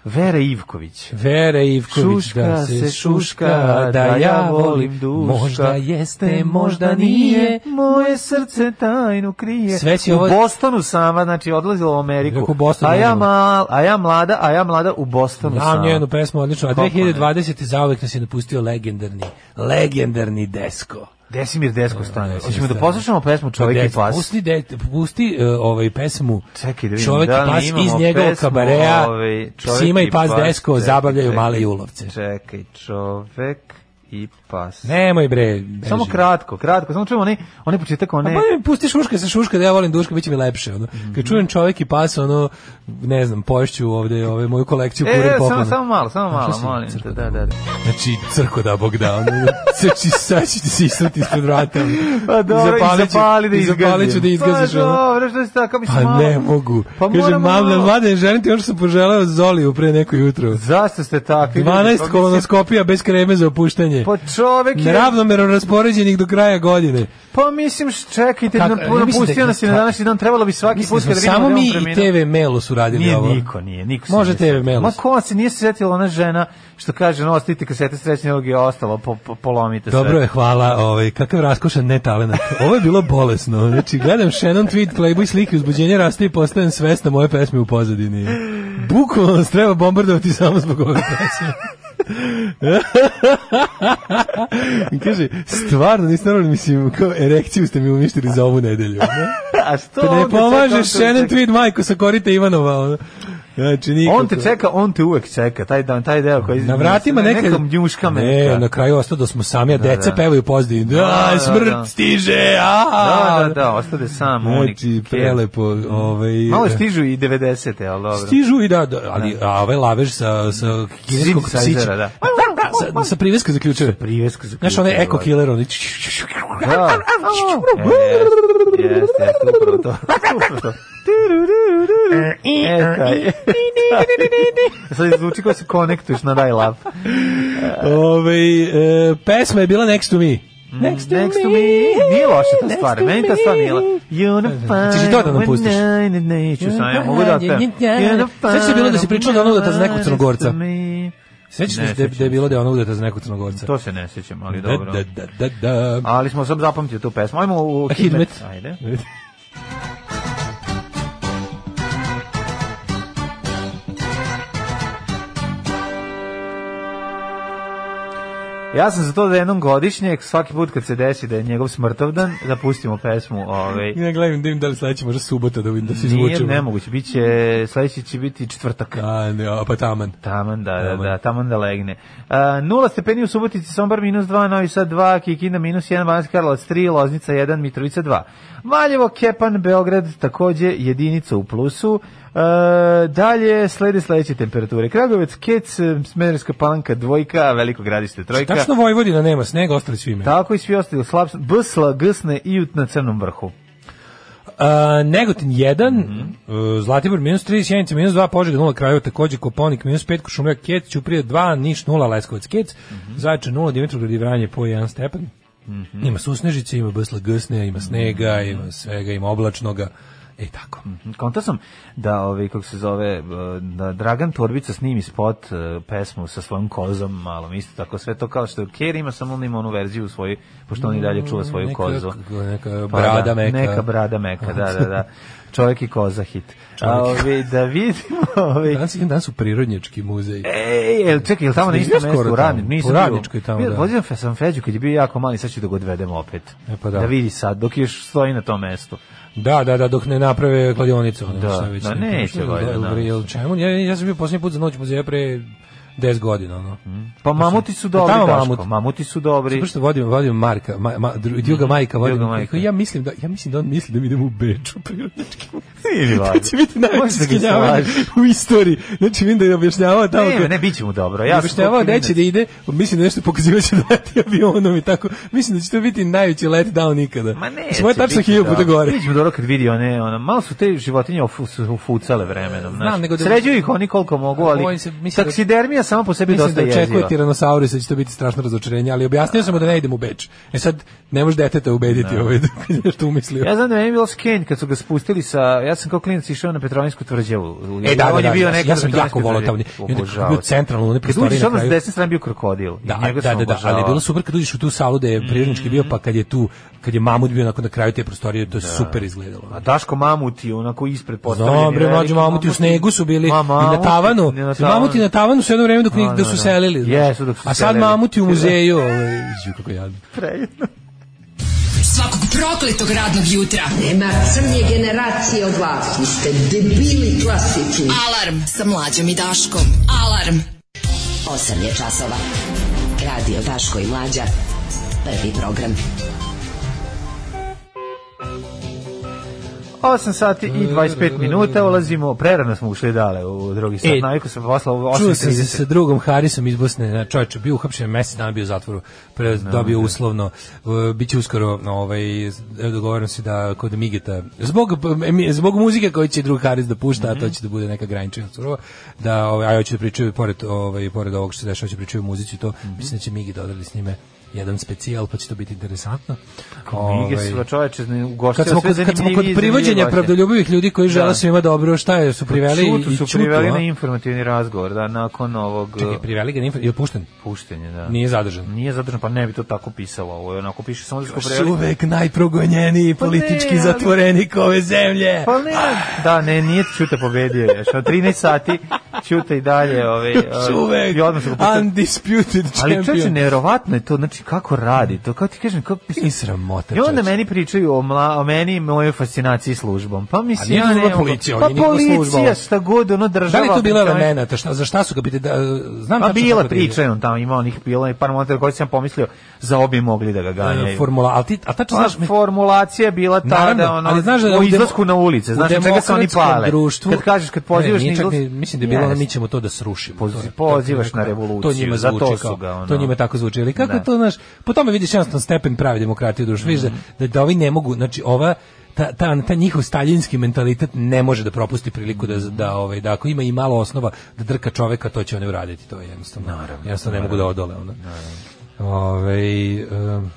Speaker 6: Vera Ivković.
Speaker 7: Vera Ivković,
Speaker 6: Šuška
Speaker 7: da se
Speaker 6: se
Speaker 7: šuška,
Speaker 6: šuška,
Speaker 7: da ja volim duška. Možda jeste, možda nije.
Speaker 6: moje srce tajnu krije.
Speaker 7: Sve si ovo-
Speaker 6: U Bostonu sama, znači odlazila u Ameriku.
Speaker 7: Kako u Bostonu
Speaker 6: a ja,
Speaker 7: odlazila?
Speaker 6: mal, a ja mlada, a ja mlada u Bostonu
Speaker 7: Znam
Speaker 6: sama.
Speaker 7: njenu pesmu odlično, a
Speaker 6: Kako ne?
Speaker 7: 2020. zauvek nas je napustio legendarni, legendarni desko.
Speaker 6: Desimir Desko stane. Hoćemo da poslušamo pesmu Čovjek i
Speaker 7: Dec-
Speaker 6: pas.
Speaker 7: Pusti, de, pusti e, ovaj pesmu
Speaker 6: Čekaj da vidim
Speaker 7: Čovjek
Speaker 6: da
Speaker 7: i
Speaker 6: li
Speaker 7: pas
Speaker 6: imamo
Speaker 7: iz njegovog
Speaker 6: pesmu,
Speaker 7: kabareja
Speaker 6: ovaj, Čovek
Speaker 7: Sima i pas, Desko
Speaker 6: Čekaj,
Speaker 7: zabavljaju
Speaker 6: čekaj,
Speaker 7: male julovce.
Speaker 6: Čekaj, Čovjek i pas.
Speaker 7: Nemoj bre. beži.
Speaker 6: Samo kratko, kratko. Samo čujemo onaj, onaj početak,
Speaker 7: Pa
Speaker 6: one...
Speaker 7: bolje mi pusti šuška sa šuška da ja volim duška, bit će mi lepše. Ono. Kad čujem čovjek i pas, ono, ne znam, pošću ovde ovaj, moju kolekciju
Speaker 6: E,
Speaker 7: kurir
Speaker 6: e, samo,
Speaker 7: poklona.
Speaker 6: samo malo, samo
Speaker 7: Našao
Speaker 6: malo,
Speaker 7: si
Speaker 6: molim te,
Speaker 7: crkvu.
Speaker 6: da, da, da.
Speaker 7: Znači, crko da Bog da, ono, sad ću- sad ću ti se israti ispod vrata. ono.
Speaker 6: Pa dobro, i
Speaker 7: Zapalit ću-
Speaker 6: zapali da
Speaker 7: i
Speaker 6: izgazim.
Speaker 7: Zapalit ću da izgaziš.
Speaker 6: Pa
Speaker 7: ono.
Speaker 6: dobro, što si tako, mislim
Speaker 7: Pa
Speaker 6: malo.
Speaker 7: ne mogu.
Speaker 6: Pa
Speaker 7: Kaže,
Speaker 6: moramo
Speaker 7: mamle,
Speaker 6: malo.
Speaker 7: mlade, želim ti ono što sam poželeo Zoliju pre neko jutro.
Speaker 6: Zašto ste takvi? ljudi? Pa
Speaker 7: 12
Speaker 6: mislim,
Speaker 7: kolonoskopija bez kreme za opuštanje.
Speaker 6: Pa čovek je...
Speaker 7: Neravnomero raspoređenih do kraja godine.
Speaker 6: Pa mislim, š- čekajte,
Speaker 7: Kako-
Speaker 6: na,
Speaker 7: ja mislim
Speaker 6: napustio
Speaker 7: da-
Speaker 6: nas je na današnji dan, trebalo bi svaki
Speaker 7: Mislim,
Speaker 6: put kada vidimo
Speaker 7: samo
Speaker 6: da je on
Speaker 7: mi i
Speaker 6: preminuo.
Speaker 7: TV Melo su radili
Speaker 6: Nije
Speaker 7: ovo.
Speaker 6: niko, nije, niko se
Speaker 7: Može
Speaker 6: nije
Speaker 7: TV
Speaker 6: setio.
Speaker 7: Melos.
Speaker 6: Ma ko se nije sjetila ona žena što kaže, no, ostavite kasete srećne ovog je ostalo, po, po, polomite sve.
Speaker 7: Dobro je, hvala. Ovaj, kakav raskošan netalenat. Ovo je bilo bolesno. Znači, gledam Shannon tweet, Playboy slike, uzbuđenje raste i postajem svesna moje pesme u pozadini. Bukvalno nas treba bombardovati samo zbog ove pesme. I Kaže, stvarno, nisam normalno, mislim, kao erekciju ste mi uništili za ovu
Speaker 6: [LAUGHS]
Speaker 7: nedelju. ono.
Speaker 6: A što
Speaker 7: Pa
Speaker 6: on
Speaker 7: ne
Speaker 6: te čeka, on
Speaker 7: pomažeš,
Speaker 6: te
Speaker 7: Shannon
Speaker 6: čeka?
Speaker 7: tweet, majko, sa korita Ivanova. ono. Znači, nikako.
Speaker 6: On te čeka, on te uvek čeka, taj, dan, taj deo koji...
Speaker 7: Na vratima neka...
Speaker 6: Nekom njuška me.
Speaker 7: Ne, na kraju ostao da smo sami, a deca
Speaker 6: da.
Speaker 7: pevaju pozdini. Da,
Speaker 6: Da, da,
Speaker 7: smrt
Speaker 6: da.
Speaker 7: stiže, a,
Speaker 6: Da, da, da, ostade sam.
Speaker 7: Moći,
Speaker 6: Monik.
Speaker 7: prelepo. Ovaj,
Speaker 6: Malo stižu i 90-te, ali dobro.
Speaker 7: Stižu i da, da ali a ovaj lavež sa, sa kineskog
Speaker 6: Synthesizera,
Speaker 7: psića.
Speaker 6: da.
Speaker 7: Sa, sa priveska zaključuje.
Speaker 6: Priveska za
Speaker 7: Znaš, onaj eko killer, onaj...
Speaker 6: Da. E, Jeste, jeste, upravo to. Upravo to. E, taj. Sad zvuči kao se konektuješ na dial up.
Speaker 7: Ovaj, e, pesma je bila Next to me. Next to
Speaker 6: Next to
Speaker 7: me.
Speaker 6: me. Nije loša ta
Speaker 7: Next
Speaker 6: stvar.
Speaker 7: to
Speaker 6: Meni ta stvar nije loša. Unified.
Speaker 7: Hoćeš i to da nam pustiš?
Speaker 6: Ne, ne, neću sam. Ja mogu da otpevam.
Speaker 7: Sve se bilo da si pričao da ono udata za nekog Crnogorca. Sećaš
Speaker 6: Ne,
Speaker 7: se da je- da je bilo da je ono udata za nekog Crnogorca?
Speaker 6: To se ne sjećam, ali
Speaker 7: E, Da,
Speaker 6: dobro.
Speaker 7: da, da, da, da.
Speaker 6: Ali smo sad zapamtili tu pesmu. Ajmo u
Speaker 7: A [LAUGHS] Hidmet.
Speaker 6: Hidmet. Ajde. Ja sam za to da jednom godišnje, svaki put kad se desi da je njegov smrtovdan, da pustimo pesmu.
Speaker 7: [LAUGHS]
Speaker 6: Ovaj.
Speaker 7: I ne gledam da im da li sledeće može subota da, vidim da se
Speaker 6: Nije
Speaker 7: izvučemo.
Speaker 6: nemoguće, bit će, sledeći će biti četvrtak.
Speaker 7: A, ne, a, pa taman.
Speaker 6: Taman, da, da,
Speaker 7: Taman.
Speaker 6: da, taman da legne. Uh, nula stepeni u Subotici, Sombar minus 2, Novi Sad 2, Kikinda minus 1, Banacki Karlovac 3, Loznica 1, Mitrovica 2. Valjevo, Kepan, Beograd takođe jedinica u plusu. Uh, dalje slede sledeće temperature. Kragovec, Kec, eh, Smederska palanka dvojka, Veliko gradište trojka.
Speaker 7: Tačno Vojvodina nema snega, ostali svi imaju.
Speaker 6: Tako i svi ostali, slab, Bsla, Gsne i Ut na Crnom vrhu.
Speaker 7: A, Negotin 1, e, Zlatibor minus 3, Sjenica minus 2, Požega 0, Krajeva takođe, Koponik minus 5, Košumljak Kec, Ćuprije 2, Niš 0, Leskovac Kec, Zajče 0, Dimitrovgrad i Vranje po 1 stepen. Ima susnežice, ima bsla gsne, E, ima snega, ima svega, ima oblačnoga. E tako.
Speaker 6: Konta sam da, ovaj, kako se zove, eh, da Dragan Torbica snimi spot, eh, pesmu sa svojom kozom, malo isto tako, sve to kao što je Kjer ima, samo on ima onu verziju svoju, pošto on i dalje čuva svoju
Speaker 7: Neka-
Speaker 6: kozu.
Speaker 7: neka
Speaker 6: Pa
Speaker 7: brada
Speaker 6: da,
Speaker 7: meka.
Speaker 6: Neka brada meka, da, da, da. Čovjek i koza hit. A,
Speaker 7: Čovjek
Speaker 6: ovaj, da vidimo, ovaj,
Speaker 7: Danas, idem, danas u prirodnjački muzej.
Speaker 6: Ej, jel čekaj, jel tamo na
Speaker 7: Nisam
Speaker 6: istom
Speaker 7: skoro
Speaker 6: mestu u
Speaker 7: tamo.
Speaker 6: Radničkoj? Nisam
Speaker 7: U
Speaker 6: bio.
Speaker 7: Radničkoj tamo,
Speaker 6: Bio-
Speaker 7: da.
Speaker 6: Vozio sam Feđu kad je bio jako mali, sad ću da ga odvedem opet.
Speaker 7: E, pa da.
Speaker 6: Da vidi sad, dok još stoji na tom mestu.
Speaker 7: Da, da, da, dok ne naprave kladionicu. Ono,
Speaker 6: Da,
Speaker 7: šta već
Speaker 6: da,
Speaker 7: neka-
Speaker 6: neće
Speaker 7: šta-
Speaker 6: valjda,
Speaker 7: dobro,
Speaker 6: da.
Speaker 7: jel čemu? Ja, ja sam bio posljednji put za noć muzeja pre 10 godina. Ono.
Speaker 6: Pa mamuti su
Speaker 7: tamo
Speaker 6: dobri, Daško,
Speaker 7: mamut.
Speaker 6: mamuti su dobri.
Speaker 7: Zato što vodim, vodim Marka, ma, ma, dru- druga majka vodim.
Speaker 6: Mhm. Druga majka.
Speaker 7: Ja mislim, da, ja mislim da on misli da mi idemo u Beč u prirodnički muzej.
Speaker 6: Ili
Speaker 7: [LAUGHS] To
Speaker 6: valjda.
Speaker 7: će biti najveće
Speaker 6: Možda ga
Speaker 7: skenjavanje u istoriji. Znači, vidim da je objašnjavao tamo.
Speaker 6: Ne,
Speaker 7: kad-
Speaker 6: ne, bit će mu dobro. Ja sam
Speaker 7: objašnjavao
Speaker 6: klinec.
Speaker 7: neće da ide, mislim da nešto pokazivat će da leti avionom i tako. Mislim da će to biti najveći letdown ikada.
Speaker 6: Ma ne,
Speaker 7: Svoje tačno hilju puta gore.
Speaker 6: Vidimo dobro kad vidi one, ono, malo su te životinje ufu- su ufucale vremenom.
Speaker 7: Znam,
Speaker 6: znaš.
Speaker 7: nego da-
Speaker 6: Sređuju ih oni koliko mogu,
Speaker 7: Bojim
Speaker 6: ali
Speaker 7: se, mislim da-
Speaker 6: taksidermija sama po sebi
Speaker 7: Mislim
Speaker 6: dosta
Speaker 7: da očekuje
Speaker 6: jeziva.
Speaker 7: tiranosaurus da će to biti strašno razočarenje, ali objasnio sam mu da ne idem u Beč. E sad, ne može deteta ubediti ovaj, kad je nešto umislio.
Speaker 6: Ja znam da je meni bilo skenj kad su ga spustili sa... Ja sam kao klinac išao na Petrovinsku tvrđavu.
Speaker 7: E, da, da,
Speaker 6: On
Speaker 7: da,
Speaker 6: je bio
Speaker 7: ja-
Speaker 6: nekad
Speaker 7: ja
Speaker 6: na
Speaker 7: sam
Speaker 6: Petrovinskoj
Speaker 7: jako volao tamo.
Speaker 6: tvrđavi.
Speaker 7: I onda kad
Speaker 6: Obožavao.
Speaker 7: je bio centralno, one
Speaker 6: Kad
Speaker 7: prostorije
Speaker 6: uđeš
Speaker 7: na
Speaker 6: odmah s
Speaker 7: kraju-
Speaker 6: desne strane bio krokodil. i
Speaker 7: Da,
Speaker 6: njega Mm. sam
Speaker 7: da, da, da, ali je
Speaker 6: obožavao.
Speaker 7: bilo super kad uđeš u tu salu da je prirodnički bio, pa kad je tu, kad je mamut bio nakon na kraju te prostorije, to je super izgledalo.
Speaker 6: A Daško mamuti, onako ispred postavljeni.
Speaker 7: Znam, bre,
Speaker 6: veliki
Speaker 7: mlađi mamuti u snegu su bili
Speaker 6: Ma,
Speaker 7: i na
Speaker 6: mamuti,
Speaker 7: tavanu.
Speaker 6: i na
Speaker 7: Mamuti na tavanu su jedno vreme dok,
Speaker 6: A,
Speaker 7: njih,
Speaker 6: da,
Speaker 7: da su
Speaker 6: da.
Speaker 7: selili. znaš.
Speaker 6: Jesu, dok su
Speaker 7: A sad
Speaker 6: selili.
Speaker 7: mamuti u muzeju. Ovaj, ju, kako jadno.
Speaker 6: Prejedno.
Speaker 9: Svakog prokletog radnog jutra.
Speaker 10: Nema crnje generacije od vas. Vi ste debili klasični.
Speaker 9: Alarm sa mlađom i Daškom. Alarm.
Speaker 10: 8 je časova. Radio Daško i Mlađa. Prvi program.
Speaker 6: 8 sati i 25 minuta, ulazimo, prerano smo ušli dale u drugi sat, e, naviku sam poslao u 8.30.
Speaker 7: Čuo sam se sa drugom Harisom iz Bosne, čovječ, bio uhapšen mesec dana, bio u zatvoru, pre, dobio uslovno, uh, bit će uskoro, no, ovaj, dogovorim se da kod Migeta, zbog, zbog muzike koju će drug Haris da pušta, mm -hmm. a
Speaker 6: Mhm.
Speaker 7: to će da bude neka granična surova, da, ovaj, a ja ću da pričaju, pored, ovaj, pored ovog što se dešava, ću pričaju muzici, to, mm
Speaker 6: Mhm.
Speaker 7: -hmm. mislim da će Miget odradi s njime jedan specijal, pa će to biti interesantno. Ovaj,
Speaker 6: Knjige su čoveče
Speaker 7: Kad smo kod, kad smo kod privođenja pravdoljubivih ljudi koji žele da. svima dobro, šta je, su priveli
Speaker 6: Pa čutu, su i čutu, priveli a? na informativni razgovor, da, nakon ovog...
Speaker 7: Čekaj, priveli ga na informativni, je pušten?
Speaker 6: Pušten je, da.
Speaker 7: Nije zadržan.
Speaker 6: Nije zadržan, pa ne bi to tako pisalo, ovo je onako piše samo da
Speaker 7: Pa su priveli. uvek najprogonjeniji pa politički ne, zatvorenik ove zemlje.
Speaker 6: Pa ne, ah. da, ne, nije Čuta pobedio još, od 13 sati Čuta i dalje, ovaj, ove,
Speaker 7: ove, i odmah undisputed
Speaker 6: champion. Ali čoveče, nevjerovatno je to, znači kako radi, to kako ti kažem, kako
Speaker 7: mislim. I sramota.
Speaker 6: I onda meni pričaju o, mla, o meni i mojoj fascinaciji službom. Pa mislim,
Speaker 7: ja ne, policija, pa
Speaker 6: policija, šta god, ono država.
Speaker 7: Da li to bila elemenata, šta, za šta su ga pite, da, znam
Speaker 6: pa bila
Speaker 7: e,
Speaker 6: priča, on tamo ima onih bila i par momenata koji sam pomislio, za obje mogli
Speaker 7: E,
Speaker 6: da ga ganjaju.
Speaker 7: Formula, al ti, a tačno
Speaker 6: znaš, formulacija je bila ta naravno, da ono, ali znaš da u izlasku na ulice, znaš čega se oni pale. Društvu,
Speaker 7: kad
Speaker 6: kažeš, kad pozivaš
Speaker 7: ne, čak, ne, mislim da je bilo, ono mi ćemo to da srušimo.
Speaker 6: Pozivaš na revoluciju,
Speaker 7: to njima zvuči,
Speaker 6: ono.
Speaker 7: to njima tako zvuči, ali kako to znaš, po tome vidiš jednostavno stepen prave demokratije u društvu, mm -hmm. da,
Speaker 6: Mhm.
Speaker 7: da ovi ne mogu, znači ova ta, ta, ta njihov staljinski mentalitet ne može da propusti priliku da,
Speaker 6: Mhm.
Speaker 7: da, ovaj, da ako ima i malo osnova da drka čoveka, to će oni uraditi, to je jednostavno.
Speaker 6: Naravno,
Speaker 7: jednostavno naravno, ne mogu da odole. ono. Onda. Ove, um,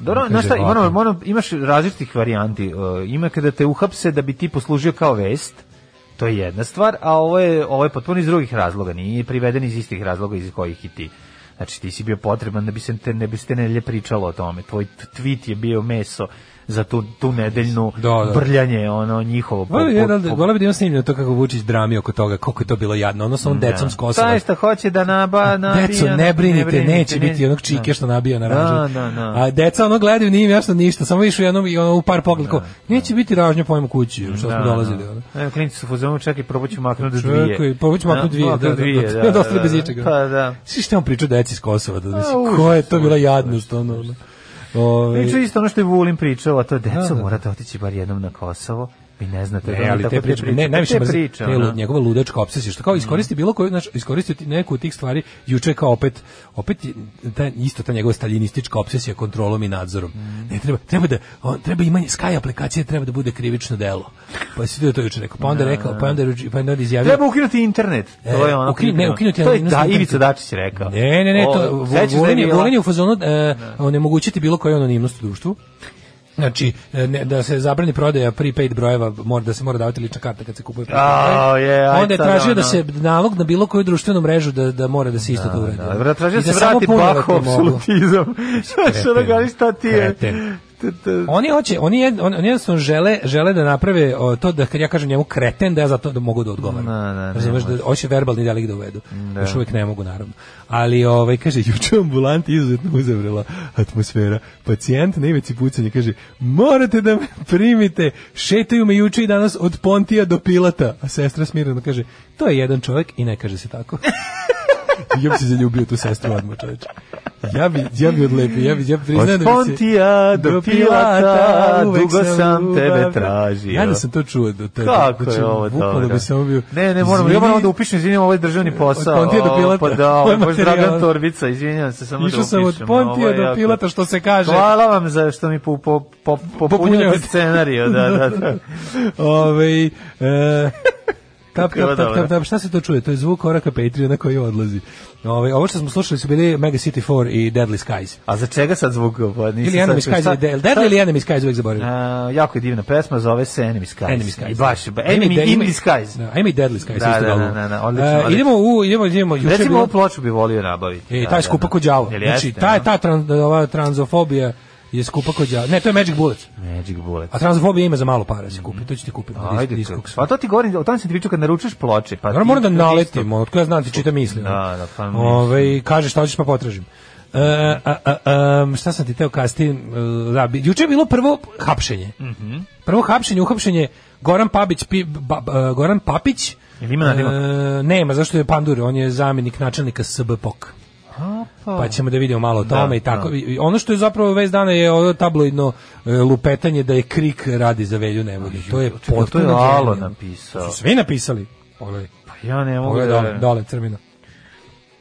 Speaker 6: dobro, na šta, moram, moram, imaš različitih varijanti. Uh, ima kada te uhapse da bi ti poslužio kao vest, to je jedna stvar, a ovo je, ovo je potpuno iz drugih razloga, nije priveden iz istih razloga iz kojih i ti. Znači ti si bio potreban da bi se te, ne bi se ne pričalo o tome. Tvoj tweet je bio meso za tu, tu nedeljnu da, da. brljanje ono njihovo
Speaker 7: po, po, po... bi snimljeno to kako Vučić drami oko toga koliko je to bilo jadno ono sa on decom s Kosova
Speaker 6: taj šta hoće da naba nabija
Speaker 7: deco ne brinite, ne brinite neće ne... biti onog čike da. što nabija na ražu
Speaker 6: da, da, da.
Speaker 7: a deca ono gledaju nije jasno ništa samo više jednom i ono u par pogleda neće biti ražnja pojma kući što smo dolazili
Speaker 6: ono. klinci su fuzonu čekaj probaću maknuti dvije čekaj
Speaker 7: probaću maknuti dvije da, dvije da, da, da,
Speaker 6: Pa,
Speaker 7: da, da, da, priču deci s Kosova da, da, ko je to bila jadnost ono
Speaker 6: Ove... Priča isto ono što je Vulin pričao, a to je deco morate otići bar jednom na Kosovo. Vi ne znate
Speaker 7: ne, da E, ali te priče, ono. Mm. ne, najviše
Speaker 6: mrzim priča, te, ono?
Speaker 7: lud, njegova ludačka obsesija što kao iskoristi bilo koju, znači iskoristiti neku od tih stvari juče kao opet opet ta isto ta njegova staljinistička obsesija kontrolom i nadzorom. Mm. Ne treba treba da on, treba imanje Sky aplikacije treba da bude krivično delo. Pa se to juče rekao. Pa onda rekao, pa onda pa onda izjavio.
Speaker 6: Treba ukinuti internet. To je ono.
Speaker 7: Ukri, E, ne, ukinuti
Speaker 6: to je da Ivica Dačić rekao.
Speaker 7: Ne, ne, ne, to Vulin je u fazonu e, onemogućiti bilo koju anonimnost u društvu. Znači, ne, da se zabrani prodaja prepaid brojeva, mora, da se mora davati lična karta kad se kupuje prepaid
Speaker 6: oh, yeah,
Speaker 7: Onda je tražio no, no. da se nalog na bilo koju društvenu mrežu da, da mora da se isto no, to uredi.
Speaker 6: Da, da, tražio da se vrati bako [LAUGHS] absolutizam. Što da gledali šta ti je?
Speaker 7: Oni hoće, oni jed, on, oni jednostavno žele, žele da naprave o, to da kad ja kažem njemu kreten da ja zato da mogu da odgovaram.
Speaker 6: Na, na,
Speaker 7: Razumeš da hoće verbalni dijalog da uvedu. Da. Još uvek ne mogu naravno. Ali ovaj kaže [LAUGHS] juče ambulanti izuzetno uzavrela atmosfera. Pacijent na ivici pucanja kaže morate da me primite. Šetaju me juče i danas od Pontija do Pilata. A sestra smireno kaže to je jedan čovjek i ne kaže
Speaker 6: [LAUGHS]
Speaker 7: se tako. ja bi se zaljubio tu sestru odmah, čoveče. Ja bi, ja bi odlepio, ja bi, ja priznajem da bi se...
Speaker 6: Od Pontija do Pilata, dugo sam tebe tražio.
Speaker 7: Ja da sam to čuo do tebe.
Speaker 6: Kako je ovo
Speaker 7: to? Da bi sam bio...
Speaker 6: Ne, ne, moram, ja moram da upišem, izvinjam, ovaj državni posao.
Speaker 7: Od Pontija do Pilata.
Speaker 6: Pa da, ovo je baš Dragan Torbica, izvinjam se, samo da upišem.
Speaker 7: Išao sam od Pontija do Pilata, što se kaže.
Speaker 6: Hvala vam za što mi po, po, po, popunjate
Speaker 7: [LAUGHS]
Speaker 6: scenariju, da, da, da. [LAUGHS]
Speaker 7: Ove, e, Tap, tap, tap, tap, tap, šta se to čuje? To je zvuk koraka Patreona koji odlazi. Ove, ovo što smo slušali su bili Mega City 4 i Deadly Skies.
Speaker 6: A za čega sad zvuk?
Speaker 7: Pa, nisam ili Enemy Skies, šta, Deadly šta? ili Enemy Skies, uvijek zaboravim.
Speaker 6: Uh, jako je divna pesma, zove se Enemy Skies.
Speaker 7: Enemy Skies.
Speaker 6: I baš, ba, Enemy,
Speaker 7: da,
Speaker 6: Indie Skies.
Speaker 7: Da, ima i Deadly Skies,
Speaker 6: da,
Speaker 7: isto E,
Speaker 6: da, da, da, da, odlično, uh,
Speaker 7: Idemo u, idemo, idemo.
Speaker 6: Juče Recimo, bilo... ovu ploču bi volio nabaviti.
Speaker 7: Znači, E, taj da, skupa da, da. kod djavo. Znači, ta, ta tran, ova tranzofobija je skupa kod đava. Ne, to je Magic Bullet.
Speaker 6: Magic Bullet.
Speaker 7: A transfobija ima za malo para se kupi, to ću ti kupiti.
Speaker 6: Ajde, diskog. Pa to ti govorim, o tom sam ti pričao kad naručuješ ploče. Pa
Speaker 7: Naravno, moram da naletim, od koja znam ti čita misli.
Speaker 6: Da, da, pa
Speaker 7: Ove, kaže šta hoćeš pa potražim. Uh, a, a, a, um, šta sam ti teo kasti? Uh, da, juče je bilo prvo hapšenje.
Speaker 6: Mm -hmm.
Speaker 7: Prvo hapšenje, uhapšenje Goran Papić, pi, ba, ba, e, Goran Papić.
Speaker 6: Jel ima nadima?
Speaker 7: E, nema, zašto je Pandur, on je zamjenik načelnika SBPOK.
Speaker 6: A,
Speaker 7: pa. pa ćemo da vidimo malo o tome
Speaker 6: Da,
Speaker 7: i tako.
Speaker 6: da.
Speaker 7: I Ono što je zapravo vez dana je ovo tabloidno e, lupetanje da je Krik radi za Velju Nevolju. To je
Speaker 6: Pa, to je
Speaker 7: potpuno
Speaker 6: Alo
Speaker 7: genijalno.
Speaker 6: napisao.
Speaker 7: To Su svi napisali. Pogledaj.
Speaker 6: Pa ja ne mogu
Speaker 7: Pogledaj
Speaker 6: da...
Speaker 7: dole, dole crmina.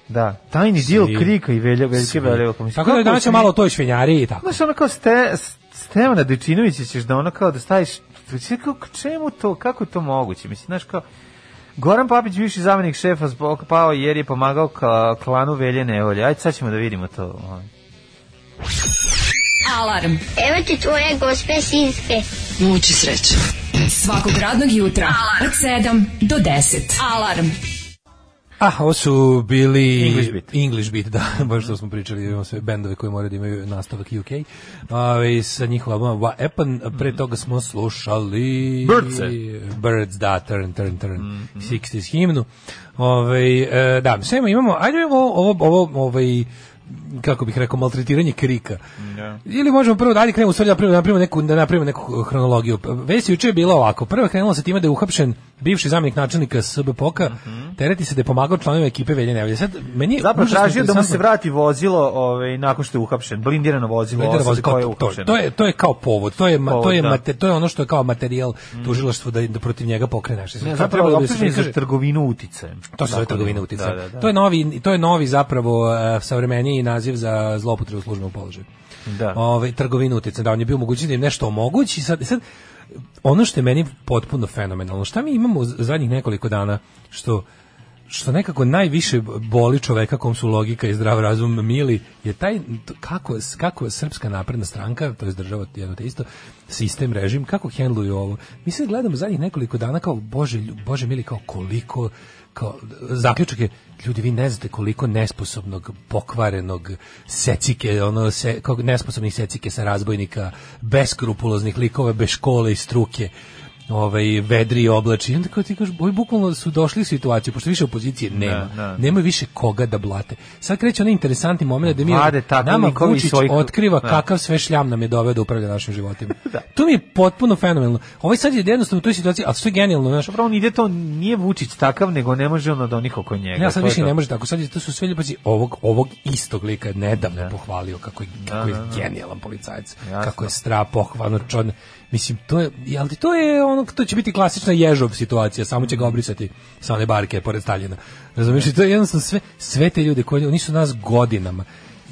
Speaker 6: Da, tajni
Speaker 7: Svi.
Speaker 6: dil krika i velja, veljke
Speaker 7: Svi.
Speaker 6: velja.
Speaker 7: Tako da danas ćemo malo o toj švenjari i tako.
Speaker 6: Znaš, ono kao ste, Stevana Dečinovića ćeš da ono kao da staviš... Sve kao, k čemu to, kako je to moguće? Mislim, znaš kao... Goran Papić, viši zamenik šefa zbog pao jer je pomagao ka, klanu Velje Nevolje. Ajde, sad ćemo da vidimo to. ovaj.
Speaker 9: Alarm.
Speaker 11: Evo ti tvoje gospe sinske.
Speaker 9: Muči sreće. Svakog radnog jutra od 7 do 10. Alarm.
Speaker 7: Ah, ovo su bili
Speaker 6: English Beat.
Speaker 7: English Beat, da, [LAUGHS] baš što smo pričali, imamo sve bendove koji moraju da imaju nastavak UK. Ove, sa njihova albuma What Happened, pre toga smo slušali...
Speaker 6: Birdse.
Speaker 7: Birds, da, turn, turn, turn, 60s himnu. Ove, e, da, sve ima- imamo, ajde imamo ovo, ovo, ovaj, kako bih rekao, maltretiranje krika. Ili možemo prvo da ajde krenemo u stvari da napravimo, da napravimo neku, da napravimo neku hronologiju. Vest je juče je bila ovako. Prvo je krenulo sa time da je uhapšen bivši zamjenik načelnika SBPOK-a, tereti se da je pomagao članovima ekipe Velje Nevolje. Sad, meni je
Speaker 6: Mhm. Zapravo
Speaker 7: užasno
Speaker 6: tražio da mu se
Speaker 7: interesantno-
Speaker 6: vrati vozilo ovaj, nakon što je uhapšen, blindirano vozilo,
Speaker 7: Lider
Speaker 6: osobe
Speaker 7: vozi-
Speaker 6: koja je
Speaker 7: to,
Speaker 6: uhapšena.
Speaker 7: to je to je kao povod, to je ma- to
Speaker 6: Povod,
Speaker 7: je
Speaker 6: da. Mhm.
Speaker 7: mate, to je ono što je kao materijal tužilaštvu da, da protiv njega pokrene nešto.
Speaker 6: Ne,
Speaker 7: Sad
Speaker 6: zapravo
Speaker 7: trebalo
Speaker 6: je
Speaker 7: bi da se
Speaker 6: optužen za
Speaker 7: prikaže-
Speaker 6: trgovinu uticajem.
Speaker 7: To se zove trgovina uticaja.
Speaker 6: Da, da, da.
Speaker 7: To je novi to je novi zapravo uh, savremeniji naziv za zloupotrebu službenog položaja.
Speaker 6: Da.
Speaker 7: Ovaj trgovina uticaja, da on je bio mogući da im nešto omogući sad sad ono što je meni potpuno fenomenalno, šta mi imamo u zadnjih nekoliko dana što što nekako najviše boli čoveka kom su logika i zdrav razum mili je taj t- kako kako srpska napredna stranka to je država jedno te isto sistem režim kako hendluju ovo mi se gledamo zadnjih nekoliko dana kao bože lju- bože mili kao koliko kao zaključak je ljudi vi ne znate koliko nesposobnog pokvarenog secike ono se kao nesposobnih secike sa razbojnika beskrupuloznih likova bez škole i struke ovaj vedri i oblači. I onda kao ti kažeš, boj bukvalno su došli u situaciju, pošto više opozicije nema.
Speaker 6: Da, da.
Speaker 7: Nema više koga da blate. Sad kreće onaj interesantni moment da mi
Speaker 6: Vlade takvi
Speaker 7: nama
Speaker 6: likovi
Speaker 7: Vučić
Speaker 6: svojih-
Speaker 7: otkriva
Speaker 6: Da.
Speaker 7: kakav sve šljam nam je doveo da upravlja našim
Speaker 6: [LAUGHS]
Speaker 7: životima. To mi je potpuno fenomenalno. Ovaj sad je jednostavno u toj situaciji, ali što je genijalno, znaš,
Speaker 6: Zapravo on ide to, nije Vučić takav, nego ne može on od onih oko njega.
Speaker 7: ja sad
Speaker 6: To je
Speaker 7: više
Speaker 6: to.
Speaker 7: ne može tako. Sad je, to su sve ljubaci ovog, ovog istog lika je nedavno pohvalio kako je, kako je
Speaker 6: da, da.
Speaker 7: genijalan policajac.
Speaker 6: Jasno.
Speaker 7: Kako je stra pohvalno čon. Mislim, to je, jel ti to je ono, to će biti klasična ježov situacija, samo će ga obrisati sa one barke pored Staljina. Razumiješ, I to je jednostavno sve, sve te ljude koji, oni su nas godinama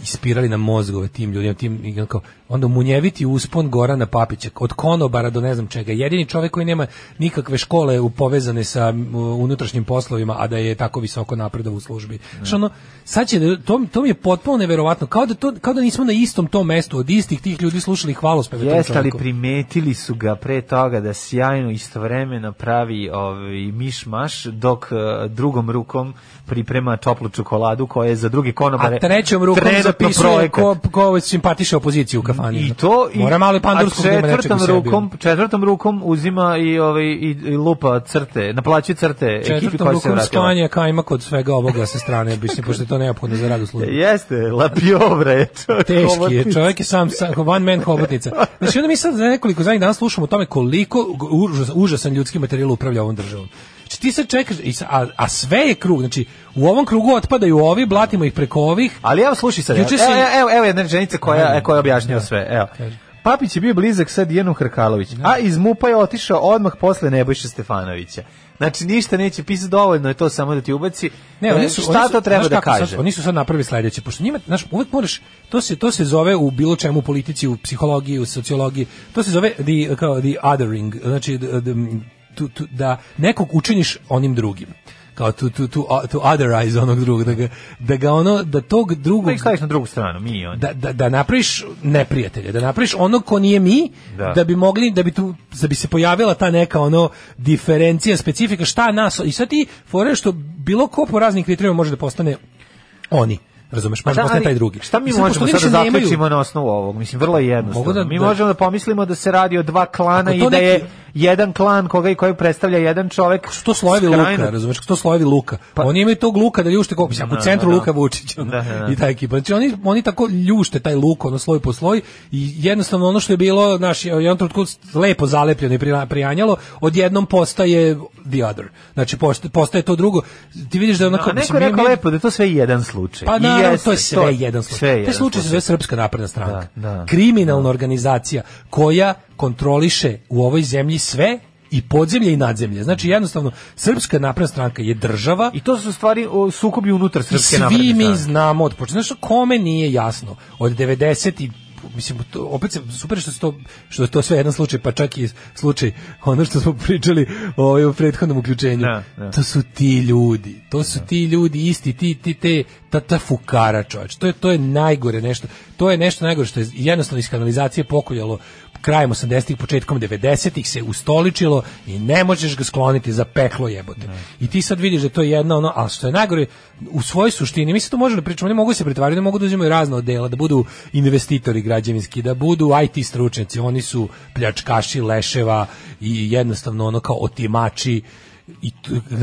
Speaker 7: ispirali na mozgove tim ljudima, tim, i kao, onda munjeviti uspon Gorana Papića, od konobara do ne znam čega, jedini čovjek koji nema nikakve škole u- povezane sa m, unutrašnjim poslovima, a da je tako visoko napredov u službi. Što ono, sad će, da- to, to mi je potpuno neverovatno, kao da, to, kao da nismo na istom tom mestu, od istih tih ljudi slušali hvalospeve tom
Speaker 6: Jeste, ali
Speaker 7: čovjeku.
Speaker 6: primetili su ga pre toga da sjajno istovremeno pravi ovaj miš-maš, dok eh, drugom rukom priprema toplu čokoladu koja je za druge konobare
Speaker 7: A trećom rukom
Speaker 6: trenutno
Speaker 7: zapisuje
Speaker 6: projekat.
Speaker 7: ko, ko ovaj simpatiše opoziciju u kafani.
Speaker 6: I to i
Speaker 7: Mora mali pandur
Speaker 6: a
Speaker 7: skupno ima nečeg u
Speaker 6: četvrtom
Speaker 7: sebi. ono.
Speaker 6: rukom, četvrtom rukom uzima i ovaj i, i lupa crte, naplaćuje crte ekipi
Speaker 7: Četvrtom
Speaker 6: koja se
Speaker 7: rukom
Speaker 6: vratila.
Speaker 7: sklanja kajma kod svega ovoga sa strane, mislim, pošto je to neophodno za rad u
Speaker 6: [LAUGHS]
Speaker 7: službi.
Speaker 6: Jeste, lapiovra [LAUGHS] je čovjek.
Speaker 7: [LAUGHS] Teški je,
Speaker 6: hobotnica.
Speaker 7: čovjek je sam, sam one man hobotnica. Znači onda mi sad za nekoliko zadnjih dana slušamo o tome koliko užas, užasan ljudski materijal upravlja ovom državom. Znači ti sad čekaš, i sa- a, a sve je krug, znači u ovom krugu otpadaju ovi, blatimo ih preko ovih,
Speaker 6: Ali evo slušaj sad, evo,
Speaker 7: Juče si-
Speaker 6: evo, evo, evo jedna rečenica koja, koja objašnjava sve, evo. Papić je bio blizak sa Dijanom Hrkalović, a iz MUPA je otišao odmah posle Nebojše Stefanovića. Znači ništa neće pisati dovoljno, je to samo da ti ubaci. E,
Speaker 7: Ne, oni su,
Speaker 6: šta
Speaker 7: oni su-
Speaker 6: to treba
Speaker 7: znaš
Speaker 6: da
Speaker 7: kako,
Speaker 6: kaže?
Speaker 7: Sad, oni su sad napravili sledeće, pošto njima, znaš, uvek moraš, to se, to se zove u bilo čemu u politici, u psihologiji, u sociologiji, to se zove the, kao, the othering, znači the- the- tu- tu- da nekog učiniš onim drugim kao tu tu tu tu otherize onog drugog da ga, da ga ono da tog
Speaker 6: Da
Speaker 7: drugog
Speaker 6: ih staviš na drugu stranu, mi i oni.
Speaker 7: da, da, da napraviš neprijatelja, da napraviš ono ko nije mi, da,
Speaker 6: Da.
Speaker 7: bi mogli, da bi tu, da bi se pojavila ta neka ono diferencija, specifika, šta nas, i sad ti fore što bilo ko po raznim kriterijima može da postane oni. Razumeš, možda postane taj drugi.
Speaker 6: Pa Šta mi možemo sad da zaključimo na osnovu ovog? Mislim, vrlo je jednostavno. Da, mi možemo da pomislimo da se radi o dva klana i da je jedan klan koga i kojeg predstavlja jedan čovek.
Speaker 7: Što slojevi Luka, razumeš, što slojevi Luka. Pa, oni imaju tog Luka da ljušte kako, u centru Luka Vučić i ta ekipa. Znači oni oni tako ljušte taj Luka ono sloj po sloj i jednostavno ono što je bilo naš jedan trenutku lepo zalepljeno i prijanjalo, odjednom postaje the other. Znači postaje to drugo. Ti vidiš da ono
Speaker 6: kako neko rekao lepo da to sve jedan slučaj.
Speaker 7: Pa naravno, to je sve jedan slučaj. Taj slučaj se zove Srpska napredna stranka. Kriminalna organizacija koja kontroliše u ovoj zemlji sve i podzemlje i nadzemlje. Znači jednostavno Srpska napredna stranka je država
Speaker 6: i to su stvari o sukobi unutar Srpske
Speaker 7: napredne
Speaker 6: stranke.
Speaker 7: Svi mi znamo od početka znači, kome nije jasno od 90 i mislim to, opet se super što je to što je to sve jedan slučaj pa čak i slučaj ono što smo pričali o, o prethodnom uključenju
Speaker 6: ne, ne.
Speaker 7: to su ti ljudi to su ne. ti ljudi isti ti ti te ta, ta fukara čovječ. to je to je najgore nešto to je nešto najgore što je jednostavno iz kanalizacije pokuljalo krajem 80-ih, početkom 90-ih se ustoličilo i ne možeš ga skloniti za peklo jebote. Ne. I ti sad vidiš da to je jedna ono, ali što je najgore, u svojoj suštini, mi se to možemo da pričamo, ne mogu se pretvarati, ne mogu da uzimaju razna odela, da budu investitori građevinski, da budu IT stručnjaci, oni su pljačkaši leševa i jednostavno ono kao otimači i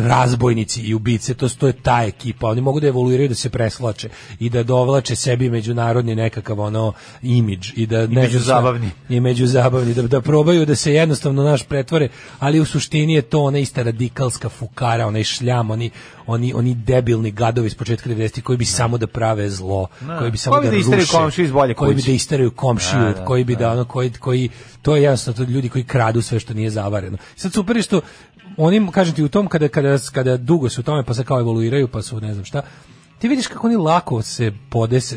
Speaker 7: razbojnici i ubice, to, to je ta ekipa, oni mogu da evoluiraju, da se preslače i da dovlače sebi međunarodni nekakav ono imidž i da
Speaker 6: I međuzabavni.
Speaker 7: I međuzabavni, da, da probaju da se jednostavno naš pretvore, ali u suštini je to ona ista radikalska fukara, onaj šljam, oni, oni, oni debilni gadovi iz početka 90 koji bi ne. samo da prave zlo, ne. koji bi samo
Speaker 6: koji
Speaker 7: da,
Speaker 6: da
Speaker 7: ruše,
Speaker 6: komšiju iz bolje
Speaker 7: koji bi da isteraju komšiju, ne, koji bi da ono, koji, koji, to je jednostavno to ljudi koji kradu sve što nije zavareno. Sad super što oni kažem ti u tom kada kada kada dugo su u tome pa se kao evoluiraju pa su ne znam šta ti vidiš kako oni lako se podese,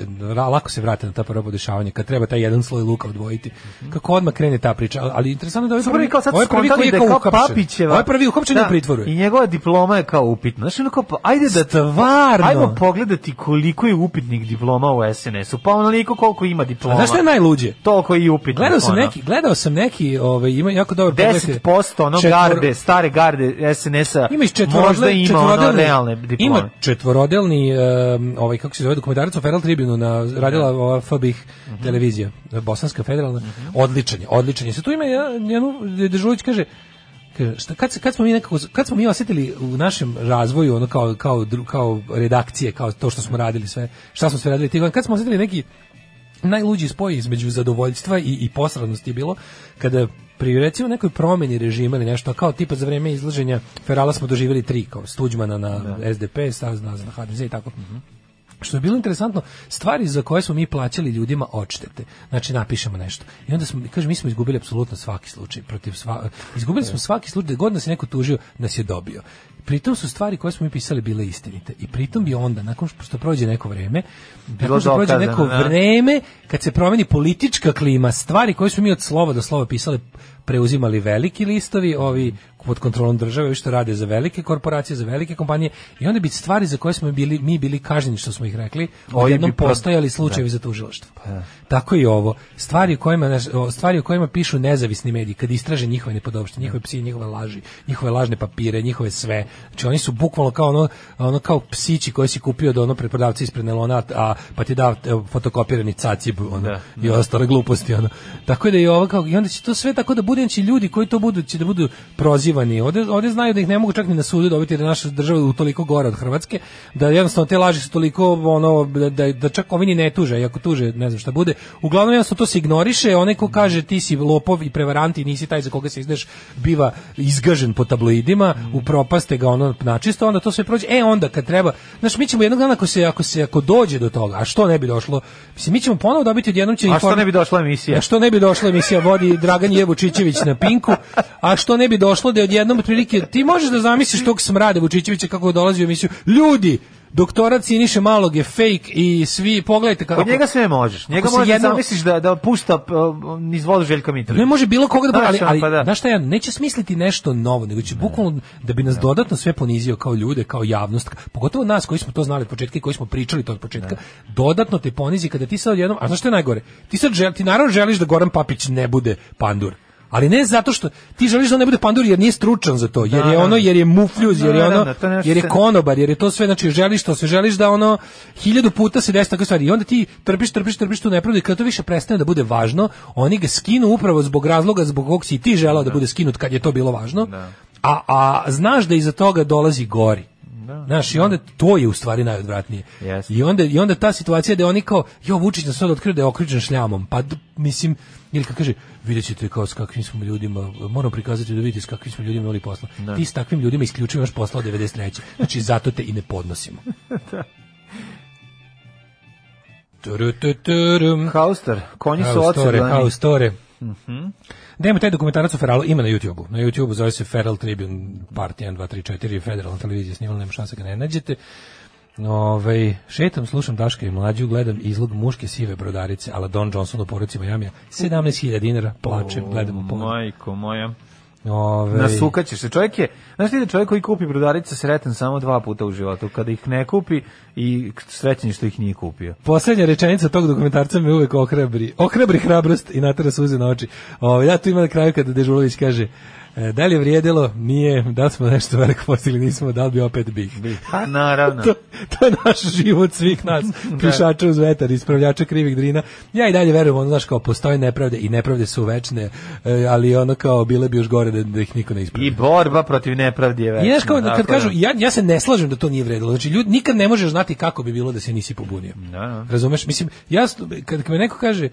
Speaker 7: lako se vrate na ta prvo podešavanje, kad treba taj jedan sloj luka odvojiti. Kako odmah krene ta priča, ali interesantno Mhm. je da ovaj prvi,
Speaker 6: kao sad
Speaker 7: ovaj prvi koji
Speaker 6: je
Speaker 7: kao uhapšen,
Speaker 6: Papićeva,
Speaker 7: ovaj prvi uhapšen da, u pritvoru.
Speaker 6: I njegova diploma je kao upitna. Znaš, ono kao, ajde da,
Speaker 7: Stvarno.
Speaker 6: ajmo pogledati koliko je upitnih diploma u SNS-u, pa onoliko koliko ima diploma. A
Speaker 7: znaš što je najluđe?
Speaker 6: Toliko je i ono. upitnih.
Speaker 7: Gledao sam neki, gledao sam neki, ovaj, ima jako dobro
Speaker 6: 10% ono četvor... garde, stare garde SNS-a, možda ima ono realne diplome.
Speaker 7: Ima četvorodelni ovaj kako se zove dokumentarac o Federal Tribune na radila ova FBIH mm
Speaker 6: Mhm.
Speaker 7: -hmm. televizija bosanska federalna mm -hmm. odličan je odličan je se tu ima jednu Dežulić kaže kaže šta kad se kad smo mi nekako kad smo mi osetili u našem razvoju ono kao kao kao redakcije kao to što smo radili sve šta smo sve radili tih kad smo osetili neki najluđi spoj između zadovoljstva i, i posradnosti je bilo kada pri recimo nekoj promjeni režima ili nešto kao tipa za vrijeme izlaženja Ferala smo doživjeli tri kao Stuđmana na da. SDP, Savez na HDZ i tako. Mm -hmm. Što je bilo interesantno, stvari za koje smo mi plaćali ljudima odštete. Znači napišemo nešto. I onda smo kaže mi smo izgubili apsolutno svaki slučaj protiv sva, izgubili smo svaki slučaj, god nas je neko tužio, nas je dobio. Pritom su stvari koje smo mi pisali bile istinite. I pritom bi onda, nakon što prođe neko vrijeme, nakon što prođe neko vrijeme, kad se promeni politička klima, stvari koje smo mi od slova do slova pisali, preuzimali veliki listovi, ovi pod kontrolom države, ovi što rade za velike korporacije, za velike kompanije, i onda bi stvari za koje smo bili, mi bili kažnjeni, što smo ih rekli, odjednom postojali slučajevi za tužilaštvo. Pa. Tako i ovo. Stvari o kojima, stvari o kojima pišu nezavisni mediji, kad istraže njihove nepodobštine, njihove psi, njihove laži, njihove lažne papire, njihove sve, Znači oni su bukvalno kao ono, ono kao psići koji si kupio do ono preprodavca ispred Nelona, a pa ti dao fotokopirani cacib ono, da, da. i ostale gluposti. Ono. Tako da i ovo kao, i onda će to sve tako da bude, će ljudi koji to budu, će da budu prozivani. Ovde, ovde znaju da ih ne mogu čak ni na sudu dobiti jer je naša država u toliko gore od Hrvatske, da jednostavno te laži su toliko ono, da, da čak ovi ni ne tuže, i ako tuže ne znam šta bude. Uglavnom jednostavno to se ignoriše, onaj ko kaže ti si lopov i prevarant i nisi taj za koga se izdeš, biva izgažen po tabloidima, mm. upropaste ga ono načisto, onda to sve prođe. E onda kad treba, znaš, mi ćemo jednog dana ako se ako se ako dođe do toga, a što ne bi došlo? Mislim mi ćemo ponovo dobiti odjednom će
Speaker 6: A što ne bi došla emisija?
Speaker 7: A što ne bi došla emisija vodi Dragan Jevučićević na Pinku, a što ne bi došlo da je odjednom otprilike ti možeš da zamisliš tog smrade Vučićevića kako dolazi u emisiju. Ljudi, doktorat Siniše Malog je fake i svi pogledajte kako...
Speaker 6: Od njega sve možeš. Njega možeš jedno... zamisliš da, da pušta uh, niz vodu Željka Mitrovića.
Speaker 7: Ne može bilo koga da... Ali, ali, pa da. Znaš šta ja, neće smisliti nešto novo, nego će ne. bukvalno da bi nas ne. dodatno sve ponizio kao ljude, kao javnost, pogotovo nas koji smo to znali od početka i koji smo pričali to od početka, ne. dodatno te ponizi kada ti sad jednom... A znaš šta je najgore? Ti sad žel, ti naravno želiš da Goran Papić ne bude pandur Ali ne zato što ti želiš da on ne bude pandur jer nije stručan za to, jer je ono jer je mufljuz, jer je ono jer je konobar, jer je to sve znači želiš to, se želiš da ono hiljadu puta se desi takve stvari i onda ti trpiš, trpiš, trpiš tu nepravdu i kada to više prestane da bude važno, oni ga skinu upravo zbog razloga zbog kog si ti želeo da bude skinut kad je to bilo važno. A, a znaš da iza toga dolazi gori. Znaš, i onda to je u stvari najodvratnije.
Speaker 6: Yes.
Speaker 7: I, onda, I onda ta situacija da oni kao, jo, Vučić nas sad otkrio da je okričen šljamom, pa d- mislim, ili kad kaže, vidjet ćete kao s kakvim smo ljudima, moram prikazati da vidite s kakvim smo ljudima imali posla.
Speaker 6: Da.
Speaker 7: Ti s takvim ljudima isključivo imaš posla od 93. Znači, zato te i ne podnosimo. Turu, tu, turum.
Speaker 6: Haustor, konji su
Speaker 7: Haustore,
Speaker 6: odsebljani.
Speaker 7: haustore.
Speaker 6: Mhm.
Speaker 7: Da ima taj dokumentarac o Feralu, ima na YouTubeu. Na YouTubeu zove se Feral Tribune Part 1, 2, 3, 4, federalna televizija snimala, nema šanse ga ne nađete. Ove, šetam, slušam Daška i mlađu, gledam izlog muške sive brodarice, ala Don Johnson u poruci Majamija, 17.000 dinara, plačem, gledam u poru.
Speaker 6: Majko moja.
Speaker 7: Ove,
Speaker 6: Nasukaćeš se. Čovjek je, znaš ti da čovjek koji kupi brodarice sretan samo dva puta u životu, kada ih ne kupi i srećen je što ih nije
Speaker 7: [LAUGHS]
Speaker 6: kupio.
Speaker 7: Poslednja rečenica tog dokumentarca me uvek ohrabri. Ohrabri hrabrost i natera suze na oči. O, ja tu imam na kraju kada Dežulović kaže e, da li je vrijedilo? Nije. Da li smo nešto veliko postigli? Nismo. Da li bi opet bih? [LAUGHS]
Speaker 6: Pa naravno.
Speaker 7: to, to je naš život
Speaker 6: [LAUGHS]
Speaker 7: svih nas, pišača uz vetar, ispravljača krivih drina. Ja i dalje verujem, ono, znaš, kao postoje nepravde i nepravde su večne, e, ali ono kao bile bi još gore da, da ih niko ne ispravi.
Speaker 6: I borba protiv nepravdi je večna.
Speaker 7: I znaš kao, kad
Speaker 6: tako
Speaker 7: kažu,
Speaker 6: da.
Speaker 7: ja, ja se ne slažem da to nije vredilo. Znači, ljudi, nikad ne možeš znati kako bi bilo da se nisi pobunio.
Speaker 6: da.
Speaker 7: Razumeš? Mislim, ja, s- kad, kad me neko kaže,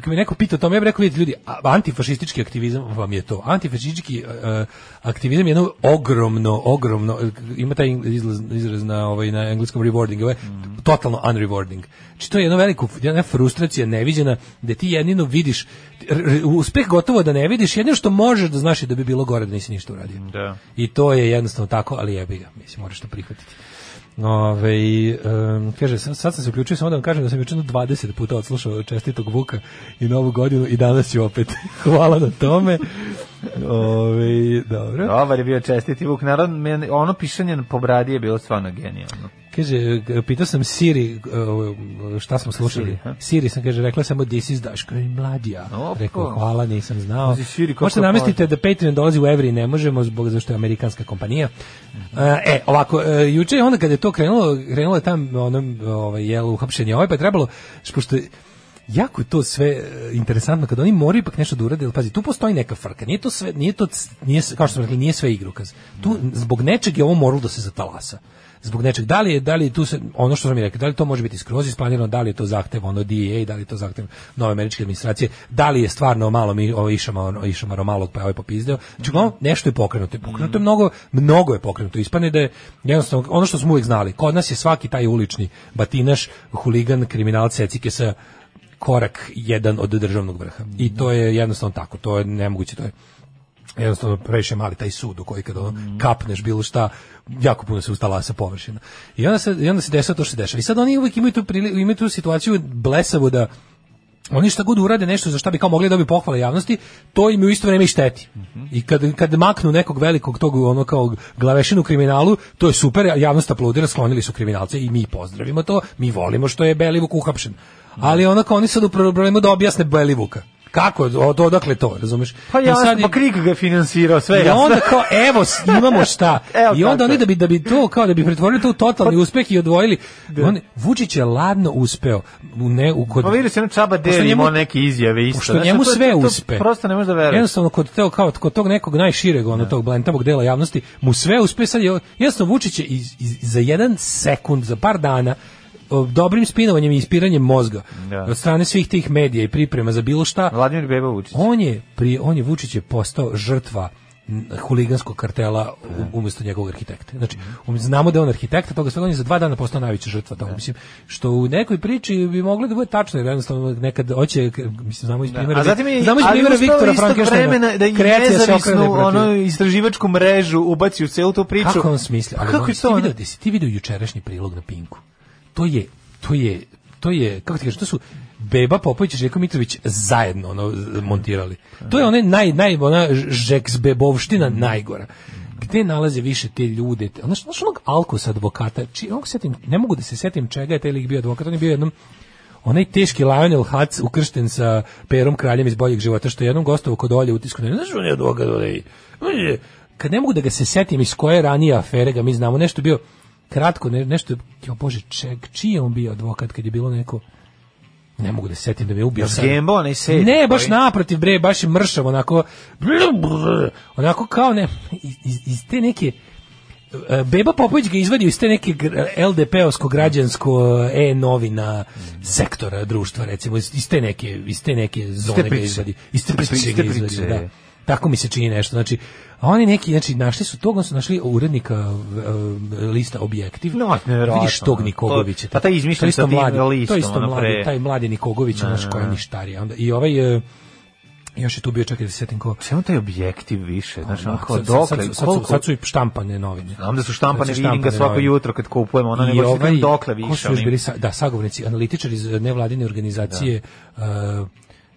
Speaker 7: kad me neko pita o tome, ja bih rekao, vidite ljudi, a- antifašistički aktivizam vam je to. Antifašistički e, aktivizam je jedno ogromno, ogromno, e, ima taj ing- izlaz, izraz na, ovaj, na engleskom rewarding, ovaj,
Speaker 6: Mhm.
Speaker 7: totalno unrewarding. Znači, to je jedno veliko, jedna frustracija neviđena, gde ti jedino vidiš, r- r- uspeh gotovo da ne vidiš, jedino što možeš da znaš je da bi bilo gore da nisi ništa uradio.
Speaker 6: Da.
Speaker 7: I to je jednostavno tako, ali jebi ga, mislim, moraš to prihvatiti. Ove, em, kaže, sam- sad sam se uključio samo da vam kažem da sam juče jedno 20 puta odslušao čestitog Vuka i Novu godinu i danas ću opet. [LAUGHS] Hvala na tome. Ove, dobro.
Speaker 6: Dobar je bio čestiti Vuk. Naravno, men- ono pišanje po bradi je bilo stvarno genijalno.
Speaker 7: Kaže, g- pitao sam Siri e, šta smo slušali.
Speaker 6: Siri,
Speaker 7: Siri,
Speaker 6: ha?
Speaker 7: sam, kaže, rekla samo this is Daško i mladija.
Speaker 6: Opa.
Speaker 7: Rekao, hvala, nisam znao.
Speaker 6: Pazi, Siri, kako
Speaker 7: Možete
Speaker 6: je
Speaker 7: namestite da Patreon dolazi u evri, ne možemo zbog zašto je amerikanska kompanija. E, E, ovako, e, juče je onda kad je to krenulo, krenulo je tam onom, ovaj, jel, uhapšenje ovaj, pa je trebalo, š- pošto je- jako je to sve e, interesantno kad oni moraju ipak nešto da urade, jer pazi, tu postoji neka frka. Nije to sve, nije to c- nije s- kao što smo rekli, nije sve igrokaz. Tu zbog nečeg je ovo moralo da se zatalasa. Zbog nečeg. Da li je, da li je tu se, ono što sam mi rekao, da li to može biti skroz isplanirano, da li je to zahtev ono DEA, da li je to zahtev nove američke administracije, da li je stvarno malo mi ovo išama ono išamaro malog pa je ovaj popizdeo. Znači, uglavnom, nešto je pokrenuto. Pokrenuto je mnogo, mnogo je pokrenuto. Ispane da je jednostavno ono što smo uvek znali. Kod nas je svaki taj ulični batinaš, huligan, kriminalac, secike sa korak jedan od državnog vrha. I to je jednostavno tako, to je nemoguće, to je jednostavno previše mali taj sud u koji kad ono kapneš bilo šta, jako puno se ustala sa površina. I onda se, i onda se dešava to što se dešava. I sad oni uvijek imaju tu, prili- imaju tu situaciju blesavu da oni šta god urade nešto za šta bi kao mogli da bi pohvale javnosti, to im u isto vrijeme i šteti. I kad, kad maknu nekog velikog tog ono kao glavešinu kriminalu, to je super, javnost aplaudira, sklonili su kriminalce i mi pozdravimo to, mi volimo što je Belivuk uhapšen. Ali onako oni sad u problemu da objasne Belivuka. Kako? Od, odakle to, razumeš?
Speaker 6: Pa
Speaker 7: I sad
Speaker 6: jasno,
Speaker 7: je-
Speaker 6: pa Krik ga je finansirao, sve
Speaker 7: i
Speaker 6: jasno.
Speaker 7: onda kao evo s- imamo šta.
Speaker 6: [LAUGHS] Evo
Speaker 7: I onda
Speaker 6: tako
Speaker 7: oni
Speaker 6: je. Pa-
Speaker 7: da bi da bi to kao da bi pretvorili to u totalni uspeh i odvojili. On Vučić je ladno uspeo. U ne u kod
Speaker 6: Pa vidi se, ono čaba
Speaker 7: Pošto
Speaker 6: deli
Speaker 7: njemu-
Speaker 6: imao neke izjave isto.
Speaker 7: Pošto
Speaker 6: Znaš,
Speaker 7: njemu
Speaker 6: to- to-
Speaker 7: sve
Speaker 6: to
Speaker 7: uspe.
Speaker 6: Prosto ne možeš da veruješ.
Speaker 7: Jednostavno kod teo kao kod tog nekog najšireg ono tog blentavog dela javnosti mu sve uspe sad je jednostavno Vučić je iz, iz- za jedan sekund za par dana o, dobrim spinovanjem i ispiranjem mozga
Speaker 6: Da.
Speaker 7: od strane svih tih medija i priprema za bilo šta
Speaker 6: Vladimir Beba Vučić.
Speaker 7: on je pri on je Vučić je postao žrtva n- huliganskog kartela
Speaker 6: Mhm.
Speaker 7: u- umjesto njegovog arhitekta. Znači, um- znamo da je on arhitekta, toga svega on je za dva dana postao najveća žrtva toga. Mislim, što u nekoj priči bi moglo da bude tačno, jer jednostavno nekad hoće, k- mislim, znamo iz primjera,
Speaker 6: A zatim je,
Speaker 7: znamo iz
Speaker 6: ali
Speaker 7: primjera
Speaker 6: uspeo
Speaker 7: Viktora
Speaker 6: istog vremena
Speaker 7: Frankensteina,
Speaker 6: da i
Speaker 7: kreacija se okrene
Speaker 6: nezavisnu
Speaker 7: protiv.
Speaker 6: ono istraživačku mrežu ubaci u celu tu priču.
Speaker 7: Kako on smisli? Ali
Speaker 6: kako
Speaker 7: kako
Speaker 6: je to?
Speaker 7: Ti
Speaker 6: ono?
Speaker 7: video, jesi ti video jučerašnji prilog na Pinku? To je, to je, to je, kako ti kažeš, to su Beba Popović i Željko Mitrović zajedno ono, z- montirali. To je one naj, naj, ona ž- žeksbebovština najgora. Gde nalaze više te ljude? Te, znaš, znaš onog alkosa advokata, či, onog setim, ne mogu da se setim čega je taj lik bio advokat, on je bio jednom onaj teški Lionel Hutz ukršten sa perom kraljem iz boljeg života, što je jednom gostovo kod olje utisku, ne znaš, on je odvoga, kad ne mogu da ga se setim iz koje ranije afere ga mi znamo, nešto je bio kratko, ne, nešto, jo bože, ček, čiji je on bio advokat kad je bilo neko, ne mogu da se setim da me je ubio sad.
Speaker 6: Gembo, onaj sedi.
Speaker 7: Ne, baš naprotiv, bre, baš je mršav, onako, onako kao ne, iz, iz te neke, e, Beba Popović ga izvadio iz te neke LDP-ovsko građansko e-novina sektora društva recimo iz te neke iz te neke zone ga izvadio iz te priče ga izvadio da. tako mi se čini nešto znači a oni neki znači našli su tog su našli urednika lista objektiv
Speaker 6: no,
Speaker 7: vidiš tog Nikogovića
Speaker 6: pa taj izmišljen
Speaker 7: sa mladi
Speaker 6: listom,
Speaker 7: to isto
Speaker 6: ono
Speaker 7: mladi taj mladi Nikogović naš koji ništarija onda i ovaj još je tu bio čekaj da se setim ko.
Speaker 6: Samo taj objektiv više, znači on kao dokle
Speaker 7: Ono, sad, sad, koliko sad su i štampane novine.
Speaker 6: Znam da su štampane, štampane vidim ga svako
Speaker 7: ovaj.
Speaker 6: novine. jutro kad kupujem, ona nego ovaj, se dokle više. Ko
Speaker 7: su još bili sa, da sagovornici, analitičari iz nevladine organizacije da. uh,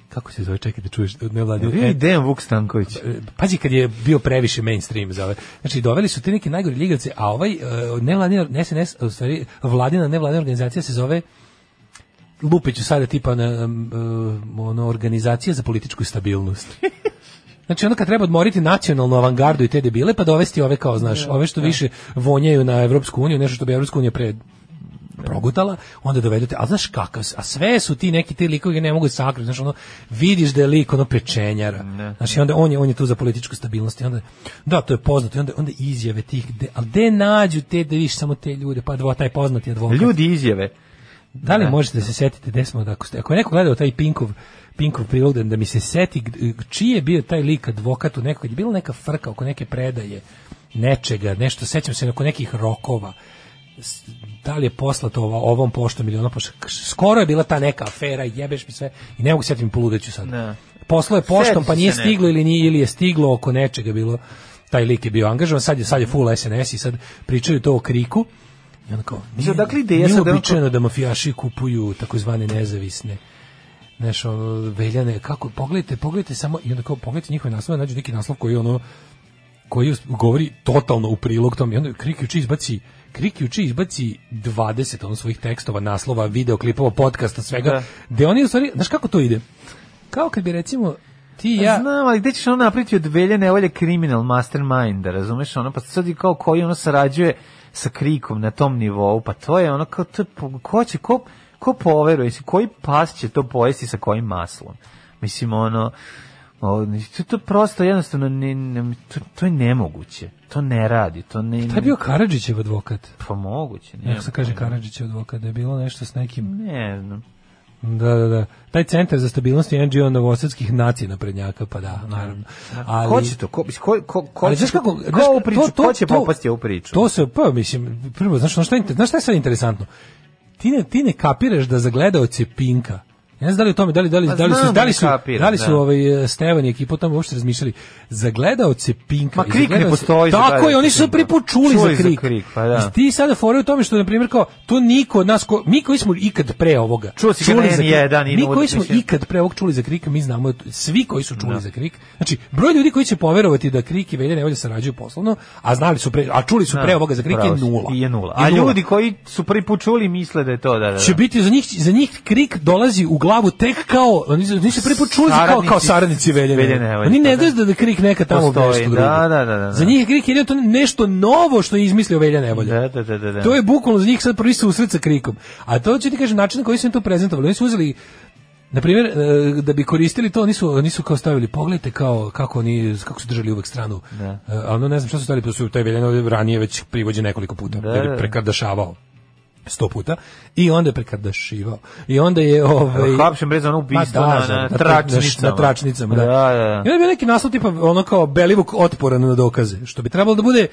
Speaker 7: kako se zove, čekaj da čuješ, ne vladi.
Speaker 6: Vi Dejan Vuk Stanković.
Speaker 7: Pazi kad je bio previše mainstream za ove. Znači doveli su te neke najgori ligavce, a ovaj uh, nevladina, ne SNS, u stvari vladina nevladina organizacija se zove lupeću sada tipa na, um, ono, organizacija za političku stabilnost. Znači onda kad treba odmoriti nacionalnu avangardu i te debile pa dovesti ove kao, znaš, ove što više vonjaju na Evropsku uniju, nešto što bi Evropska unija pre progutala, onda dovedete, a znaš kakav, a sve su ti neki ti likovi ne mogu sakriti, znaš, ono, vidiš da je lik ono pečenjara, ne. znači onda on je, on je tu za političku stabilnost i onda, da, to je poznato, i onda, onda izjave tih, de, ali gde nađu te, da vidiš samo te ljude, pa dva, taj poznati advokat.
Speaker 6: Ljudi izjave,
Speaker 7: da li ne. možete da se setite gde smo da ako ste ako je neko gledao taj Pinkov Pinkov prilog da mi se seti čiji je bio taj lik advokat u nekoj je bila neka frka oko neke predaje nečega nešto sećam se oko nekih rokova da li je poslato ova, ovom poštom ili ono poštom skoro je bila ta neka afera jebeš mi sve i ne mogu setim poludeću sad ne. poslo je poštom Sjeti pa nije stiglo ne. ili nije ili je stiglo oko nečega bilo taj lik je bio angažovan sad je sad je full SNS i sad pričaju to o kriku i on kao, nije,
Speaker 6: dakle, ideja nije
Speaker 7: običajno da mafijaši kupuju takozvane nezavisne znaš, ono, veljane, kako, pogledajte, pogledajte samo, i onda kao, pogledajte njihove naslove, nađu neki naslov koji ono, koji govori totalno u prilog tom, i onda Kriki Uči izbaci, Kriki Uči izbaci 20 ono svojih tekstova, naslova, videoklipova, podcasta, svega, da. gde oni u stvari, znaš kako to ide? Kao kad bi recimo, ti ja...
Speaker 6: Znam, ali gde ćeš ono napriti od veljene, ovo je criminal mastermind, razumeš, ono, pa sad i kao koji ono sarađuje, sa krikom na tom nivou, pa to je ono kao, to, ko će, ko, ko poveruje, koji pas će to pojesti sa kojim maslom? Mislim, ono, o, to, to prosto jednostavno, ne, ne, to, to je nemoguće, to ne radi, to ne...
Speaker 7: Taj je bio Karadžićev advokat.
Speaker 6: Pa moguće,
Speaker 7: ne. Kako se kaže Karadžićev advokat, da je bilo nešto s nekim...
Speaker 6: Ne znam.
Speaker 7: Da, da, da. Taj centar za stabilnost je NGO novosadskih nacija naprednjaka, pa da, naravno.
Speaker 6: Ali, ko će to? Ko, ko, ko, ko
Speaker 7: ali znaš kako,
Speaker 6: znaš, ko, u priču, to, to, ko će to, popasti u priču?
Speaker 7: To se, pa mislim, prvo, znaš, znaš, šta, je, znaš šta je sad interesantno? Ti ne, ti ne kapiraš da za gledaoce Pinka, ja ne znam da li o tome, da li, da li,
Speaker 6: Pa
Speaker 7: da li su, da li su, kapiram, da li su ovaj, Stevan i ekipa o tome uopšte razmišljali. Za gledaoce Pinka.
Speaker 6: Ma krik ne postoji.
Speaker 7: Tako je, oni su prvi put čuli,
Speaker 6: čuli
Speaker 7: za krik.
Speaker 6: Za krik pa da.
Speaker 7: I ti sada fore u tome što, na primjer, kao, to niko od nas, ko, mi koji smo ikad pre ovoga
Speaker 6: Čuo si čuli za jedan,
Speaker 7: mi koji smo ikad pre ovog čuli za krik, mi znamo, svi koji su čuli da. za krik, znači, broj ljudi koji će poverovati da krik i velje nevolje sarađuju poslovno, a znali su pre, a čuli su pre ovoga za krik je nula.
Speaker 6: I je nula. A ljudi koji su prvi put čuli misle da je to, da, da.
Speaker 7: Će biti, za njih, za njih krik dolazi u glavu tek kao oni nisu prvi put čuli kao kao saradnici Veljene. Oni ne znaju da, da krik neka tamo
Speaker 6: pa Postoji,
Speaker 7: nešto drugo.
Speaker 6: Da, da, da, da.
Speaker 7: Za njih krik je to nešto novo što je izmislio Velja Nevolja.
Speaker 6: Da, da, da, da, da.
Speaker 7: To je bukvalno za njih sad prvi susret sa krikom. A to će ti kažem način na koji su im to prezentovali. Oni su uzeli Na primjer, e, da bi koristili to, nisu, nisu kao stavili, pogledajte kao, kako, oni, kako su držali uvek stranu. Da. A ono ne znam šta su stavili, pa su taj Veljanovi ranije već privođen nekoliko puta, da, da, da. prekardašavao sto puta i onda je prekardašivao. I onda je ovaj
Speaker 6: hapšen brez ono ubistvo
Speaker 7: da, na, na, tračnicama. Na tračnicama, da. da, da. I onda je bio neki naslov tipa ono kao Belivuk otporan na dokaze, što bi trebalo da bude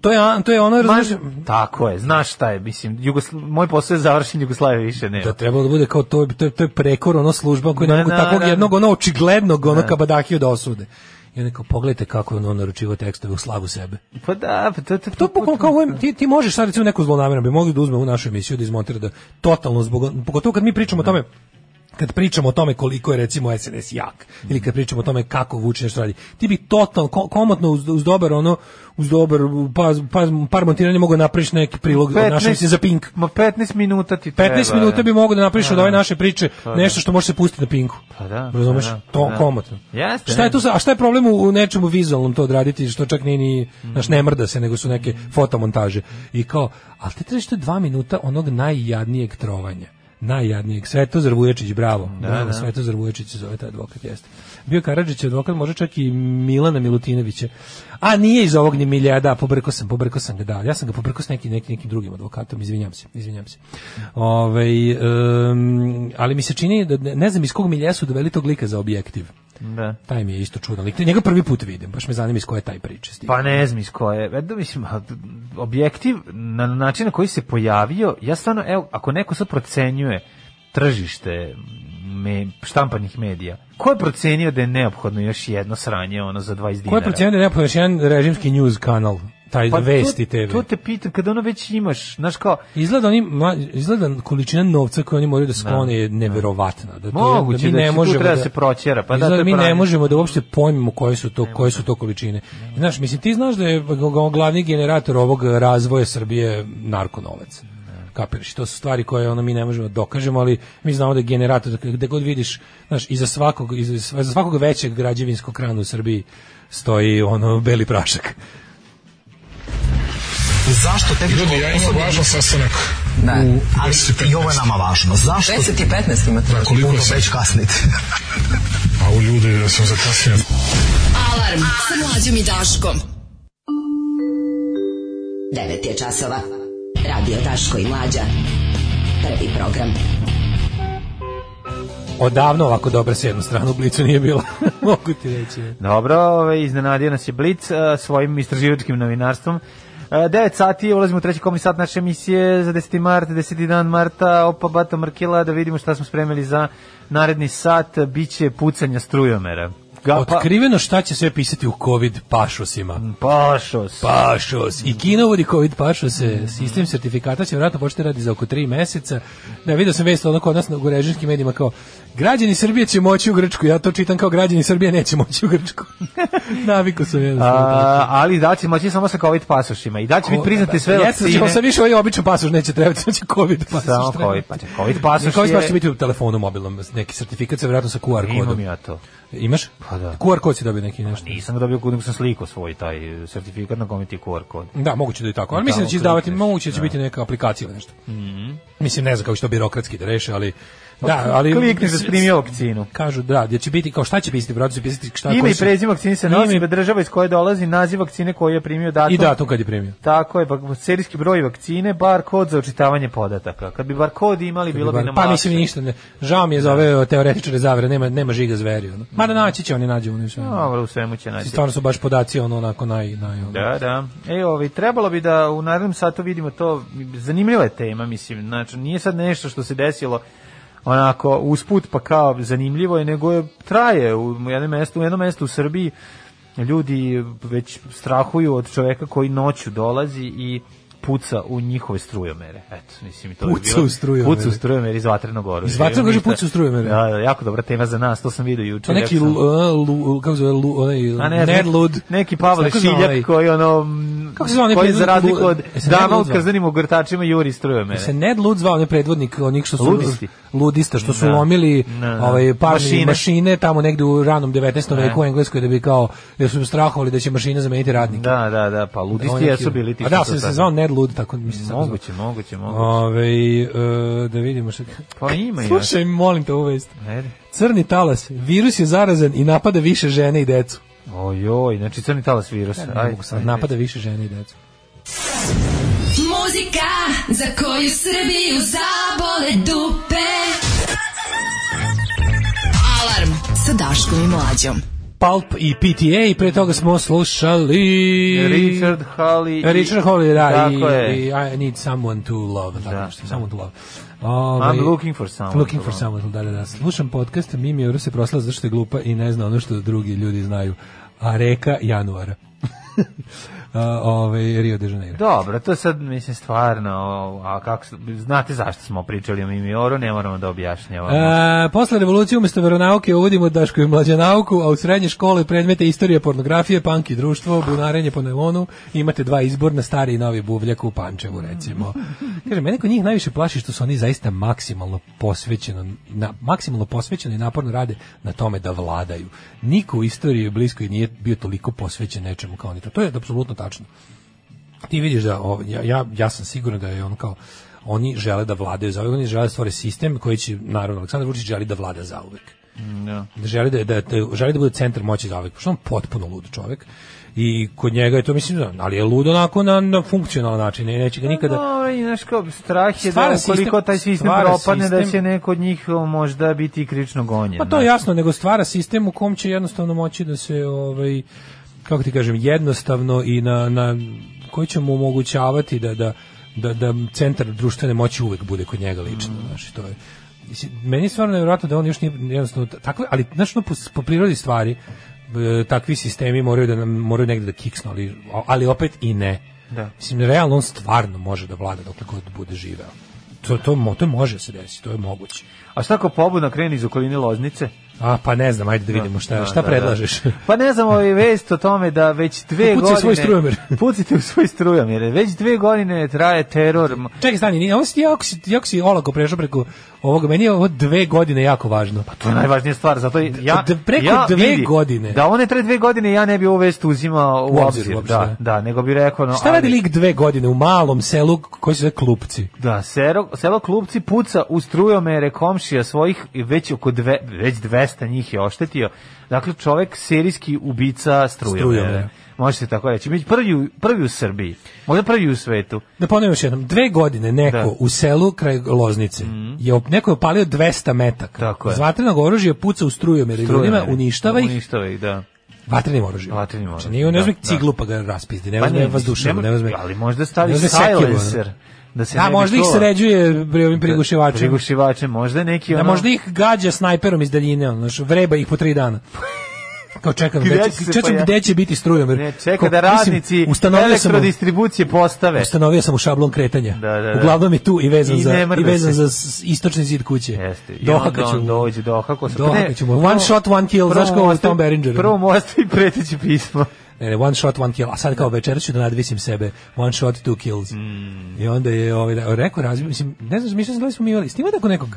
Speaker 7: To je, to je ono, razumiješ?
Speaker 6: Tako je, znaš šta je, mislim, Jugosla, moj posao je završen, Jugoslavije više nema.
Speaker 7: Da trebalo da bude kao to, to, to je prekor, ono služba koja ne mogu takvog jednog, ono očiglednog, ono kabadahiju da osude. I onda kao, pogledajte kako je on naručivo tekstove u slavu sebe.
Speaker 6: Pa da, pa to...
Speaker 7: To, to, to, kao, ovaj, ti, ti možeš sad recimo neku zlonamerno, bi mogli da uzme u našu emisiju, da izmontira da totalno, zbog, pogotovo kad mi pričamo o tome, kad pričamo o tome koliko je recimo SNS jak ili kad pričamo o tome kako Vučić nešto radi ti bi totalno ko- komotno uz, uz dobar ono uz dobar pa, pa, par montiranja mogao napraviš neki prilog 15, od naše emisije za Pink
Speaker 6: ma 15 minuta ti
Speaker 7: 15 treba 15 minuta bi mogao da napraviš od ove naše priče pa, nešto što može se pustiti na Pinku
Speaker 6: pa da
Speaker 7: razumeš
Speaker 6: pa da,
Speaker 7: to
Speaker 6: da.
Speaker 7: komotno
Speaker 6: Jeste,
Speaker 7: šta je tu sa- a šta je problem u, u nečemu vizualnom to odraditi što čak ni ni
Speaker 6: Mm.
Speaker 7: znaš, ne mrda se nego su neke fotomontaže i kao al ti trebaš to dva minuta onog najjadnijeg trovanja najjadnijeg. Svetozar Vuječić, bravo. Da, bravo,
Speaker 6: da.
Speaker 7: Svetozar Vuječić se zove taj advokat, jeste. Bio Karadžić je advokat, može čak i Milana Milutinovića. A nije iz ovog ni Milja, da, pobrkao sam, pobrkao sam ga, da. Ja sam ga pobrkao s nekim, nekim, nekim drugim advokatom, izvinjam se, izvinjam se. Ove, ali mi se čini, da ne, ne znam iz kog Milja su doveli tog lika za objektiv.
Speaker 6: Da.
Speaker 7: Taj mi je isto čudan lik. Njega prvi put vidim, baš me zanima iz koje je taj priče. stigao.
Speaker 6: Pa ne znam iz koje. E, da mislim, a, objektiv na način na koji se pojavio, ja stvarno, evo, ako neko sad procenjuje tržište me, štampanih medija, ko je procenio da je neophodno još jedno sranje ono za 20 dinara?
Speaker 7: Ko je procenio da ne pojaš jedan režimski news kanal, taj
Speaker 6: Pa to-
Speaker 7: vesti TV?
Speaker 6: To te pitam, kada ono već imaš, znaš kao,
Speaker 7: Izgleda oni mla- izgleda količina novca koju oni moraju da sklone je neverovatna. Da to
Speaker 6: Moguće
Speaker 7: mi
Speaker 6: da će
Speaker 7: ne
Speaker 6: tu
Speaker 7: možemo
Speaker 6: treba se proćera, pa da,
Speaker 7: izgleda
Speaker 6: to je
Speaker 7: mi ne
Speaker 6: pranje.
Speaker 7: možemo da uopšte pojmimo koje su to koje su to količine. Znaš, mislim ti znaš da je g- g- glavni generator ovog razvoja Srbije narkonovac. Kapiraš, to su stvari koje ono mi ne možemo da dokažemo, ali mi znamo da je generator dakle, gde god vidiš, znaš, iza svakog iza sva- iza svakog većeg građevinskog krana u Srbiji stoji ono beli prašak.
Speaker 2: Zašto tek... Ljudi, ja imam važan sastanak. Ne, ali i ovo je nama važno. Zašto? 10 i 15 imate. Da, koliko se? Već kasnite.
Speaker 12: A u ljudi da sam zakasnio.
Speaker 9: Alarm sa mlađom i Daškom.
Speaker 10: 9 je časova. Radio Daško i Mlađa. Prvi program.
Speaker 7: Odavno ovako dobra sedma strana u Blicu nije bila. [LAUGHS] Mogu ti reći.
Speaker 6: Dobro, ovaj, iznenadio nas je Blic eh, svojim istraživačkim novinarstvom. 9 sati, ulazimo u treći komni sat naše emisije za 10. mart, 10. dan marta, opa Bato Markila, da vidimo šta smo spremili za naredni sat, biće pucanja strujomera. Ga, pa,
Speaker 7: Otkriveno šta će sve pisati u COVID pašosima.
Speaker 6: pašos.
Speaker 7: Pa, Pašos. I kinovodi COVID pašose. Sistem sertifikata će vjerojatno početi radi za oko tri meseca. Da, vidio sam vest ono kod nas u režinskim medijima kao građani Srbije će moći u Grčku. Ja to čitam kao građani Srbije neće moći u Grčku. [LAUGHS] Naviku sam jednostavno.
Speaker 6: A, ali da će moći samo sa COVID pasošima i da će biti priznate sve
Speaker 7: pa, Jeste, ćemo
Speaker 6: vakcine.
Speaker 7: sa više ovaj običan pasoš neće trebati, sad će COVID pasoš.
Speaker 6: Samo
Speaker 7: trebati.
Speaker 6: COVID, pa će COVID pasoš
Speaker 7: Covid pasoš
Speaker 6: je-
Speaker 7: će biti u telefonu mobilnom, neki sertifikat sa vjerojatno sa QR
Speaker 6: Imam
Speaker 7: kodom.
Speaker 6: ja to.
Speaker 7: Imaš?
Speaker 6: Pa da.
Speaker 7: QR kod si dobio neki nešto.
Speaker 6: Nisam ga dobio kod nego sam sliku svoj taj eh, sertifikat na kome ti je QR kod.
Speaker 7: Da, moguće da je tako. Ali
Speaker 6: Tamo
Speaker 7: mislim da će izdavati,
Speaker 6: klikneš,
Speaker 7: moguće da će
Speaker 6: da.
Speaker 7: biti neka aplikacija ili nešto.
Speaker 6: Mhm.
Speaker 7: Mislim, ne znam kako će to birokratski da reše, ali...
Speaker 6: Pa,
Speaker 7: Da, ali...
Speaker 6: klikneš da si primio vakcinu.
Speaker 7: Kažu, da, gdje će biti, kao šta će pisati, vratno će pisati šta...
Speaker 6: Ime
Speaker 7: koji
Speaker 6: i
Speaker 7: su-
Speaker 6: prezime vakcine se
Speaker 7: Ime
Speaker 6: nosi,
Speaker 7: i-
Speaker 6: država iz koje dolazi, naziv vakcine koju je primio datum.
Speaker 7: I datum kad je primio.
Speaker 6: Tako je, pa serijski broj vakcine, bar kod za očitavanje podataka. Kad bi bar kod imali, bilo bi
Speaker 7: Bar-
Speaker 6: nam
Speaker 7: pa
Speaker 6: lakše.
Speaker 7: mislim ništa, ne. žao mi je za ove teoretičare zavere, nema, nema žiga zveri. Ono. Mada
Speaker 6: Mhm.
Speaker 7: naći će oni nađu. Oni sve.
Speaker 6: Dobro, u svemu će naći.
Speaker 7: Stvarno su baš podaci ono onako naj... naj ono.
Speaker 6: Da, da. E, ovaj, trebalo bi da u narednom satu vidimo to, zanimljiva je tema, mislim, znači, nije sad nešto što se desilo onako usput pa kao zanimljivo je, nego je, traje u jednom mestu, u jednom mestu u Srbiji ljudi već strahuju od čoveka koji noću dolazi i puca u njihove strujomere. Eto, mislim, to je
Speaker 7: Puca
Speaker 6: bilo.
Speaker 7: u strujomere.
Speaker 6: Puca u strujomere iz vatrenog oružja.
Speaker 7: Iz vatrenog oružja
Speaker 6: Ništa.
Speaker 7: puca u strujomere.
Speaker 6: Da, da, jako dobra tema za nas, to sam vidio juče.
Speaker 7: To neki,
Speaker 6: ja sam-
Speaker 7: lu, e, lu, kako se zove, lu, onaj,
Speaker 6: A ne,
Speaker 7: Ned Lud.
Speaker 6: Neki Pavle
Speaker 7: Kako se zove ovaj?
Speaker 6: Šiljak koji ono mm,
Speaker 7: Kako se zove onaj
Speaker 6: koji je
Speaker 7: Pavle-
Speaker 6: za razliku od
Speaker 7: Lud- Jesi Ned
Speaker 6: dama u
Speaker 7: Lud zvao?
Speaker 6: kaznenim ogrtačima juri struje mene.
Speaker 7: se Ned Lud zvao onaj predvodnik onih što su
Speaker 6: E. Ludisti.
Speaker 7: ludista što su
Speaker 6: Da.
Speaker 7: lomili
Speaker 6: Da, da.
Speaker 7: ovaj parne mašine.
Speaker 6: Mašine.
Speaker 7: tamo negde u ranom 19.
Speaker 6: Da.
Speaker 7: veku u Engleskoj da bi kao jer su im strahovali da će mašine zameniti radnike.
Speaker 6: Da, da, da, pa ludisti jesu bili ti.
Speaker 7: A
Speaker 6: što
Speaker 7: da,
Speaker 6: su
Speaker 7: se, se
Speaker 6: sad-
Speaker 7: zvao Ned Lud, tako mi se sad zvao.
Speaker 6: Moguće, moguće, moguće.
Speaker 7: Ovaj, e, da vidimo što...
Speaker 6: Pa
Speaker 7: [LAUGHS]
Speaker 6: ima ja.
Speaker 7: Slušaj, molim te ovu vest.
Speaker 6: Ajde.
Speaker 7: Crni talas, virus je zarazan i napada više žene i decu.
Speaker 6: Ojoj, znači crni talas virus.
Speaker 7: Ne
Speaker 6: Ajde.
Speaker 7: mogu sad, napada više žene i decu.
Speaker 9: Muzika za koju Srbiju zabole dupe. Alarm sa Daškom i Mlađom.
Speaker 7: Pulp i PTA i pre toga smo slušali...
Speaker 6: Richard Halley. i-
Speaker 7: Richard Hawley, da,
Speaker 6: Tako
Speaker 7: i,
Speaker 6: je.
Speaker 7: i I need someone to love, tako
Speaker 6: Da.
Speaker 7: nešto, someone to love. Ovaj,
Speaker 6: I'm looking for someone
Speaker 7: Looking
Speaker 6: to
Speaker 7: for
Speaker 6: love.
Speaker 7: someone, to- da, da, da. Slušam podcast, Mimi [LAUGHS] Euro se proslao zašto je glupa i ne zna ono što drugi ljudi znaju. A reka januara. ovaj Rio de Janeiro.
Speaker 6: Dobro, to sad mislim stvarno, a kako znate zašto smo pričali o Mimioru, ne moramo da objašnjavamo.
Speaker 7: E, posle revolucije umesto veronauke uvodimo dašku i mlađanauku, a u srednje škole predmete istorije pornografije, punk i društvo, bunarenje po neonu, imate dva izborna, stari i novi buvljak u Pančevu recimo. Kaže, mene kod njih najviše plaši što su oni zaista maksimalno posvećeno, na, maksimalno posvećeno i naporno rade na tome da vladaju. Niko u istoriji bliskoj nije bio toliko posvećen nečemu kao oni to. To je apsolutno tačno. Ti vidiš da o, ja, ja, ja sam siguran da je on kao oni žele da vladaju za oni žele da stvore sistem koji će naravno Aleksandar Vučić želi da vlada za uvek.
Speaker 6: Da.
Speaker 7: da želi da, da, da, želi da bude centar moći za uvek, pošto on potpuno lud čovjek i kod njega je to mislim ali je lud onako na, na funkcionalan način ne, neće ga nikada
Speaker 6: no, i znaš kao strah je da ukoliko taj sistem propadne sistem, da će neko od njih možda biti krično gonjen
Speaker 7: pa to je jasno nego stvara sistem u kom će jednostavno moći da se ovaj kako ti kažem jednostavno i na, na koji će mu omogućavati da, da, da, da centar društvene moći uvek bude kod njega lično mm. znaš, to je meni je stvarno nevjerojatno da on još nije jednostavno tako, ali znaš no, po, po prirodi stvari e, takvi sistemi moraju da nam moraju negde da kiksnu, ali, ali opet i ne.
Speaker 6: Da.
Speaker 7: Mislim, realno on stvarno može da vlada dok god bude živeo. To, to, to može se desiti, to je moguće.
Speaker 6: A šta ako pobuna kreni iz okoline Loznice?
Speaker 7: A pa ne znam, ajde da vidimo šta, šta da, predlažeš. [LAUGHS] Da, da.
Speaker 6: Pa ne znam, ovaj vest o tome da već dve
Speaker 7: Puci
Speaker 6: godine...
Speaker 7: Pucite u svoj
Speaker 6: [LAUGHS]
Speaker 7: strujomir.
Speaker 6: Pucite u svoj strujomir. Već dve godine traje teror.
Speaker 7: Čekaj, stani, ovo si, jako, si, jako si olako prešao preko ovoga. Meni je ovo dve godine jako važno.
Speaker 6: Pa to je najvažnija stvar, zato ja...
Speaker 7: preko
Speaker 6: ja
Speaker 7: dve vidi, godine.
Speaker 6: Da one traje dve godine, ja ne bi ovu vest uzimao u, u obzir. obzir da, da, da, nego bi rekao... No,
Speaker 7: šta radi lik dve godine u malom selu koji se zove Klupci?
Speaker 6: Da, selo, selo Klupci puca u strujomere komšija svojih već oko dve, već dve 200 njih je oštetio. Dakle, čovek serijski ubica strujomera. Može se tako reći. Mi prvi, prvi u Srbiji, možda prvi u svetu.
Speaker 7: Da ponovim još jednom, dve godine neko da. u selu kraj Loznice mm. je neko je opalio 200 metaka.
Speaker 6: Tako
Speaker 7: je. Zvatrenog oružja puca u strujomera i ljudima uništava ih.
Speaker 6: Uništava ih, da.
Speaker 7: Vatrenim oružjem.
Speaker 6: Vatrenim oružjem.
Speaker 7: Znači, ne uzme da, ciglu da. pa ga raspizdi, ne uzme pa vazdušnog, ne uzme.
Speaker 6: Ali možda stavi silencer da se
Speaker 7: A možda ih sređuje pri ovim prigušivačima.
Speaker 6: Prigušivače, možda neki ono.
Speaker 7: Da možda ih gađa snajperom iz daljine, ono, vreba ih po tri dana. Kao čekam, gde, će, pa ja. gde će biti strujom.
Speaker 6: Ne, čeka ko, da radnici mislim, elektrodistribucije postave.
Speaker 7: Ustanovio sam u šablon kretanja.
Speaker 6: Da, da, da.
Speaker 7: Uglavnom je tu i vezan, I za, i vezan se. za istočni zid kuće.
Speaker 6: Jeste. I dohaka ću. Dođe, dohaka
Speaker 7: sam. Dohaka ću. One prvo, shot, one kill, znaš kao Tom Berenger.
Speaker 6: Prvo mu ostavi preteći pismo.
Speaker 7: Ne, ne, E, one shot, one kill. A sad kao večeras ću da nadvisim sebe. One shot, two kills. Mm. I onda je ovaj, da, rekao razbio, mislim, ne znam, mislim, da li smo mi imali, snima tako nekog,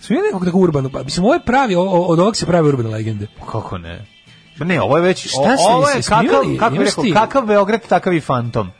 Speaker 7: smo imali nekog tako urbanu, pa, mislim, ovo je pravi, o, od ovog se pravi urbane legende.
Speaker 6: Kako ne? Ne, ovo je već,
Speaker 7: Šta o,
Speaker 6: ovo je, kakav, kako bi rekao, kakav Beograd, takav i fantom.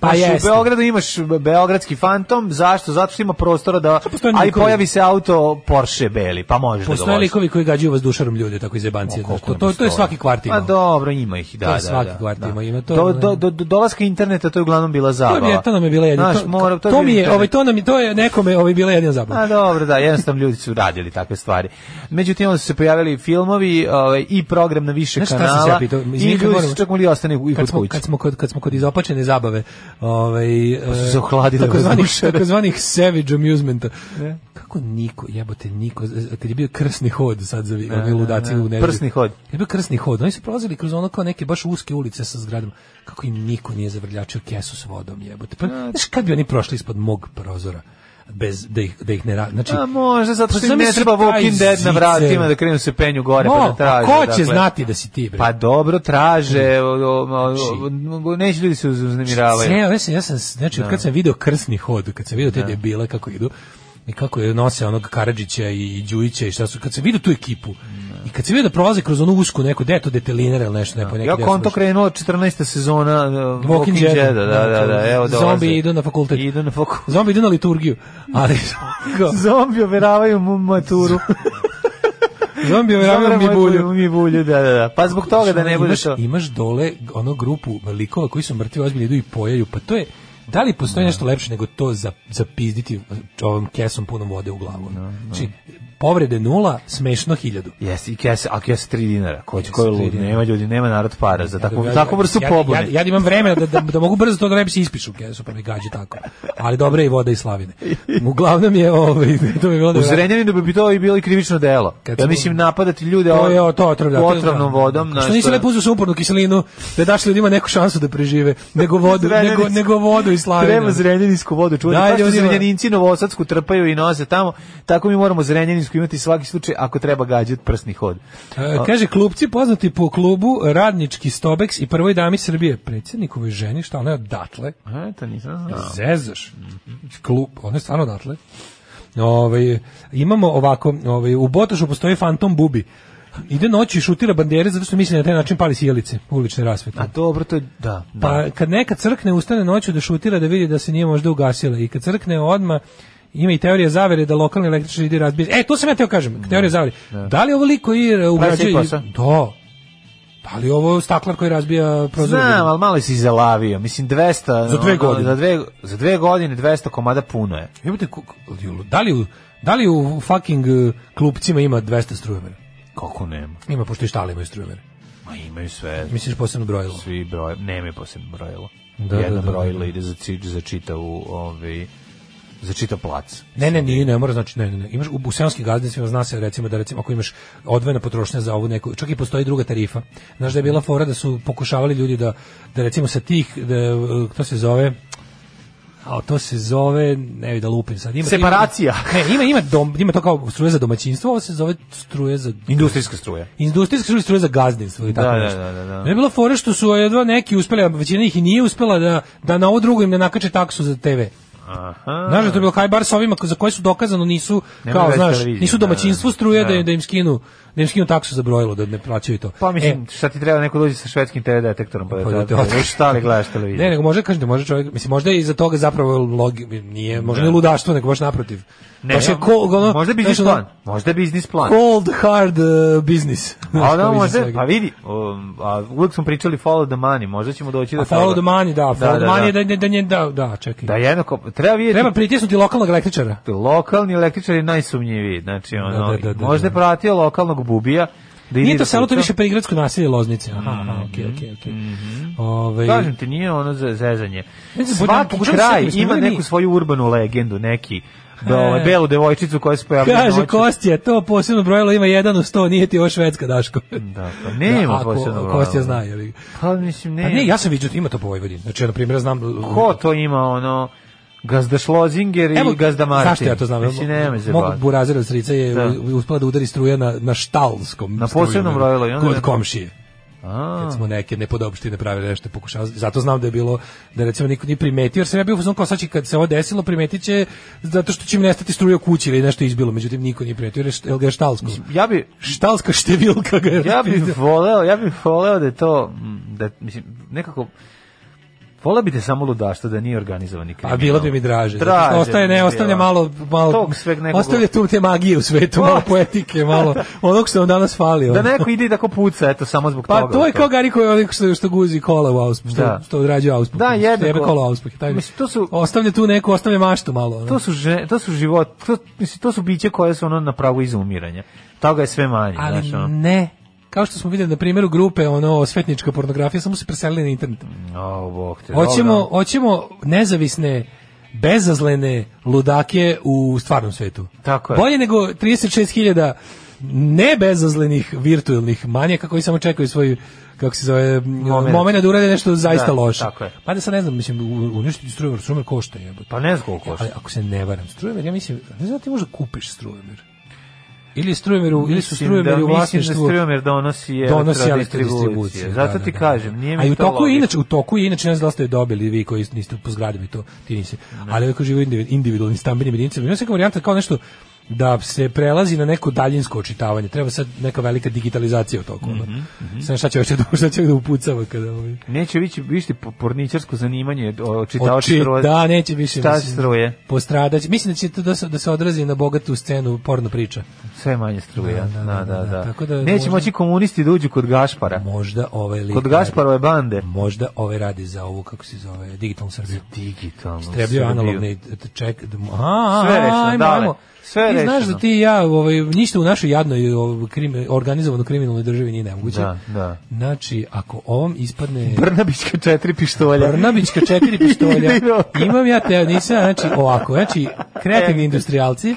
Speaker 7: Pa
Speaker 6: u Beogradu imaš beogradski fantom, zašto? Zato što ima prostora da a i pojavi se auto Porsche beli, pa možeš da
Speaker 7: Postoje dovozi. likovi koji gađaju vazdušarom ljude tako iz jebancije. To, to, to je svaki ono. kvart ima.
Speaker 6: Pa dobro, ima ih, da,
Speaker 7: to
Speaker 6: da.
Speaker 7: svaki
Speaker 6: da,
Speaker 7: kvart
Speaker 6: da.
Speaker 7: ima, ima to.
Speaker 6: Do, do, do, do dolaska interneta to je uglavnom bila zabava.
Speaker 7: To, je, to nam je bila jedna.
Speaker 6: Znaš,
Speaker 7: to,
Speaker 6: mora,
Speaker 7: to, to mi je, ovaj to nam je, to je nekome ovaj bila jedna zabava.
Speaker 6: A Pa dobro, da, jednostavno ljudi su radili takve stvari. Međutim onda su se pojavili filmovi ovaj, i program na više Znaš, kanala. Ja pitao, I ljudi su čak mogli ostane i kod kuće.
Speaker 7: Kad smo kod kad smo kod izopačene zabave, ovaj
Speaker 6: pa su se ohladile
Speaker 7: takozvanih takozvanih savage amusementa. Ne. Kako niko, jebote niko, e, kad je bio krsni hod sad za ne, ludaci ne, ne. u nedelju.
Speaker 6: Krsni hod.
Speaker 7: Kad je bio krsni hod, oni su prolazili kroz ono kao neke baš uske ulice sa zgradama. Kako im niko nije zavrljačio kesu s vodom, jebote. Pa, znaš kad bi oni prošli ispod mog prozora? bez da ih da ih ne radi. Znači,
Speaker 6: a može Pa zato što im ne treba Walking Dead na vratima da krenu se penju gore no, pa da traže.
Speaker 7: Ko će dakle. znati da si ti bre? Mm.
Speaker 6: Pa dobro traže, znači, neće ljudi se uznemiravaju.
Speaker 7: Ne, ja sam ja sam znači da. kad sam video krsni hod, kad sam video te da. debile kako idu i kako je nose onog Karadžića i Đujića i šta su kad se vidi tu ekipu i kad se vidi da prolaze kroz onu usku neku deto detelinera ili nešto neko neki
Speaker 6: ja konto krenuo 14. sezona uh, Walking Dead da da da, da evo dolaze
Speaker 7: Znači, zombi idu na fakultet
Speaker 6: idu na fakultet [LAUGHS]
Speaker 7: zombi idu na liturgiju ali
Speaker 6: zombi overavaju mu
Speaker 7: [LAUGHS]
Speaker 6: maturu
Speaker 7: Zombi overavaju mi bulju.
Speaker 6: Mi bulju, da, da, da. Pa zbog toga da ne bude to.
Speaker 7: Znači, Imaš dole ono grupu likova koji su mrtvi ozbiljni idu i pojaju, pa to je, da li postoji no. nešto lepše nego to za, zapizditi ovom kesom punom vode u glavu? No, no. Znači, povrede nula, smešno hiljadu.
Speaker 6: Jes, i kese, a kese tri dinara. Ko će, yes, ko je lud, nema ljudi, nema narod para za takvu, ja, takvu vrstu
Speaker 7: ja,
Speaker 6: pobune.
Speaker 7: Ja, ja, imam vremena da, da, da, mogu brzo to da ne bi se ispišu kesu, pa mi gađe tako. Ali dobra je i voda i slavine. Uglavnom je ovaj, [LAUGHS] to bi bilo
Speaker 6: U Zrenjaninu bi to i bilo i krivično delo. Kad ja mislim napadati ljude
Speaker 7: to je, o, to, otravlja,
Speaker 6: otravnom vodom.
Speaker 7: Što nisi lepo uzeo supornu kiselinu, da daš ljudima neku šansu da prežive, nego vodu, nego, nego vodu i slavinu.
Speaker 6: Treba zrenjaninsku vodu čuvati. Da, ljudi, zrenjaninci novosadsku trpaju i nose tamo, tako mi moramo zrenjaninsku imati svaki slučaj ako treba gađati prsni hod.
Speaker 7: E, kaže, klubci poznati po klubu Radnički Stobeks i prvoj dami Srbije. Predsjednikovoj ženi, šta ona je odatle?
Speaker 6: E, to nisam znao.
Speaker 7: Zezaš. Klub, ona je stvarno odatle. Ove, imamo ovako, ove, u Botošu postoji Fantom Bubi. Ide noći i šutira bandere zato što misli na taj način pali sjelice, ulične rasvete.
Speaker 6: A dobro, to je, da, da.
Speaker 7: Pa kad neka crkne, ustane noću da šutira da vidi da se nije možda ugasila i kad crkne odma ima i teorija zavere da lokalni električni ljudi razbije. E, to sam ja teo kažem, teorija zavere. Da, da li ovo liko i ugrađuje? Da, ali ovo je staklar koji razbija prozor.
Speaker 6: Znam, ali malo si zalavio. Mislim, 200...
Speaker 7: Za dve godine.
Speaker 6: Za dve, za dve godine 200 komada puno je.
Speaker 7: Jebate, da li, u, da li u fucking e, klupcima ima 200 strujomera?
Speaker 6: Kako nema?
Speaker 7: Ima, pošto i štale imaju strujomere.
Speaker 6: Ma imaju sve.
Speaker 7: Misliš posebno brojilo?
Speaker 6: Svi broj, nema posebno brojilo. Da, Jedno da, da, brojilo ide za, za čitavu... Ovaj, za čitav plac.
Speaker 7: Ne, ne, nije, ne mora znači ne, ne, ne. Imaš u, u seoskim gazdinstvima zna se recimo da recimo ako imaš odvojena potrošnja za ovu neku, čak i postoji druga tarifa. Znaš da je bila fora da su pokušavali ljudi da da recimo sa tih da e, to se zove a to se zove, ne vidim da lupim sad. Ima,
Speaker 6: Separacija.
Speaker 7: Ima, ne, ima, ima, dom, ima to kao struje za domaćinstvo, ovo se zove struje za...
Speaker 6: Industrijska struja.
Speaker 7: Industrijska struja, struje za gazdinstvo i tako
Speaker 6: da,
Speaker 7: nešto.
Speaker 6: Da, da, da.
Speaker 7: Ne je bilo fora što su jedva neki uspeli, a većina njih i nije uspela da, da na ovo drugo im ne nakače taksu za TV. Aha. Znaš da to je bilo kaj bar sa ovima za koje su dokazano nisu Nema kao znaš, nisu domaćinstvo struje da, da, da im skinu da im skinu taksu za brojilo da ne plaćaju to.
Speaker 6: Pa mislim, e, šta ti treba neko dođe sa švedskim TV detektorom pa, pa da, da, da šta li gledaš televiziju.
Speaker 7: E, Ne, nego može kažem da može čovjek, mislim možda je iza toga zapravo log, nije, možda ne ludaštvo, nego baš naprotiv.
Speaker 6: Ne, baš je ko, ono, možda biznis plan. Možda biznis plan.
Speaker 7: Cold hard uh, business.
Speaker 6: A da može, pa vidi, um, a uvek smo pričali follow the money, možda ćemo doći do
Speaker 7: toga. Follow the money, da, follow the money da da da da, da, čekaj.
Speaker 6: Da jednako treba vidjeti.
Speaker 7: Treba pritisnuti lokalnog električara.
Speaker 6: Lokalni električar je najsumnjiviji, znači ono, da, da, da, možda je pratio lokalnog bubija.
Speaker 7: Da nije to selo, to više prigradsko naselje Loznice. Aha, aha, okej, okay, okej, okay, okej. Okay. Mm
Speaker 6: -hmm. Ove... Mhm. Kažem ti, nije ono za zezanje. Svaki kraj ima neku svoju urbanu legendu, neki Dole, belu devojčicu koja se pojavlja
Speaker 7: E. Kaže, noći. Kostja, to posebno brojilo ima jedan u sto, nije ti ovo švedska, Daško.
Speaker 6: Da, pa nema da, posebno brojilo.
Speaker 7: Kostja zna, jel?
Speaker 6: Pa, mislim, ne.
Speaker 7: Pa ne, ja sam vidio, ima to po Vojvodini. Znači, na primjer, znam...
Speaker 6: Ko to ima, ono... Gazda Šlozinger i Evo, Gazda Martin.
Speaker 7: Zašto ja to znam?
Speaker 6: Mislim, nema
Speaker 7: se Mog burazira od srica je da. uspela da udari struja na, na štalskom
Speaker 6: Na posebnom brojilu.
Speaker 7: Kod nema... komšije. A. Kad smo neke nepodopštine pravili nešto pokušavali. Zato znam da je bilo da recimo niko nije primetio, jer sam ja bio fuzon kao sad će kad se ovo desilo primetiće zato što će im nestati struje u kući ili nešto izbilo, međutim niko nije primetio, jer je ga štalsko.
Speaker 6: Ja bi
Speaker 7: štalska številka ga. Je
Speaker 6: ja bih voleo, ja bih voleo da je to da mislim nekako Vola bi te samo ludaštvo da nije organizovani kriminal.
Speaker 7: A Pa bilo bi mi draže. draže ostaje, ne, ostavlja malo, malo,
Speaker 6: Tog sveg nekog...
Speaker 7: ostavlja tu te magije u svetu, malo poetike, malo onog što nam danas falio.
Speaker 6: Da neko ide i tako puca, eto, samo zbog
Speaker 7: pa
Speaker 6: toga.
Speaker 7: Pa to je kao Gari koji onih što, što guzi kola u auspuh, što, da. što odrađuje auspuh.
Speaker 6: Da, jedno.
Speaker 7: Jebe kola auspuh. Taj, mislim, to su, ostavlja tu neku, ostavlja maštu malo. Ono.
Speaker 6: To, su že, to su život, to, mislim, to su biće koje su ono na pravu izumiranja. Toga je sve manje.
Speaker 7: Ali
Speaker 6: znaš, ono.
Speaker 7: ne, kao što smo vidjeli na primjeru grupe ono svetnička pornografija samo se preselili na internet.
Speaker 6: No, bog te.
Speaker 7: Hoćemo hoćemo nezavisne bezazlene ludake u stvarnom svetu.
Speaker 6: Tako je.
Speaker 7: Bolje nego 36.000 ne bezazlenih virtuelnih manjaka koji samo čekaju svoju kako se zove moment, moment da urade nešto zaista
Speaker 6: da,
Speaker 7: loše.
Speaker 6: Tako je.
Speaker 7: Pa da se ne znam, mislim uništiti strujemer, strujemer košta je.
Speaker 6: Pa ne znam koliko košta.
Speaker 7: Ali ako se ne varam, strujemer ja mislim, ne znam ti možda kupiš strujemer ili strujomeru ili su strujomeri u vlasništvu
Speaker 6: mislim da strujomer donosi je
Speaker 7: donosi distribucije
Speaker 6: zato ti
Speaker 7: da, da,
Speaker 6: kažem nije mi a
Speaker 7: i u toku
Speaker 6: to
Speaker 7: inače u toku je inače ne znam da ste dobili vi koji niste po zgradama to ti nisi ali ako žive individualni stambeni jedinice ima neka varijanta kao nešto da se prelazi na neko daljinsko očitavanje. Treba sad neka velika digitalizacija u toku. Mm
Speaker 6: Mhm,
Speaker 7: -hmm, mm -hmm. šta će još šta će da upucava kada ovi.
Speaker 6: Neće vići višti porničarsko zanimanje očitavač
Speaker 7: Oči, struje. Da, neće više.
Speaker 6: Šta struje?
Speaker 7: Postradać. Mislim da će to da se, da se odrazi na bogatu scenu porno priča.
Speaker 6: Sve manje struje. Da, da, da. da,
Speaker 7: Tako da
Speaker 6: neće možda, moći komunisti da uđu kod Gašpara.
Speaker 7: Možda ovaj lik.
Speaker 6: Kod Gašparove bande.
Speaker 7: Možda ove radi za ovu kako se zove digitalnu Srbiju.
Speaker 6: Digitalnu.
Speaker 7: Strebljaju analogni ček.
Speaker 6: A, a, a, Sve rečno, dale. Sve
Speaker 7: ti znaš da ti i ja, ovaj, ništa u našoj jadnoj ovaj, krimi, organizovano kriminalnoj državi nije nemoguće.
Speaker 6: Da, da.
Speaker 7: Znači, ako ovom ispadne...
Speaker 6: Brnabićka četiri pištolja.
Speaker 7: Brnabićka četiri pištolja. Imam ja te, nisam, znači, ovako, znači, kreativni industrialci,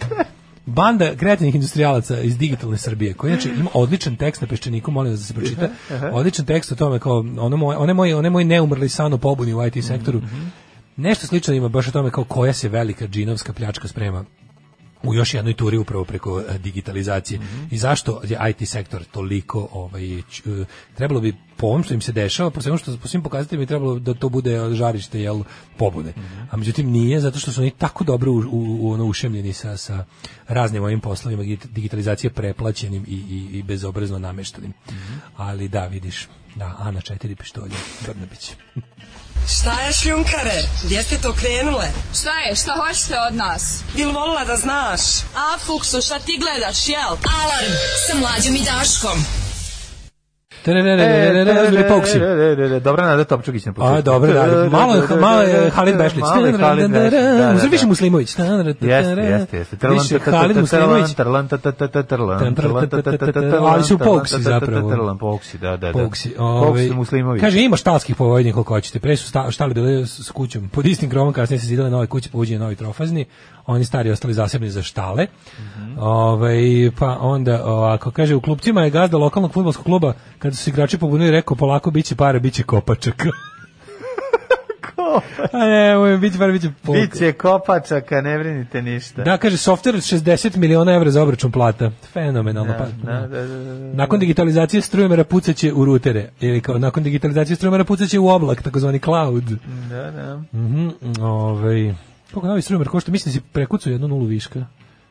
Speaker 7: banda kreativnih industrijalaca iz digitalne Srbije, koji znači ima odličan tekst na peščaniku, molim vas da se pročita, odličan tekst o tome kao ono moje, one moje, one moje neumrli san o pobuni u IT sektoru, nešto slično ima baš o tome kao koja se velika džinovska pljačka sprema u još jednoj turi upravo preko e, digitalizacije. I zašto je IT sektor toliko ovaj ć- e, trebalo bi po ovom što im se dešava, po svemu što po svim pokazateljima bi trebalo da to bude e, žarište jel pobude. A međutim nije zato što su oni tako dobro u, u, u ono ušemljeni sa sa raznim ovim poslovima digit- digitalizacije preplaćenim i i, i bezobrazno nameštenim. Ali da vidiš, da Ana četiri pištolje Brnabić.
Speaker 13: Šta je šljunkare? Gdje ste to krenule?
Speaker 14: Šta je? Šta hoćete od nas?
Speaker 13: Bil volila da znaš?
Speaker 14: A, Fuksu, šta ti gledaš, jel?
Speaker 9: Alarm sa mlađom i Daškom.
Speaker 6: E,
Speaker 7: Pauksi.
Speaker 6: e, e, e, e, Dobra Nada Topčugić na početku.
Speaker 7: A,
Speaker 6: [LAUGHS]
Speaker 7: dobro, da. Malo je, malo je Halid Bešlić.
Speaker 6: Malo je Halid Bešlić, da, da,
Speaker 7: Uzor
Speaker 6: da.
Speaker 7: više Muslimović.
Speaker 6: Jeste, jeste, jeste. Trlan,
Speaker 7: Više
Speaker 6: ta, ta, ta,
Speaker 7: Halid
Speaker 6: trlan,
Speaker 7: Muslimović.
Speaker 6: trlan, ta, ta, ta, ta, trlan,
Speaker 7: Trlan,
Speaker 6: trlan, ta, ta, ta, ta, trlan,
Speaker 7: Ali su
Speaker 6: trlan,
Speaker 7: Pauksi
Speaker 6: ta, ta, ta, ta,
Speaker 7: zapravo.
Speaker 6: trlan, Pauksi, da, da, da.
Speaker 7: Pauksi,
Speaker 6: Pauksi
Speaker 7: ovaj,
Speaker 6: Muslimović.
Speaker 7: Kaže, ima štalskih povojnih koliko hoćete. Pre su sta- štali bile s s kućom. Pod istim krovom kasnije se zidale nove kuće, povuđen novi trofazni. Oni stari ostali zasebni za štale.
Speaker 6: Mhm.
Speaker 7: Ovaj, pa onda, ovako, kaže, u klupcima je gazda lokalnog futbolskog kluba, kada su se igrači pobunili, rekao, polako, bit će pare, bit će
Speaker 6: [LAUGHS]
Speaker 7: [LAUGHS] kopačak. A ne, ovo je, bit će pare, bit će polka.
Speaker 6: Biće kopačaka, ne brinite ništa.
Speaker 7: Da, kaže, software 60 miliona evra za obračun plata. Fenomenalno.
Speaker 6: Da,
Speaker 7: pa,
Speaker 6: da, da, da, da.
Speaker 7: Nakon digitalizacije strujomera pucaće u rutere. Ili kao, nakon digitalizacije strujomera pucaće u oblak, takozvani cloud.
Speaker 6: Da, da.
Speaker 7: Mhm, ovaj. Koliko novi strumer košta? Mislim da si prekucao jednu nulu viška.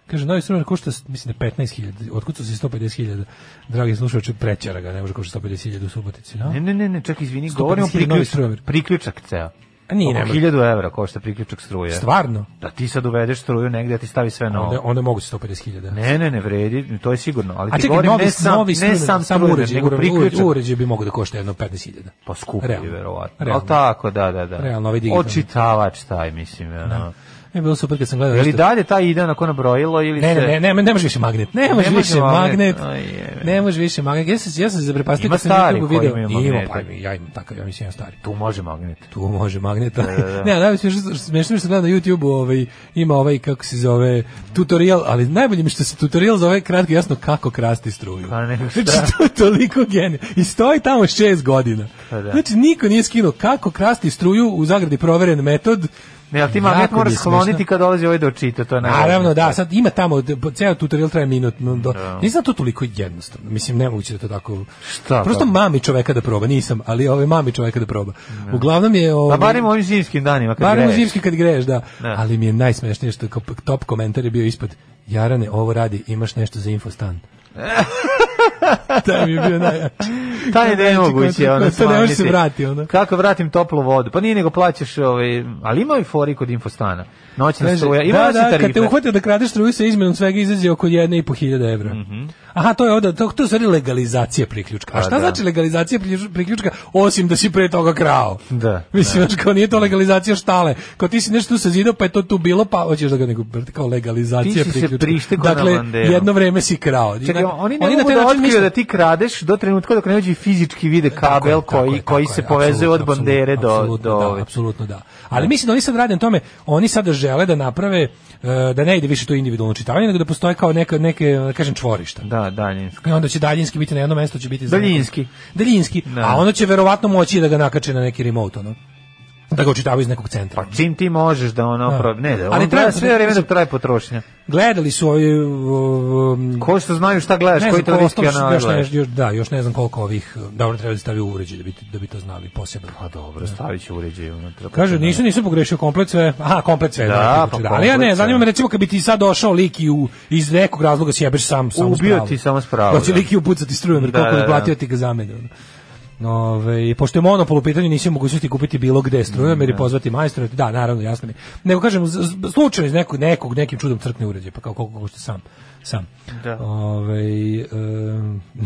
Speaker 7: Kaže, novi strumer košta, mislim da 15.000, otkucao si 150.000. Dragi slušaoče, prećara ga, ne može košta 150.000 u Subotici, no?
Speaker 6: Ne, ne, ne, ne, čak izvini, govorimo
Speaker 7: 150.000 novi
Speaker 6: priključak,
Speaker 7: strumer.
Speaker 6: priključak ceo.
Speaker 7: A nije,
Speaker 6: Oko
Speaker 7: nema.
Speaker 6: 1000 evra košta priključak struje.
Speaker 7: Stvarno?
Speaker 6: Da ti sad uvedeš struju negde, da ti stavi sve novo.
Speaker 7: Onda, onda mogu 150.000.
Speaker 6: Ne, ne, ne vredi, to je sigurno, ali
Speaker 7: A
Speaker 6: ti
Speaker 7: čekaj,
Speaker 6: govorim
Speaker 7: novi,
Speaker 6: ne sam,
Speaker 7: novi
Speaker 6: ne
Speaker 7: strumer,
Speaker 6: sam
Speaker 7: samo
Speaker 6: struja,
Speaker 7: uređaj,
Speaker 6: nego
Speaker 7: uređaj,
Speaker 6: priključak.
Speaker 7: uređaj bi mogo da košta jedno 15.000.
Speaker 6: Pa skuplji,
Speaker 7: Realno.
Speaker 6: verovatno.
Speaker 7: Realno.
Speaker 6: Ali tako, da, da, da.
Speaker 7: Realno, ovaj digitalni.
Speaker 6: Očitavač taj, mislim. Ono.
Speaker 7: Ne, bilo super kad sam gledao.
Speaker 6: Je li
Speaker 7: nešto-
Speaker 6: dalje taj ide onako nabrojilo ili
Speaker 7: Ne,
Speaker 6: se...
Speaker 7: ne, ne, ne, ne može više magnet. Ne može
Speaker 6: Ne može
Speaker 7: više
Speaker 6: magnet.
Speaker 7: magnet.
Speaker 6: Aj, jebe.
Speaker 7: Ne može više magnet. Ja sam se ja sam se zaprepastio
Speaker 6: Ima
Speaker 7: kad sam
Speaker 6: stari
Speaker 7: na YouTubeu
Speaker 6: koji
Speaker 7: video.
Speaker 6: imaju
Speaker 7: Ima
Speaker 6: magnete.
Speaker 7: pa ja imam takav, ja mislim ja stari.
Speaker 6: Tu može magnet.
Speaker 7: Tu može magnet.
Speaker 6: Da, da, da.
Speaker 7: [LAUGHS] ne, najviše smešno smešno mi se gleda na YouTubeu, ovaj ima ovaj kako se zove tutorial, ali najbolje mi je što se tutorial zove kratko i jasno kako krasti struju.
Speaker 6: Pa ne, šta?
Speaker 7: Znači, to je toliko genije. I stoji tamo šest godina.
Speaker 6: Pa da.
Speaker 7: Znači, niko nije skinuo kako krasti struju u zagradi proveren metod.
Speaker 6: Ne, ali ti magnet
Speaker 7: Jako mi
Speaker 6: moraš
Speaker 7: je smešno.
Speaker 6: skloniti kad dolazi ovaj do čita, to je najvažnije.
Speaker 7: Naravno, da, sad ima tamo, d- po- ceo tutorial traje minut. No, do, Nisam to toliko jednostavno, mislim, nemoguće da to tako...
Speaker 6: Šta? pa?
Speaker 7: Prosto
Speaker 6: da?
Speaker 7: mami čoveka da proba, nisam, ali ove mami čoveka da proba. Uglavnom je... Ovaj,
Speaker 6: Pa barem u ovim zimskim danima kad
Speaker 7: Barem u
Speaker 6: greješ.
Speaker 7: zimski kad greješ, da.
Speaker 6: Da.
Speaker 7: Ali mi je najsmešnije što je kao p- top komentar je bio ispod Jarane, ovo radi, imaš nešto
Speaker 6: [LAUGHS]
Speaker 7: za infostan. Taj mi je bio naj... [LAUGHS]
Speaker 6: Taj je nemoguće, ono,
Speaker 7: To ne može Znači, se
Speaker 6: smanjiti.
Speaker 7: vrati, ono.
Speaker 6: Kako vratim toplu vodu? Pa nije nego plaćaš, ovaj, ali ima i fori kod infostana. Noćna
Speaker 7: Kaže,
Speaker 6: Znači, struja, ima
Speaker 7: da,
Speaker 6: noćne
Speaker 7: da,
Speaker 6: tarife.
Speaker 7: kad te uhvate da kradeš struju sa izmenom svega izađe oko 1.500 evra. Aha, to je onda, to, to je u stvari legalizacija priključka.
Speaker 6: Mhm. Pa,
Speaker 7: A šta
Speaker 6: da.
Speaker 7: znači legalizacija priključ- priključka osim da si pre toga krao?
Speaker 6: Da.
Speaker 7: [LAUGHS] Mislim, znači, kao nije to legalizacija štale. Kao ti si nešto tu sazidao, pa je to tu bilo, pa hoćeš da ga nego kao
Speaker 6: Ti
Speaker 7: legalizacija
Speaker 6: si se
Speaker 7: priključka.
Speaker 6: prištekao na
Speaker 7: Dakle,
Speaker 6: banderu.
Speaker 7: jedno vreme si krao.
Speaker 6: Čekaj,
Speaker 7: Na-
Speaker 6: oni ne
Speaker 7: na
Speaker 6: mogu
Speaker 7: taj
Speaker 6: da
Speaker 7: način
Speaker 6: otkriju
Speaker 7: misle-
Speaker 6: da ti kradeš do trenutka dok ne dođe i fizički vide kabel
Speaker 7: Tako je,
Speaker 6: koji,
Speaker 7: tako je,
Speaker 6: koji
Speaker 7: tako
Speaker 6: se
Speaker 7: je,
Speaker 6: povezuje od
Speaker 7: apsolutno,
Speaker 6: bandere do...
Speaker 7: apsolutno
Speaker 6: do
Speaker 7: da, apsolutno da. Ali mislim da oni sad rade na tome, oni sada žele da naprave e, da ne ide više to individualno čitavanje, nego da postoje kao neke neke da kažem čvorišta.
Speaker 6: da, daljinski.
Speaker 7: I onda će daljinski biti na jednom mestu, će biti za
Speaker 6: Daljinski.
Speaker 7: neko- daljinski. A onda će verovatno moći da ga nakače na neki remote ono. Da ga očitavaju iz nekog centra.
Speaker 6: Čim ti možeš da ono...
Speaker 7: Da.
Speaker 6: pro- Ne, da,
Speaker 7: Ali
Speaker 6: ali treba
Speaker 7: treba-
Speaker 6: sve vreme da traje potrošnja.
Speaker 7: Gledali su ovi um,
Speaker 6: Ko što znaju šta gledaš,
Speaker 7: ne
Speaker 6: koji
Speaker 7: znam ko
Speaker 6: televizijski
Speaker 7: ostalo
Speaker 6: kanal
Speaker 7: još, ne,
Speaker 6: gledaš.
Speaker 7: još, da, još ne znam koliko ovih, e, dobro treba da stavi u uređaj da bi, da bi to znali posebno.
Speaker 6: Pa dobro, stavit ću uređaj unutra. pa
Speaker 7: Kaže, nisu, nisu pogrešio komplet sve. Aha, komplet sve.
Speaker 6: Da,
Speaker 7: znači,
Speaker 6: pa
Speaker 7: znači, Ali ja
Speaker 6: komplet sve.
Speaker 7: ne, zanima me recimo kad bi ti sad došao lik i u, iz nekog razloga sjebeš sam, sam
Speaker 6: Ubio ti samo s pravom,
Speaker 7: Da će
Speaker 6: da.
Speaker 7: lik i upucati struju, jer
Speaker 6: Da,
Speaker 7: koliko
Speaker 6: da, da.
Speaker 7: je platio ti ga zamenu. Ove, pošto je monopol u pitanju, nisi mogućnosti kupiti bilo gde strujom jer i pozvati majstora. Da, naravno, jasno mi. Nego kažem, z- z- slučajno iz nekog, nekog nekim čudom crkne uređaj, pa kao koliko košta sam. Sam.
Speaker 6: Da.
Speaker 7: Ove, e,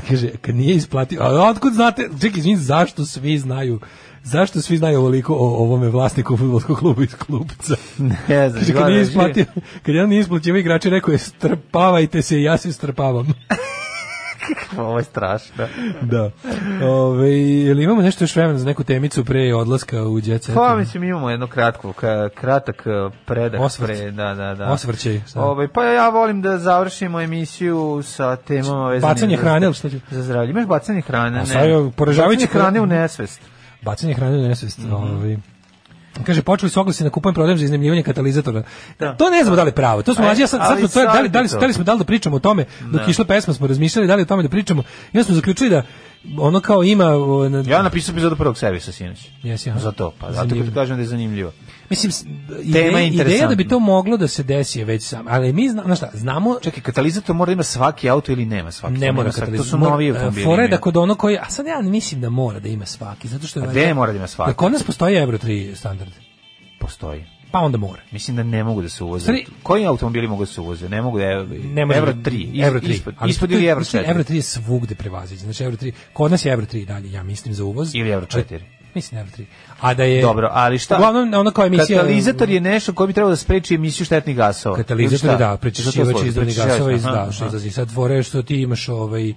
Speaker 7: kaže, kad nije isplatio, a otkud znate, čekaj, izvin, zašto svi znaju Zašto svi znaju ovoliko o ovome vlasniku fudbalskog kluba iz klubca?
Speaker 6: [LAUGHS] Ne znam,
Speaker 7: Kaže, kad nije
Speaker 6: gledaj,
Speaker 7: isplatio, kad jedan nije isplaćivao igrače, rekao je strpavajte se i ja se strpavam.
Speaker 6: [LAUGHS] Ovo je strašno.
Speaker 7: da. Ove, jel imamo nešto još vremena za neku temicu pre odlaska u djeca?
Speaker 6: Pa mislim imamo jedno kratko, ka- kratak eh, predah.
Speaker 7: Osvrt.
Speaker 6: Pre, da, da, da.
Speaker 7: Osvrćaj, šta?
Speaker 6: Ovaj, pa ja volim da završimo emisiju sa temama vezanim
Speaker 7: Bacanje
Speaker 6: za-
Speaker 7: hrane, ili šta ću?
Speaker 6: Za zdravlje. Imaš bacanje hrane?
Speaker 7: A sad je poražavajući
Speaker 6: Bacanje hrane u nesvest.
Speaker 7: Bacanje hrane u nesvest.
Speaker 6: Mhm.
Speaker 7: ovaj. Kaže, počeli su oglasi na kupujem prodajem za iznajmljivanje katalizatora. To ne znamo da li je pravo. To smo,
Speaker 6: Aj,
Speaker 7: mlađi, ja sad, sad
Speaker 6: E, ali
Speaker 7: smo to, da li, da li,
Speaker 6: sad je to.
Speaker 7: da li smo da li da pričamo o tome, dok
Speaker 6: Ne.
Speaker 7: je išla pesma smo razmišljali, da li o tome da pričamo. I onda smo zaključili da ono kao ima... o, na-
Speaker 6: Ja napisao epizodu prvog servisa sinoć.
Speaker 7: Jesi, aha.
Speaker 6: Zato, pa zato
Speaker 7: Zanimljivo.
Speaker 6: ti kažem da je zanimljivo.
Speaker 7: Mislim, s-
Speaker 6: Tema je
Speaker 7: ideja, ideja da
Speaker 6: interesantna.
Speaker 7: bi to moglo da se desi je već sam. Ali mi znamo, znaš šta, znamo...
Speaker 6: Čekaj, katalizator mora da ima svaki auto ili nema svaki?
Speaker 7: Ne mora e,
Speaker 6: Nema svaki,
Speaker 7: katalizator.
Speaker 6: Pa, To su novi automobili.
Speaker 7: Fore da
Speaker 6: imaju.
Speaker 7: kod ono koji, a sad ja ne mislim da mora da ima svaki, zato što je...
Speaker 6: A
Speaker 7: valjda-
Speaker 6: gde mora da ima svaki?
Speaker 7: Da kod nas postoji Euro 3 standard,
Speaker 6: Postoji.
Speaker 7: pa onda mora.
Speaker 6: Mislim da ne mogu da se uvoze.
Speaker 7: Stvari-
Speaker 6: Koji automobili mogu da se uvoze? Ne mogu da je
Speaker 7: Ne može-
Speaker 6: Euro 3. Is-
Speaker 7: Euro 3.
Speaker 6: Ispod,
Speaker 7: Ali
Speaker 6: ispod
Speaker 7: to je-
Speaker 6: ili Euro
Speaker 7: mislim,
Speaker 6: 4.
Speaker 7: Euro 3 je svugde prevaziđen. Znači Euro 3, kod nas je Euro 3 dalje, ja mislim za uvoz.
Speaker 6: Ili Euro 4.
Speaker 7: Mislim Euro 3. A da je
Speaker 6: Dobro, ali šta?
Speaker 7: E, Uglavnom ono kao emisija
Speaker 6: Katalizator je nešto koji bi trebalo da spreči emisiju štetnih gasova.
Speaker 7: katalizator
Speaker 6: Ili
Speaker 7: je,
Speaker 6: šta?
Speaker 7: da,
Speaker 6: Zato
Speaker 7: prečišćivač
Speaker 6: složi,
Speaker 7: izdani
Speaker 6: prečišćivač,
Speaker 7: gasova iz
Speaker 6: aha,
Speaker 7: da, što
Speaker 6: aha.
Speaker 7: izlazi sad fore je što ti imaš ovaj e,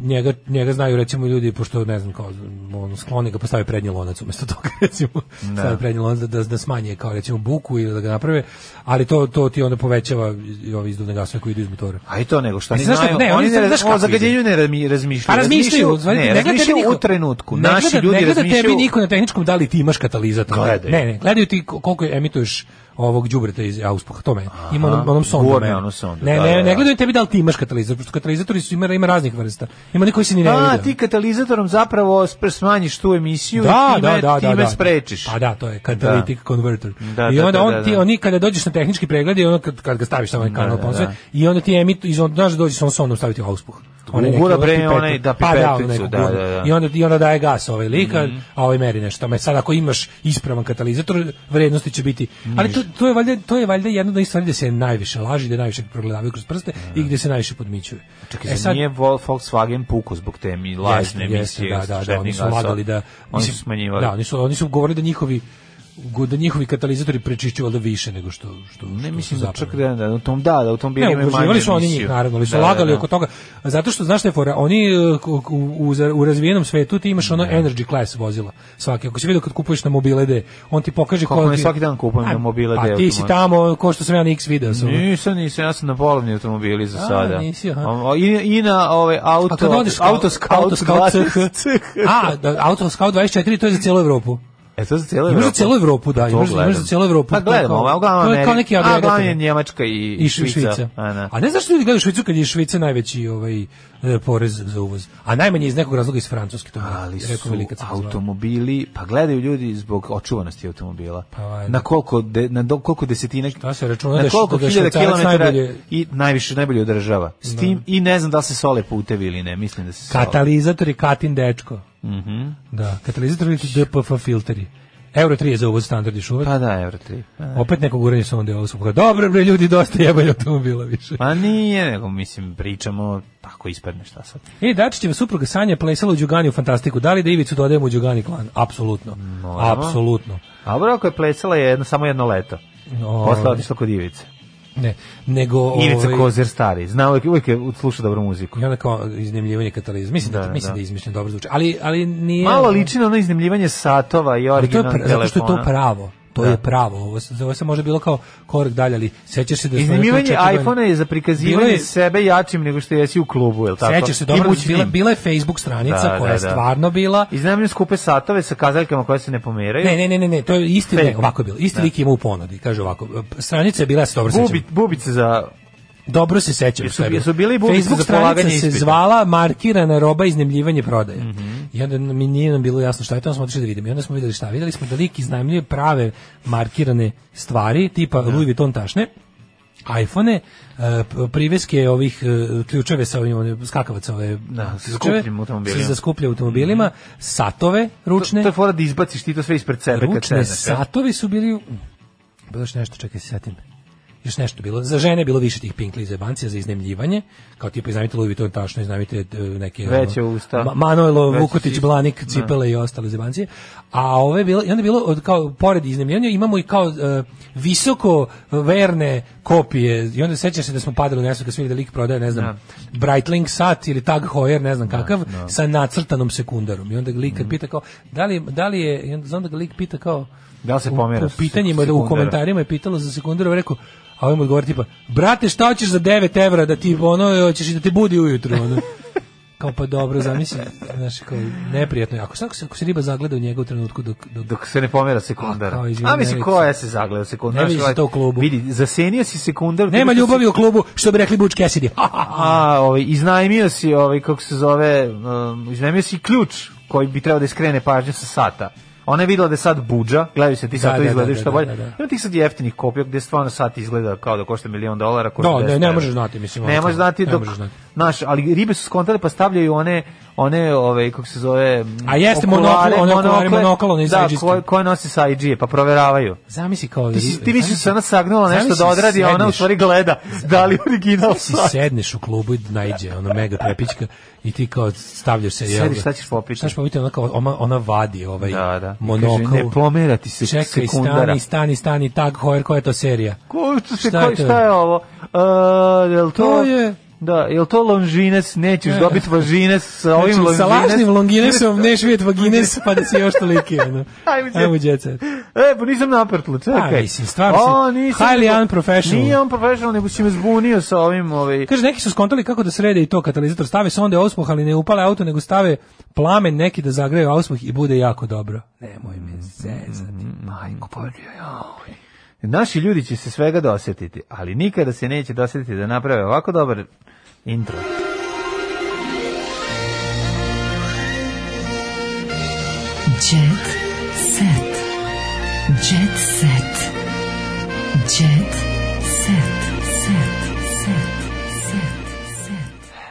Speaker 7: njega, njega znaju recimo ljudi pošto ne znam kao on skloni ga postavi prednji lonac umesto [LAUGHS] toga recimo
Speaker 6: Da.
Speaker 7: stavi prednji lonac da, da, da smanje kao recimo buku ili da ga naprave ali to to ti onda povećava i ove izduvne gasove koji idu iz motora
Speaker 6: A i to nego što
Speaker 7: A
Speaker 6: oni
Speaker 7: znaš šta-
Speaker 6: znaju,
Speaker 7: ne,
Speaker 6: oni
Speaker 7: oni
Speaker 6: ne,
Speaker 7: znaš kako
Speaker 6: o zagađenju ne razmi-
Speaker 7: Pa
Speaker 6: razmišljaju.
Speaker 7: razmišljaju, u stvari,
Speaker 6: ne,
Speaker 7: gleda tebi
Speaker 6: razmišljaju
Speaker 7: niko-
Speaker 6: u trenutku.
Speaker 7: ne
Speaker 6: Naši
Speaker 7: gleda-
Speaker 6: ljudi
Speaker 7: ne gleda
Speaker 6: razmišljaju.
Speaker 7: tebi niko na tehničkom da li ti imaš katalizator.
Speaker 6: Gledaju.
Speaker 7: Ne, ne, gledaju ti ko- koliko emituješ ovog đubreta iz auspuha, to me. Ima onom, onom sondu.
Speaker 6: gurne
Speaker 7: me.
Speaker 6: onu sondu,
Speaker 7: Ne,
Speaker 6: ono da,
Speaker 7: ne,
Speaker 6: da,
Speaker 7: ne
Speaker 6: da.
Speaker 7: gledaju tebi da li ti imaš katalizator, pošto katalizatori su ima, ima raznih vrsta. Ima oni koji se ni ne
Speaker 6: A,
Speaker 7: vide.
Speaker 6: ti katalizatorom zapravo spr- smanjiš tu emisiju
Speaker 7: Da,
Speaker 6: i time,
Speaker 7: da, da, da,
Speaker 6: time
Speaker 7: da.
Speaker 6: sprečiš.
Speaker 7: Pa da, to je catalytic converter.
Speaker 6: Da,
Speaker 7: I
Speaker 6: da,
Speaker 7: onda
Speaker 6: da,
Speaker 7: on
Speaker 6: da,
Speaker 7: ti
Speaker 6: da.
Speaker 7: oni kada dođeš na tehnički pregled i ono kad, kad ga staviš na ovaj kanal
Speaker 6: da,
Speaker 7: pa on sve,
Speaker 6: da.
Speaker 7: i onda ti emitu iz onda znaš da dođe sa sonom staviti auspuh. Onaj neki,
Speaker 6: Ugura,
Speaker 7: ono
Speaker 6: bre,
Speaker 7: pipetu.
Speaker 6: onaj, da,
Speaker 7: Pa da,
Speaker 6: pipeticu,
Speaker 7: onaj neku
Speaker 6: da,
Speaker 7: gurnu.
Speaker 6: da, Mhm. da.
Speaker 7: I onda i onda daje gas ovaj lik, a- a ovaj meri nešto. Ma sad ako imaš ispravan katalizator, vrednosti će biti. Ali to, to je valjda to je valjda jedno da stvari gde se najviše laži, da najviše progledavaju kroz prste i gde se najviše podmićuju.
Speaker 6: Čekaj,
Speaker 7: E
Speaker 6: zar
Speaker 7: sad-
Speaker 6: nije Vol- Volkswagen puku zbog te mi lažne
Speaker 7: Jeste,
Speaker 6: emisije.
Speaker 7: jeste, da, da, da, oni
Speaker 6: štetnih
Speaker 7: su
Speaker 6: gasova?
Speaker 7: lagali da
Speaker 6: Oni
Speaker 7: mislim,
Speaker 6: su smanjivali.
Speaker 7: Da, oni su oni su govorili da njihovi da njihovi katalizatori prečišćuju valjda više nego što što
Speaker 6: Ne
Speaker 7: što
Speaker 6: mislim
Speaker 7: su
Speaker 6: da čak
Speaker 7: zapravo.
Speaker 6: da, da, u tom da, da, u tom bili
Speaker 7: Ne,
Speaker 6: imaju manje
Speaker 7: ugraživali su oni
Speaker 6: emisiju.
Speaker 7: njih, naravno, ali su
Speaker 6: Da, da,
Speaker 7: lagali
Speaker 6: da.
Speaker 7: oko toga. Zato što, znaš šta je fora, oni e, u, u, u razvijenom svetu ti imaš ono energy class vozila svaki. Ako si vidio kad kupuješ na mobile D, on ti pokaže
Speaker 6: Kako
Speaker 7: ko
Speaker 6: ne
Speaker 7: ti-
Speaker 6: svaki dan kupujem
Speaker 7: A,
Speaker 6: na mobile
Speaker 7: Pa
Speaker 6: D
Speaker 7: ti si
Speaker 6: automobil.
Speaker 7: tamo, ko što sam ja na X video. Sam. ono.
Speaker 6: Nisam, nisam, ja sam na polovni automobili za
Speaker 7: A,
Speaker 6: sada.
Speaker 7: nisi, aha.
Speaker 6: O, I, I na ovaj auto,
Speaker 7: A kad odeš kao-
Speaker 6: auto scout,
Speaker 7: Auto Scout
Speaker 6: 20. [LAUGHS]
Speaker 7: A, da, Auto Scout 24, to je za cijelu Evropu.
Speaker 6: E to za cijelu
Speaker 7: Imaš
Speaker 6: Evropu.
Speaker 7: za cijelu Evropu, da,
Speaker 6: Pa To
Speaker 7: imaš, imaš za
Speaker 6: gledam.
Speaker 7: cijelu Evropu.
Speaker 6: Pa
Speaker 7: To je
Speaker 6: gledamo,
Speaker 7: kao-
Speaker 6: a uglavnom
Speaker 7: to je kao
Speaker 6: Ameri-
Speaker 7: neki
Speaker 6: a
Speaker 7: agregat.
Speaker 6: uglavnom je Njemačka i
Speaker 7: I Švi-
Speaker 6: Švica.
Speaker 7: Švica.
Speaker 6: A, da.
Speaker 7: A ne znaš što ljudi gledaju Švicu kad je Švica najveći ovaj, e, porez za uvoz. A najmanje iz nekog razloga iz Francuske. To mi je
Speaker 6: Ali
Speaker 7: rekao
Speaker 6: su
Speaker 7: velika sam zvao.
Speaker 6: automobili, pa gledaju ljudi zbog očuvanosti automobila.
Speaker 7: Pa valjda.
Speaker 6: na koliko de, na do, koliko desetina
Speaker 7: To se računa da
Speaker 6: na
Speaker 7: je-
Speaker 6: koliko
Speaker 7: da je
Speaker 6: hiljada
Speaker 7: Švajcarac
Speaker 6: kilometara
Speaker 7: najbolje-
Speaker 6: i najviše najbolje održava. S
Speaker 7: Da.
Speaker 6: tim i ne znam da li se sole putevi ili ne, mislim da se sole.
Speaker 7: Katalizator je Katin dečko.
Speaker 6: Mhm.
Speaker 7: Da, katalizator je DPF filteri. Euro 3 je za uvoz standard još uvek.
Speaker 6: Pa da, Euro 3. Pa da.
Speaker 7: Opet neko guranje sonde ovo su pokazali. Dobro bre ljudi, dosta jebaju automobila više.
Speaker 6: Pa nije, nego mislim pričamo tako ispadne šta sad.
Speaker 7: E, Dačićeva supruga Sanja plesala u Đugani u fantastiku. Da li da Ivicu dodajemo u Đugani klan? Apsolutno.
Speaker 6: Moramo.
Speaker 7: Apsolutno.
Speaker 6: A bro, ako je plesala jedno, samo jedno leto.
Speaker 7: No.
Speaker 6: Posle je otišla kod Ivice.
Speaker 7: Ne, nego...
Speaker 6: Ivica
Speaker 7: ovaj,
Speaker 6: Kozer stari, zna uvijek, uvijek je sluša dobru muziku.
Speaker 7: I onda kao iznemljivanje katalizma. Mislim da,
Speaker 6: Da,
Speaker 7: mislim da,
Speaker 6: da.
Speaker 7: je izmišljen dobro zvuči. Ali, ali nije...
Speaker 6: Malo liči na ono iznemljivanje satova i
Speaker 7: Ali to je
Speaker 6: originalnog
Speaker 7: pra-
Speaker 6: telefona.
Speaker 7: zato što je to pravo. To
Speaker 6: Da.
Speaker 7: je pravo. Ovo, se- ovo se možda bilo kao korak dalje, ali sećaš se da... Znači, smo
Speaker 6: Iznajmljivanje
Speaker 7: recimo četiri
Speaker 6: iPhone-a
Speaker 7: godine-
Speaker 6: je za
Speaker 7: Bilo
Speaker 6: prikazivanje
Speaker 7: je-
Speaker 6: sebe jačim nego što jesi u klubu, je li tako?
Speaker 7: Sećaš se dobro, bila, bila je Facebook stranica koja je stvarno bila
Speaker 6: Iznajmljene skupe satove sa kazaljkama koje se ne pomeraju.
Speaker 7: Ne, ne, ne, ne, ne, to je isti,
Speaker 6: Fake.
Speaker 7: ne, ovako je bilo. Isti
Speaker 6: Da.
Speaker 7: lik ima u ponudi, kaže ovako. Stranica je bila, ja se dobro sećam.
Speaker 6: Bubi, bubice za...
Speaker 7: Dobro se sećam
Speaker 6: Jesu-
Speaker 7: šta je bilo.
Speaker 6: jesu bili i bubice
Speaker 7: Facebook
Speaker 6: za
Speaker 7: stranica
Speaker 6: polaganje
Speaker 7: se
Speaker 6: ispita? Mhm.
Speaker 7: zvala markirana roba iznajmljivanje prodaje. I onda mi nije nam bilo jasno šta je to, onda smo otišli da vidimo. I onda smo videli šta. Videli smo da lik iznajmljuje prave markirane stvari, tipa Louis Vuitton tašne iPhone-e, uh, priveske ovih uh, ključeve sa ovim one, skakavaca ove
Speaker 6: da, sa skupljim automobilima. Mhm.
Speaker 7: Sa skupljim automobilima, satove ručne.
Speaker 6: To, to je fora da izbaciš ti to sve ispred sebe.
Speaker 7: Ručne kad sedneš, satovi su bili... Mm. Bilo još nešto, čekaj se setim još nešto bilo. Za žene je bilo više tih pinkli za bancija za iznemljivanje, kao tipa iznajmite Louis Vuitton tašno, iznajmite e, neke ono,
Speaker 6: veće usta.
Speaker 7: Ma, Manojlo, Vukotić, Blanik, Cipele ne. i ostale zebancije. A ove bilo i onda je bilo od kao pored iznemljivanja imamo i kao uh, visoko verne kopije. I onda sećaš se da smo padali u nesvaka svih da lik prodaje, ne znam, ne. Breitling sat ili Tag Heuer, ne znam kakav, ne. sa nacrtanom sekundarom. I onda ga lik
Speaker 6: Mhm.
Speaker 7: kad pita kao da li da li je i onda, onda ga lik pita kao
Speaker 6: Da se pomera.
Speaker 7: U, u pitanjima, da u komentarima je pitalo za sekundaru, rekao, a ovaj mu odgovori tipa, brate, šta hoćeš za 9 evra da ti, ono, hoćeš i da ti budi ujutru, ono.
Speaker 6: [LAUGHS]
Speaker 7: Kao pa dobro, zamisli, znaš, kao neprijatno je. Ako, ako, se, ako se riba zagleda u njega u trenutku dok...
Speaker 6: Dok, dok se ne pomera sekundar. A, kao, izvim, a mislim, ko je se zagleda sekundar?
Speaker 7: Ne vidi se to u klubu.
Speaker 6: ovaj, Vidi, zasenio si sekundar.
Speaker 7: Nema ljubavi u klubu, što bi rekli Butch Cassidy.
Speaker 6: a, ovaj, iznajmio si, ovaj, kako se zove, um, iznajmio si ključ koji bi trebao da iskrene pažnju sa sata. Ona je videla da je sad buđa, gledaju se ti sad da, to izgledaju što bolje. Da, da, da. Ima tih sad jeftinih kopija gde stvarno sat izgleda kao da košta milion dolara. Košta
Speaker 7: da, ne, ne možeš znati, mislim. ono,
Speaker 6: Ne možeš znati dok, znaš, ali ribe su skontale pa stavljaju one, one, ove, kako se zove,
Speaker 7: A jeste monoklo, one okulare, monoklo, one
Speaker 6: da, koje, koje nosi sa IG-e, pa proveravaju.
Speaker 7: Zamisli kao...
Speaker 6: Ti, si, ti misliš se ona sagnula nešto da odradi, a ona u stvari gleda da li original
Speaker 7: si sedneš u klubu i najđe, ona mega prepička, i ti kao stavljaš se...
Speaker 6: Sediš, šta ćeš popiti?
Speaker 7: Šta ćeš popiti, ona, kao, ona, ona vadi ovaj...
Speaker 6: Da, da
Speaker 7: monokl. Kaže,
Speaker 6: ne pomera ti se
Speaker 7: Čekaj, sekundara. Čekaj, stani, stani, stani, tag hoer, koja je to serija?
Speaker 6: Ko, se, šta, je ko, šta je ovo? Uh, jel to, to
Speaker 7: je... E.
Speaker 6: Da, jel to longines, nećeš ne. dobiti vagines sa ovim znači, longines.
Speaker 7: Sa lažnim longinesom neš vidjeti vagines, pa da si još toliki.
Speaker 6: [LAUGHS]
Speaker 7: No. Ajmo, djecet.
Speaker 6: E, pa nisam naprtlo, čekaj.
Speaker 7: A, Pa, mislim, stvarno o, nisam, highly to, unprofessional.
Speaker 6: Nije unprofessional, nego si me zbunio sa ovim... Ovaj...
Speaker 7: Kaže, neki su skontali kako da srede i to katalizator. Stave se onda osmoh, ali ne upale auto, nego stave plamen neki da zagreju osmoh i bude jako dobro. Nemoj me zezati, mm, majko, bolio, joj.
Speaker 6: ovaj. Naši ljudi će se svega dosjetiti, ali nikada se neće dosjetiti da naprave ovako dobar intro.
Speaker 9: Jet set. Jet set. Jet set. set.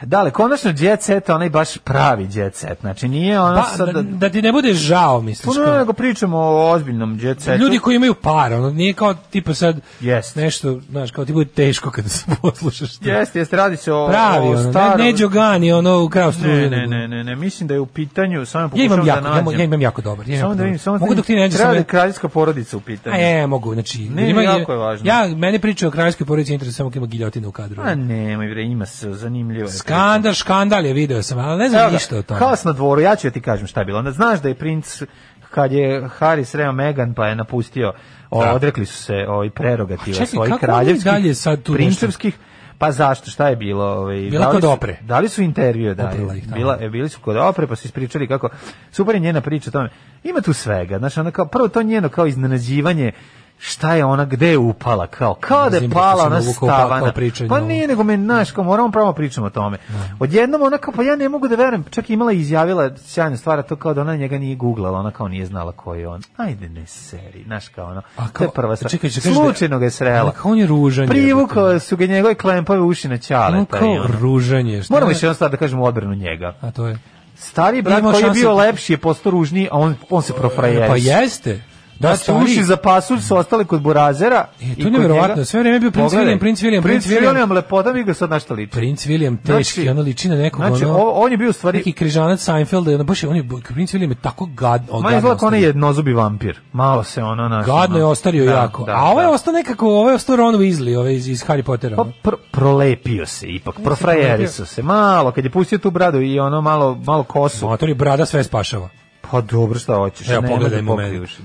Speaker 6: Dale, konačno jet set, onaj baš pravi jet set. Znači nije ono
Speaker 7: pa,
Speaker 6: sad...
Speaker 7: Da, da ti ne bude žao, misliš?
Speaker 6: Puno nego pričamo o ozbiljnom jet setu.
Speaker 7: Ljudi koji imaju para, ono nije kao tipa sad
Speaker 6: yes.
Speaker 7: nešto, znaš, kao ti bude teško kada se [LAUGHS] poslušaš.
Speaker 6: Jeste, jeste, radi se o,
Speaker 7: pravi, ono,
Speaker 6: o starom...
Speaker 7: Ne, ne Đogani, ono u kraju
Speaker 6: ne, ne, ne, ne, ne, mislim da je u pitanju, samo
Speaker 7: ja imam
Speaker 6: da
Speaker 7: jako, nađem. Ja, ja imam jako dobar. Ja
Speaker 6: samo da vidim, samo
Speaker 7: mogu dok ti ne
Speaker 6: Treba da kraljevska porodica u pitanju.
Speaker 7: A je, mogu, znači...
Speaker 6: Ne, ima, jako je važno.
Speaker 7: Ja, meni priča o kraljevskoj porodici interesuje samo kada ima giljotinu u kadru.
Speaker 6: A Pa nemoj, bre, ima se zanimljivo.
Speaker 7: Skandal, škandal je video sam, ali ne znam Evo, ništa o tome.
Speaker 6: Haos na dvoru, ja ću ja ti kažem šta je bilo. Onda znaš da je princ kad je Harry sreo Meghan pa je napustio, o, da. odrekli su se ovaj prerogativa svojih kraljevskih,
Speaker 7: dalje sad tu
Speaker 6: princevskih. Pa zašto, šta je bilo? Ovaj,
Speaker 7: bila dali
Speaker 6: kod
Speaker 7: su, opre.
Speaker 6: Dali su intervju, da. Je, bila, bili su kod opre, pa su ispričali kako... Super je njena priča o tome. Ima tu svega. Znači, ona kao, prvo to njeno kao iznenađivanje šta je ona gde je upala kao kao da je pala ona stavana pa nije nego me naš kao moramo pravo pričamo o tome odjednom ona kao pa ja ne mogu da verujem čak imala izjavila sjajna stvar to kao da ona njega nije guglala ona kao nije znala ko je on ajde ne seri znaš kao ono A kao, to je prva stvar čekaj, čekaj, slučajno ga je srela
Speaker 7: kao on je ružan
Speaker 6: privukao su ga njegove klempave uši na ćale
Speaker 7: kao ružanje
Speaker 6: moramo još jednu stvar da kažemo odbranu njega
Speaker 7: a to je
Speaker 6: Stari brat koji je bio lepši je postao ružniji, a on, on se profrajeris.
Speaker 7: Pa jeste.
Speaker 6: Da, su uši Pa za pasulj su ostali kod Burazera.
Speaker 7: E, to je nevjerovatno. Sve vreme je bio princ William, princ William,
Speaker 6: princ William. William, lepota mi ga sad našta liči.
Speaker 7: Princ William teški, znači, ono liči na nekog.
Speaker 6: Znači,
Speaker 7: ono,
Speaker 6: on je bio stvari...
Speaker 7: Neki križanac Seinfelda, ono baš je, on je, princ William je tako gad,
Speaker 6: o, Ma izgleda on je jednozubi vampir. Malo se ono našo.
Speaker 7: Gadno je ostario da, jako. Da, A ovo je ostao nekako, ovo je ostao Ron Weasley, ove iz, iz Harry Pottera. ono.
Speaker 6: Pa pr prolepio se ipak, profrajeri su se. Malo, kad je pustio tu bradu i ono malo, malo kosu.
Speaker 7: Motor je brada sve spašava.
Speaker 6: Pa dobro šta hoćeš,
Speaker 7: Evo, pogledaj mu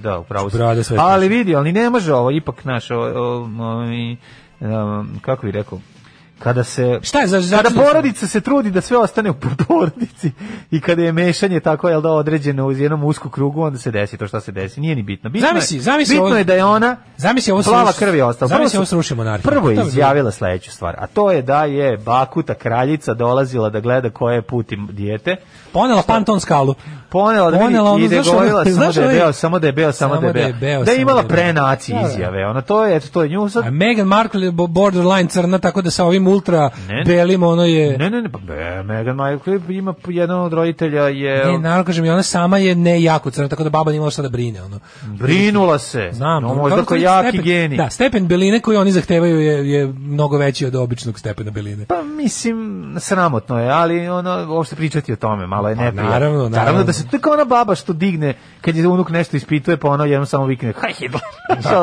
Speaker 6: Da, upravo si.
Speaker 7: Brade sve.
Speaker 6: Ali vidi, ali ne može ovo, ipak naš, o, o, o, o, um, kako bi rekao, kada se
Speaker 7: Šta je za
Speaker 6: kada porodica se trudi da sve ostane u porodici i kada je mešanje tako jel da određeno uz jednom usku krugu onda se desi to što se desi nije ni bitno bitno
Speaker 7: zamisli,
Speaker 6: je,
Speaker 7: zamisli
Speaker 6: bitno
Speaker 7: ovo,
Speaker 6: je da je ona
Speaker 7: zamisli ovo
Speaker 6: plava krv je ostala
Speaker 7: zamisli ovo sruši monarhiju
Speaker 6: prvo je izjavila sledeću stvar a to je da je Bakuta kraljica dolazila da gleda koje je put im dijete
Speaker 7: ponela Panton skalu
Speaker 6: ponela da vidi
Speaker 7: Ponela ono,
Speaker 6: i da je
Speaker 7: znaš
Speaker 6: govorila
Speaker 7: ono,
Speaker 6: samo
Speaker 7: znaš
Speaker 6: da je
Speaker 7: ono,
Speaker 6: beo samo da je beo samo da je beo da je imala prenaci izjave ona to je eto to je nju sad
Speaker 7: A Meghan Markle je bo- borderline crna, tako da sa ovim ultra
Speaker 6: Ne.
Speaker 7: belim ono je...
Speaker 6: Ne, ne, ne, pa be, Meghan Markle ima jedan od roditelja je...
Speaker 7: Ne, naravno kažem, i ona sama je ne jako crna, tako da baba nije imala šta da brine. Ono.
Speaker 6: Brinula se.
Speaker 7: Znam.
Speaker 6: No,
Speaker 7: ono,
Speaker 6: možda
Speaker 7: kako
Speaker 6: kao
Speaker 7: ti
Speaker 6: jaki
Speaker 7: stepen-
Speaker 6: genij.
Speaker 7: Da, stepen beline koji oni zahtevaju je, je mnogo veći od običnog stepena beline.
Speaker 6: Pa mislim, sramotno je, ali ono, uopšte pričati o tome, malo je neprijatno.
Speaker 7: Pa naravno, naravno.
Speaker 6: da se to je kao ona baba što digne, kad je unuk nešto ispituje, pa ono jednom samo vikne, haj Hitler. Znaš,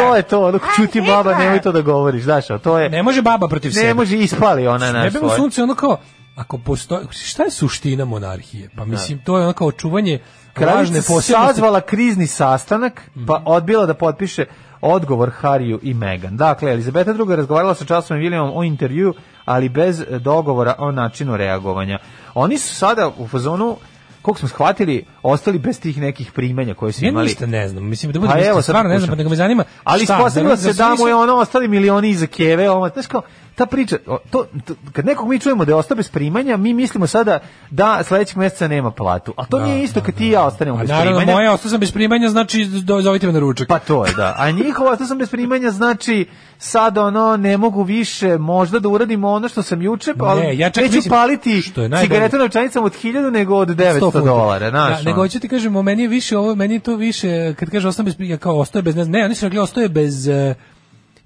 Speaker 6: to je to, ono, čuti baba, nemoj to da govoriš, znaš, a to je...
Speaker 7: Ne može baba protiv sebe.
Speaker 6: Ne može, ovaj. ispali ona na
Speaker 7: Ne bi mu
Speaker 6: svoje.
Speaker 7: sunce ono kao, ako postoji, šta je suština monarhije? Pa mislim, to je ono kao čuvanje
Speaker 6: Kraljica
Speaker 7: važne posebnosti.
Speaker 6: sazvala krizni sastanak, pa odbila da potpiše odgovor Hariju i Meghan. Dakle, Elizabeta II. je razgovarala sa Charlesom i Williamom o intervju, ali bez eh, dogovora o načinu reagovanja. Oni su sada u fazonu, koliko smo shvatili, ostali bez tih nekih primanja koje su
Speaker 7: Ja
Speaker 6: imali.
Speaker 7: ništa ne znam, mislim da
Speaker 6: Pa
Speaker 7: budem
Speaker 6: evo,
Speaker 7: iskren,
Speaker 6: sad
Speaker 7: stvarno ne znam,
Speaker 6: pokušam.
Speaker 7: pa nego me zanima
Speaker 6: Ali
Speaker 7: šta,
Speaker 6: ispostavilo
Speaker 7: zar- zar
Speaker 6: se
Speaker 7: su
Speaker 6: da mu
Speaker 7: nisu-
Speaker 6: je ono ostali milioni iza keve, ono, znaš kao, ta priča, o, to, to- kad nekog mi čujemo da je ostao bez primanja, mi mislimo sada da sledećeg meseca nema platu. A to nije isto kad ti i ja ostanemo
Speaker 7: A
Speaker 6: bez
Speaker 7: Pa naravno,
Speaker 6: primanja.
Speaker 7: moje, ostao sam bez primanja, znači do- zovite me na ručak.
Speaker 6: Pa to je, da. A njihovo ostao sam bez primanja, znači sad ono, ne mogu više možda da uradimo ono što sam juče, pa
Speaker 7: Ne, ja čak
Speaker 6: neću
Speaker 7: mislim-
Speaker 6: paliti
Speaker 7: što je najbolje.
Speaker 6: cigarete na novčanicama od 1000 nego od
Speaker 7: 100
Speaker 6: 900
Speaker 7: funti.
Speaker 6: dolara, znaš.
Speaker 7: Da, nego
Speaker 6: ono.
Speaker 7: hoću ti kažem, o, meni je više ovo, meni je to više, kad kaže ostaje bez, ja kao ostaje bez, ne, znam, ne, oni su rekli ostaje bez, e,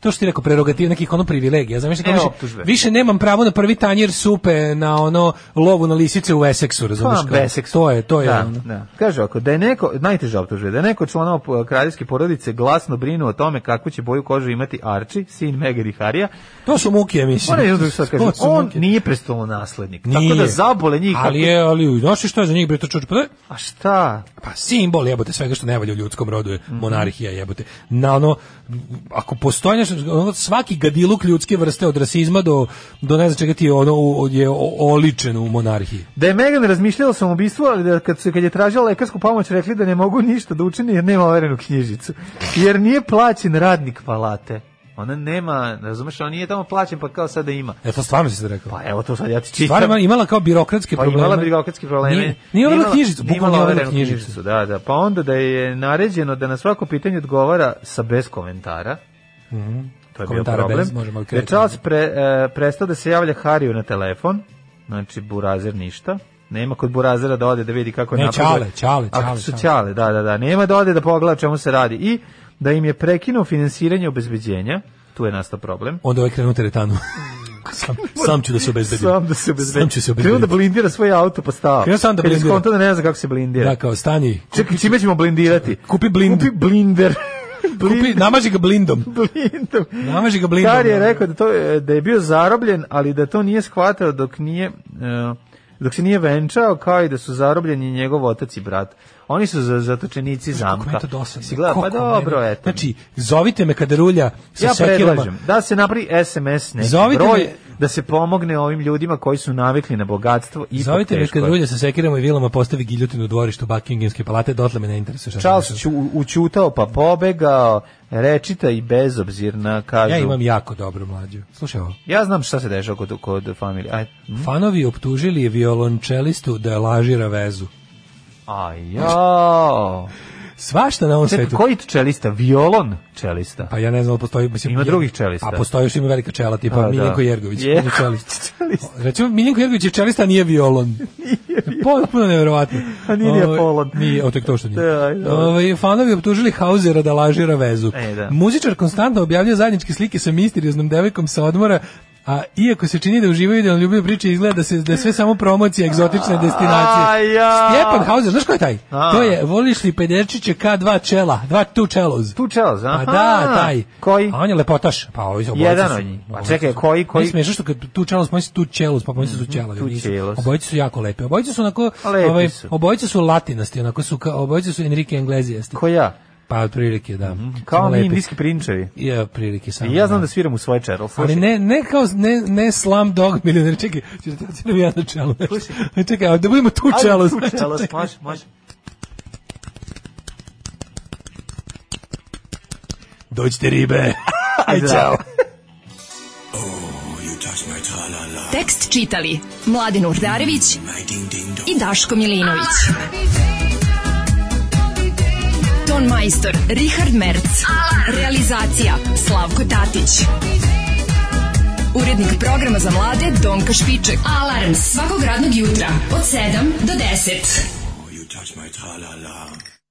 Speaker 7: to što ti rekao, prerogativ nekih ono privilegija, znam, više,
Speaker 6: Ne,
Speaker 7: kao više,
Speaker 6: E, optužbe.
Speaker 7: više nemam pravo na prvi tanjir supe, na ono, lovu na lisice u Essexu, razumiješ?
Speaker 6: Pa, Essex.
Speaker 7: To je, to je,
Speaker 6: da,
Speaker 7: ono.
Speaker 6: da. Kaže ovako, da je neko, najteža optužba, je da je neko članova po- kraljevske porodice glasno brinu o tome kakvu će boju kožu imati Arči, sin Meghan i Harija.
Speaker 7: To su muke, mislim.
Speaker 6: Moram jednu drugu stvar kažem,
Speaker 7: To su
Speaker 6: on
Speaker 7: muke.
Speaker 6: nije prestolonaslednik,
Speaker 7: Nije.
Speaker 6: tako da zabole njih.
Speaker 7: Ali
Speaker 6: kako-
Speaker 7: je, ali, znaš što je za njih, bre, to čuč, pa to je-
Speaker 6: A šta?
Speaker 7: pa simbol jebote svega što ne valja u ljudskom rodu je
Speaker 6: Mhm.
Speaker 7: monarhija jebote na ono ako postoji nešto ono, svaki gadiluk ljudske vrste od rasizma do do ne znam čega ti je ono u- je o- oličen u monarhiji
Speaker 6: Da je Megan razmišljala o ubistvu, ali da kad, se, kad je tražila lekarsku pomoć rekli da ne mogu ništa da učini jer nema overenu knjižicu. Jer nije plaćen radnik palate. Ona nema, razumeš, on nije tamo plaćen pa kao sada ima.
Speaker 7: E to stvarno si se rekao.
Speaker 6: Pa evo to sad ja ti čitam.
Speaker 7: Stvarno imala kao birokratske
Speaker 6: Pa
Speaker 7: probleme.
Speaker 6: imala birokratske probleme.
Speaker 7: Nije, nije overila
Speaker 6: Imala-
Speaker 7: knjižicu,
Speaker 6: nije
Speaker 7: bukvalno
Speaker 6: imala
Speaker 7: nije overila
Speaker 6: overenu
Speaker 7: knjižicu.
Speaker 6: knjižicu, Da, da. Pa onda da je naređeno da na svako pitanje odgovara sa bez komentara. To je bio
Speaker 7: Mhm. Komentara
Speaker 6: problem.
Speaker 7: bez, možemo
Speaker 6: Da je
Speaker 7: kretati.
Speaker 6: Charles pre, e, prestao da se javlja Hariju na telefon. Znači, Burazer ništa. Nema kod Burazera da ode da vidi kako
Speaker 7: Ne,
Speaker 6: napreduje.
Speaker 7: Ćale, Ćale,
Speaker 6: A,
Speaker 7: Ćale,
Speaker 6: su
Speaker 7: Ćale.
Speaker 6: Ćale, da, da, da. Nema da ode da pogleda o čemu se radi. I da im je prekinuo finansiranje obezbeđenja. Tu je nastao problem.
Speaker 7: Onda ovaj
Speaker 6: [LAUGHS]
Speaker 7: krenu teretanu. sam, sam ću da se obezbedim.
Speaker 6: Sam da se obezbedi.
Speaker 7: Sam ću se
Speaker 6: Krenuo da
Speaker 7: obezbediti.
Speaker 6: blindira svoj auto pa stao.
Speaker 7: Krenuo sam da
Speaker 6: Kad je
Speaker 7: blindira.
Speaker 6: skontao da ne zna kako se blindira.
Speaker 7: Da, kao stani.
Speaker 6: Čekaj, čime ćemo blindirati?
Speaker 7: Kupi blind.
Speaker 6: Kupi blinder.
Speaker 7: [LAUGHS] Kupi, namaži ga blindom.
Speaker 6: blindom.
Speaker 7: Namaži ga blindom.
Speaker 6: Kar je
Speaker 7: ono.
Speaker 6: rekao da, to, je- da je bio zarobljen, ali da to nije shvatao dok nije... e, dok se nije venčao, kao i da su zarobljeni njegov otac i brat. Oni su za, zatočenici
Speaker 7: Kako me
Speaker 6: zamka.
Speaker 7: je to dosadno.
Speaker 6: Si gleda, pa
Speaker 7: Kako meni-
Speaker 6: dobro, eto.
Speaker 7: Znači, zovite me kada rulja sa
Speaker 6: ja
Speaker 7: sekirama.
Speaker 6: predlažem da se napravi SMS neki
Speaker 7: Zovite
Speaker 6: broj,
Speaker 7: me-
Speaker 6: da se pomogne ovim ljudima koji su navikli na bogatstvo i
Speaker 7: Zovite me
Speaker 6: teško
Speaker 7: kad
Speaker 6: je.
Speaker 7: rulja sa sekirama i vilama postavi giljotinu u dvorištu Buckinghamske palate, dotle me ne interesuje šta se
Speaker 6: Charles
Speaker 7: dešava.
Speaker 6: ću, učutao pa pobegao, rečita i bezobzirna, kažu.
Speaker 7: Ja imam jako dobro mlađu. Slušaj ovo.
Speaker 6: Ja znam šta se dešava kod, kod familije. Aj,
Speaker 7: Fanovi optužili je violončelistu da lažira vezu.
Speaker 6: aj jao.
Speaker 7: Svašta na ovom
Speaker 6: Čekaj,
Speaker 7: svetu.
Speaker 6: koji čelista? Violon čelista?
Speaker 7: Pa ja ne znam, ali postoji... Mislim,
Speaker 6: Ima drugih čelista.
Speaker 7: A postoji još ima velika čela, tipa
Speaker 6: A, da.
Speaker 7: Miljenko Jergović.
Speaker 6: Je.
Speaker 7: on Je.
Speaker 6: [LAUGHS]
Speaker 7: čelist. Recimo, Miljenko Jergović je čelista, a nije violon. Potpuno nevjerovatno.
Speaker 6: A nije ni
Speaker 7: Ovaj,
Speaker 6: Apolon.
Speaker 7: Nije, o tek to što nije.
Speaker 6: Da, aj, dobro.
Speaker 7: Ovaj, fanovi optužili Hauzera da lažira vezu.
Speaker 6: E, da.
Speaker 7: Muzičar konstantno objavljuje zajedničke slike sa misterioznom devojkom sa odmora, a iako se čini da uživaju da ljubav priče izgleda da se da je sve samo promocija egzotične destinacije.
Speaker 6: Aj, ja.
Speaker 7: Stjepan Hauser, znaš ko je taj?
Speaker 6: A.
Speaker 7: To je voliš li pederčiće K2 čela, dva tu čeloz.
Speaker 6: Tu čelos, aha.
Speaker 7: Pa da, taj.
Speaker 6: Koji?
Speaker 7: A on je lepotaš. Pa ovi obojica
Speaker 6: Jedan
Speaker 7: su-
Speaker 6: od njih. Pa
Speaker 7: obojica
Speaker 6: čekaj,
Speaker 7: su-
Speaker 6: koji- koji- Mhm,
Speaker 7: Ne smiješ, što kad tu čelos, pomisi tu čelos, pa pomisi su čela.
Speaker 6: tu
Speaker 7: nisu.
Speaker 6: čelos.
Speaker 7: Obojice su jako lepe. Obojice su onako,
Speaker 6: Lepi
Speaker 7: ovaj,
Speaker 6: su.
Speaker 7: obojice su latinasti, onako su, ka, obojice su Enrique Iglesias.
Speaker 6: Ko ja?
Speaker 7: Pa Pa, otprilike, da. Mm
Speaker 6: -hmm. Kao mi indijski prinčevi.
Speaker 7: Ja, prilike sam.
Speaker 6: I ja znam da sviram u svoje čerol.
Speaker 7: Ali ne, ne kao, ne, ne slam dog milioner. Čekaj, čekaj, čekaj, ja na čelo. [LAUGHS] Čekaj, da budemo tu čelo.
Speaker 6: Ajde, tu čelo, može, može.
Speaker 7: [LAUGHS] Dođite ribe. Aj, čao.
Speaker 9: Tekst čitali Mladin Urdarević i Daško Milinović. Ton majstor Richard Merc. Realizacija Slavko Tatić. Urednik programa za mlade Donka Špiček. Alarms svakog radnog jutra od 7 do 10.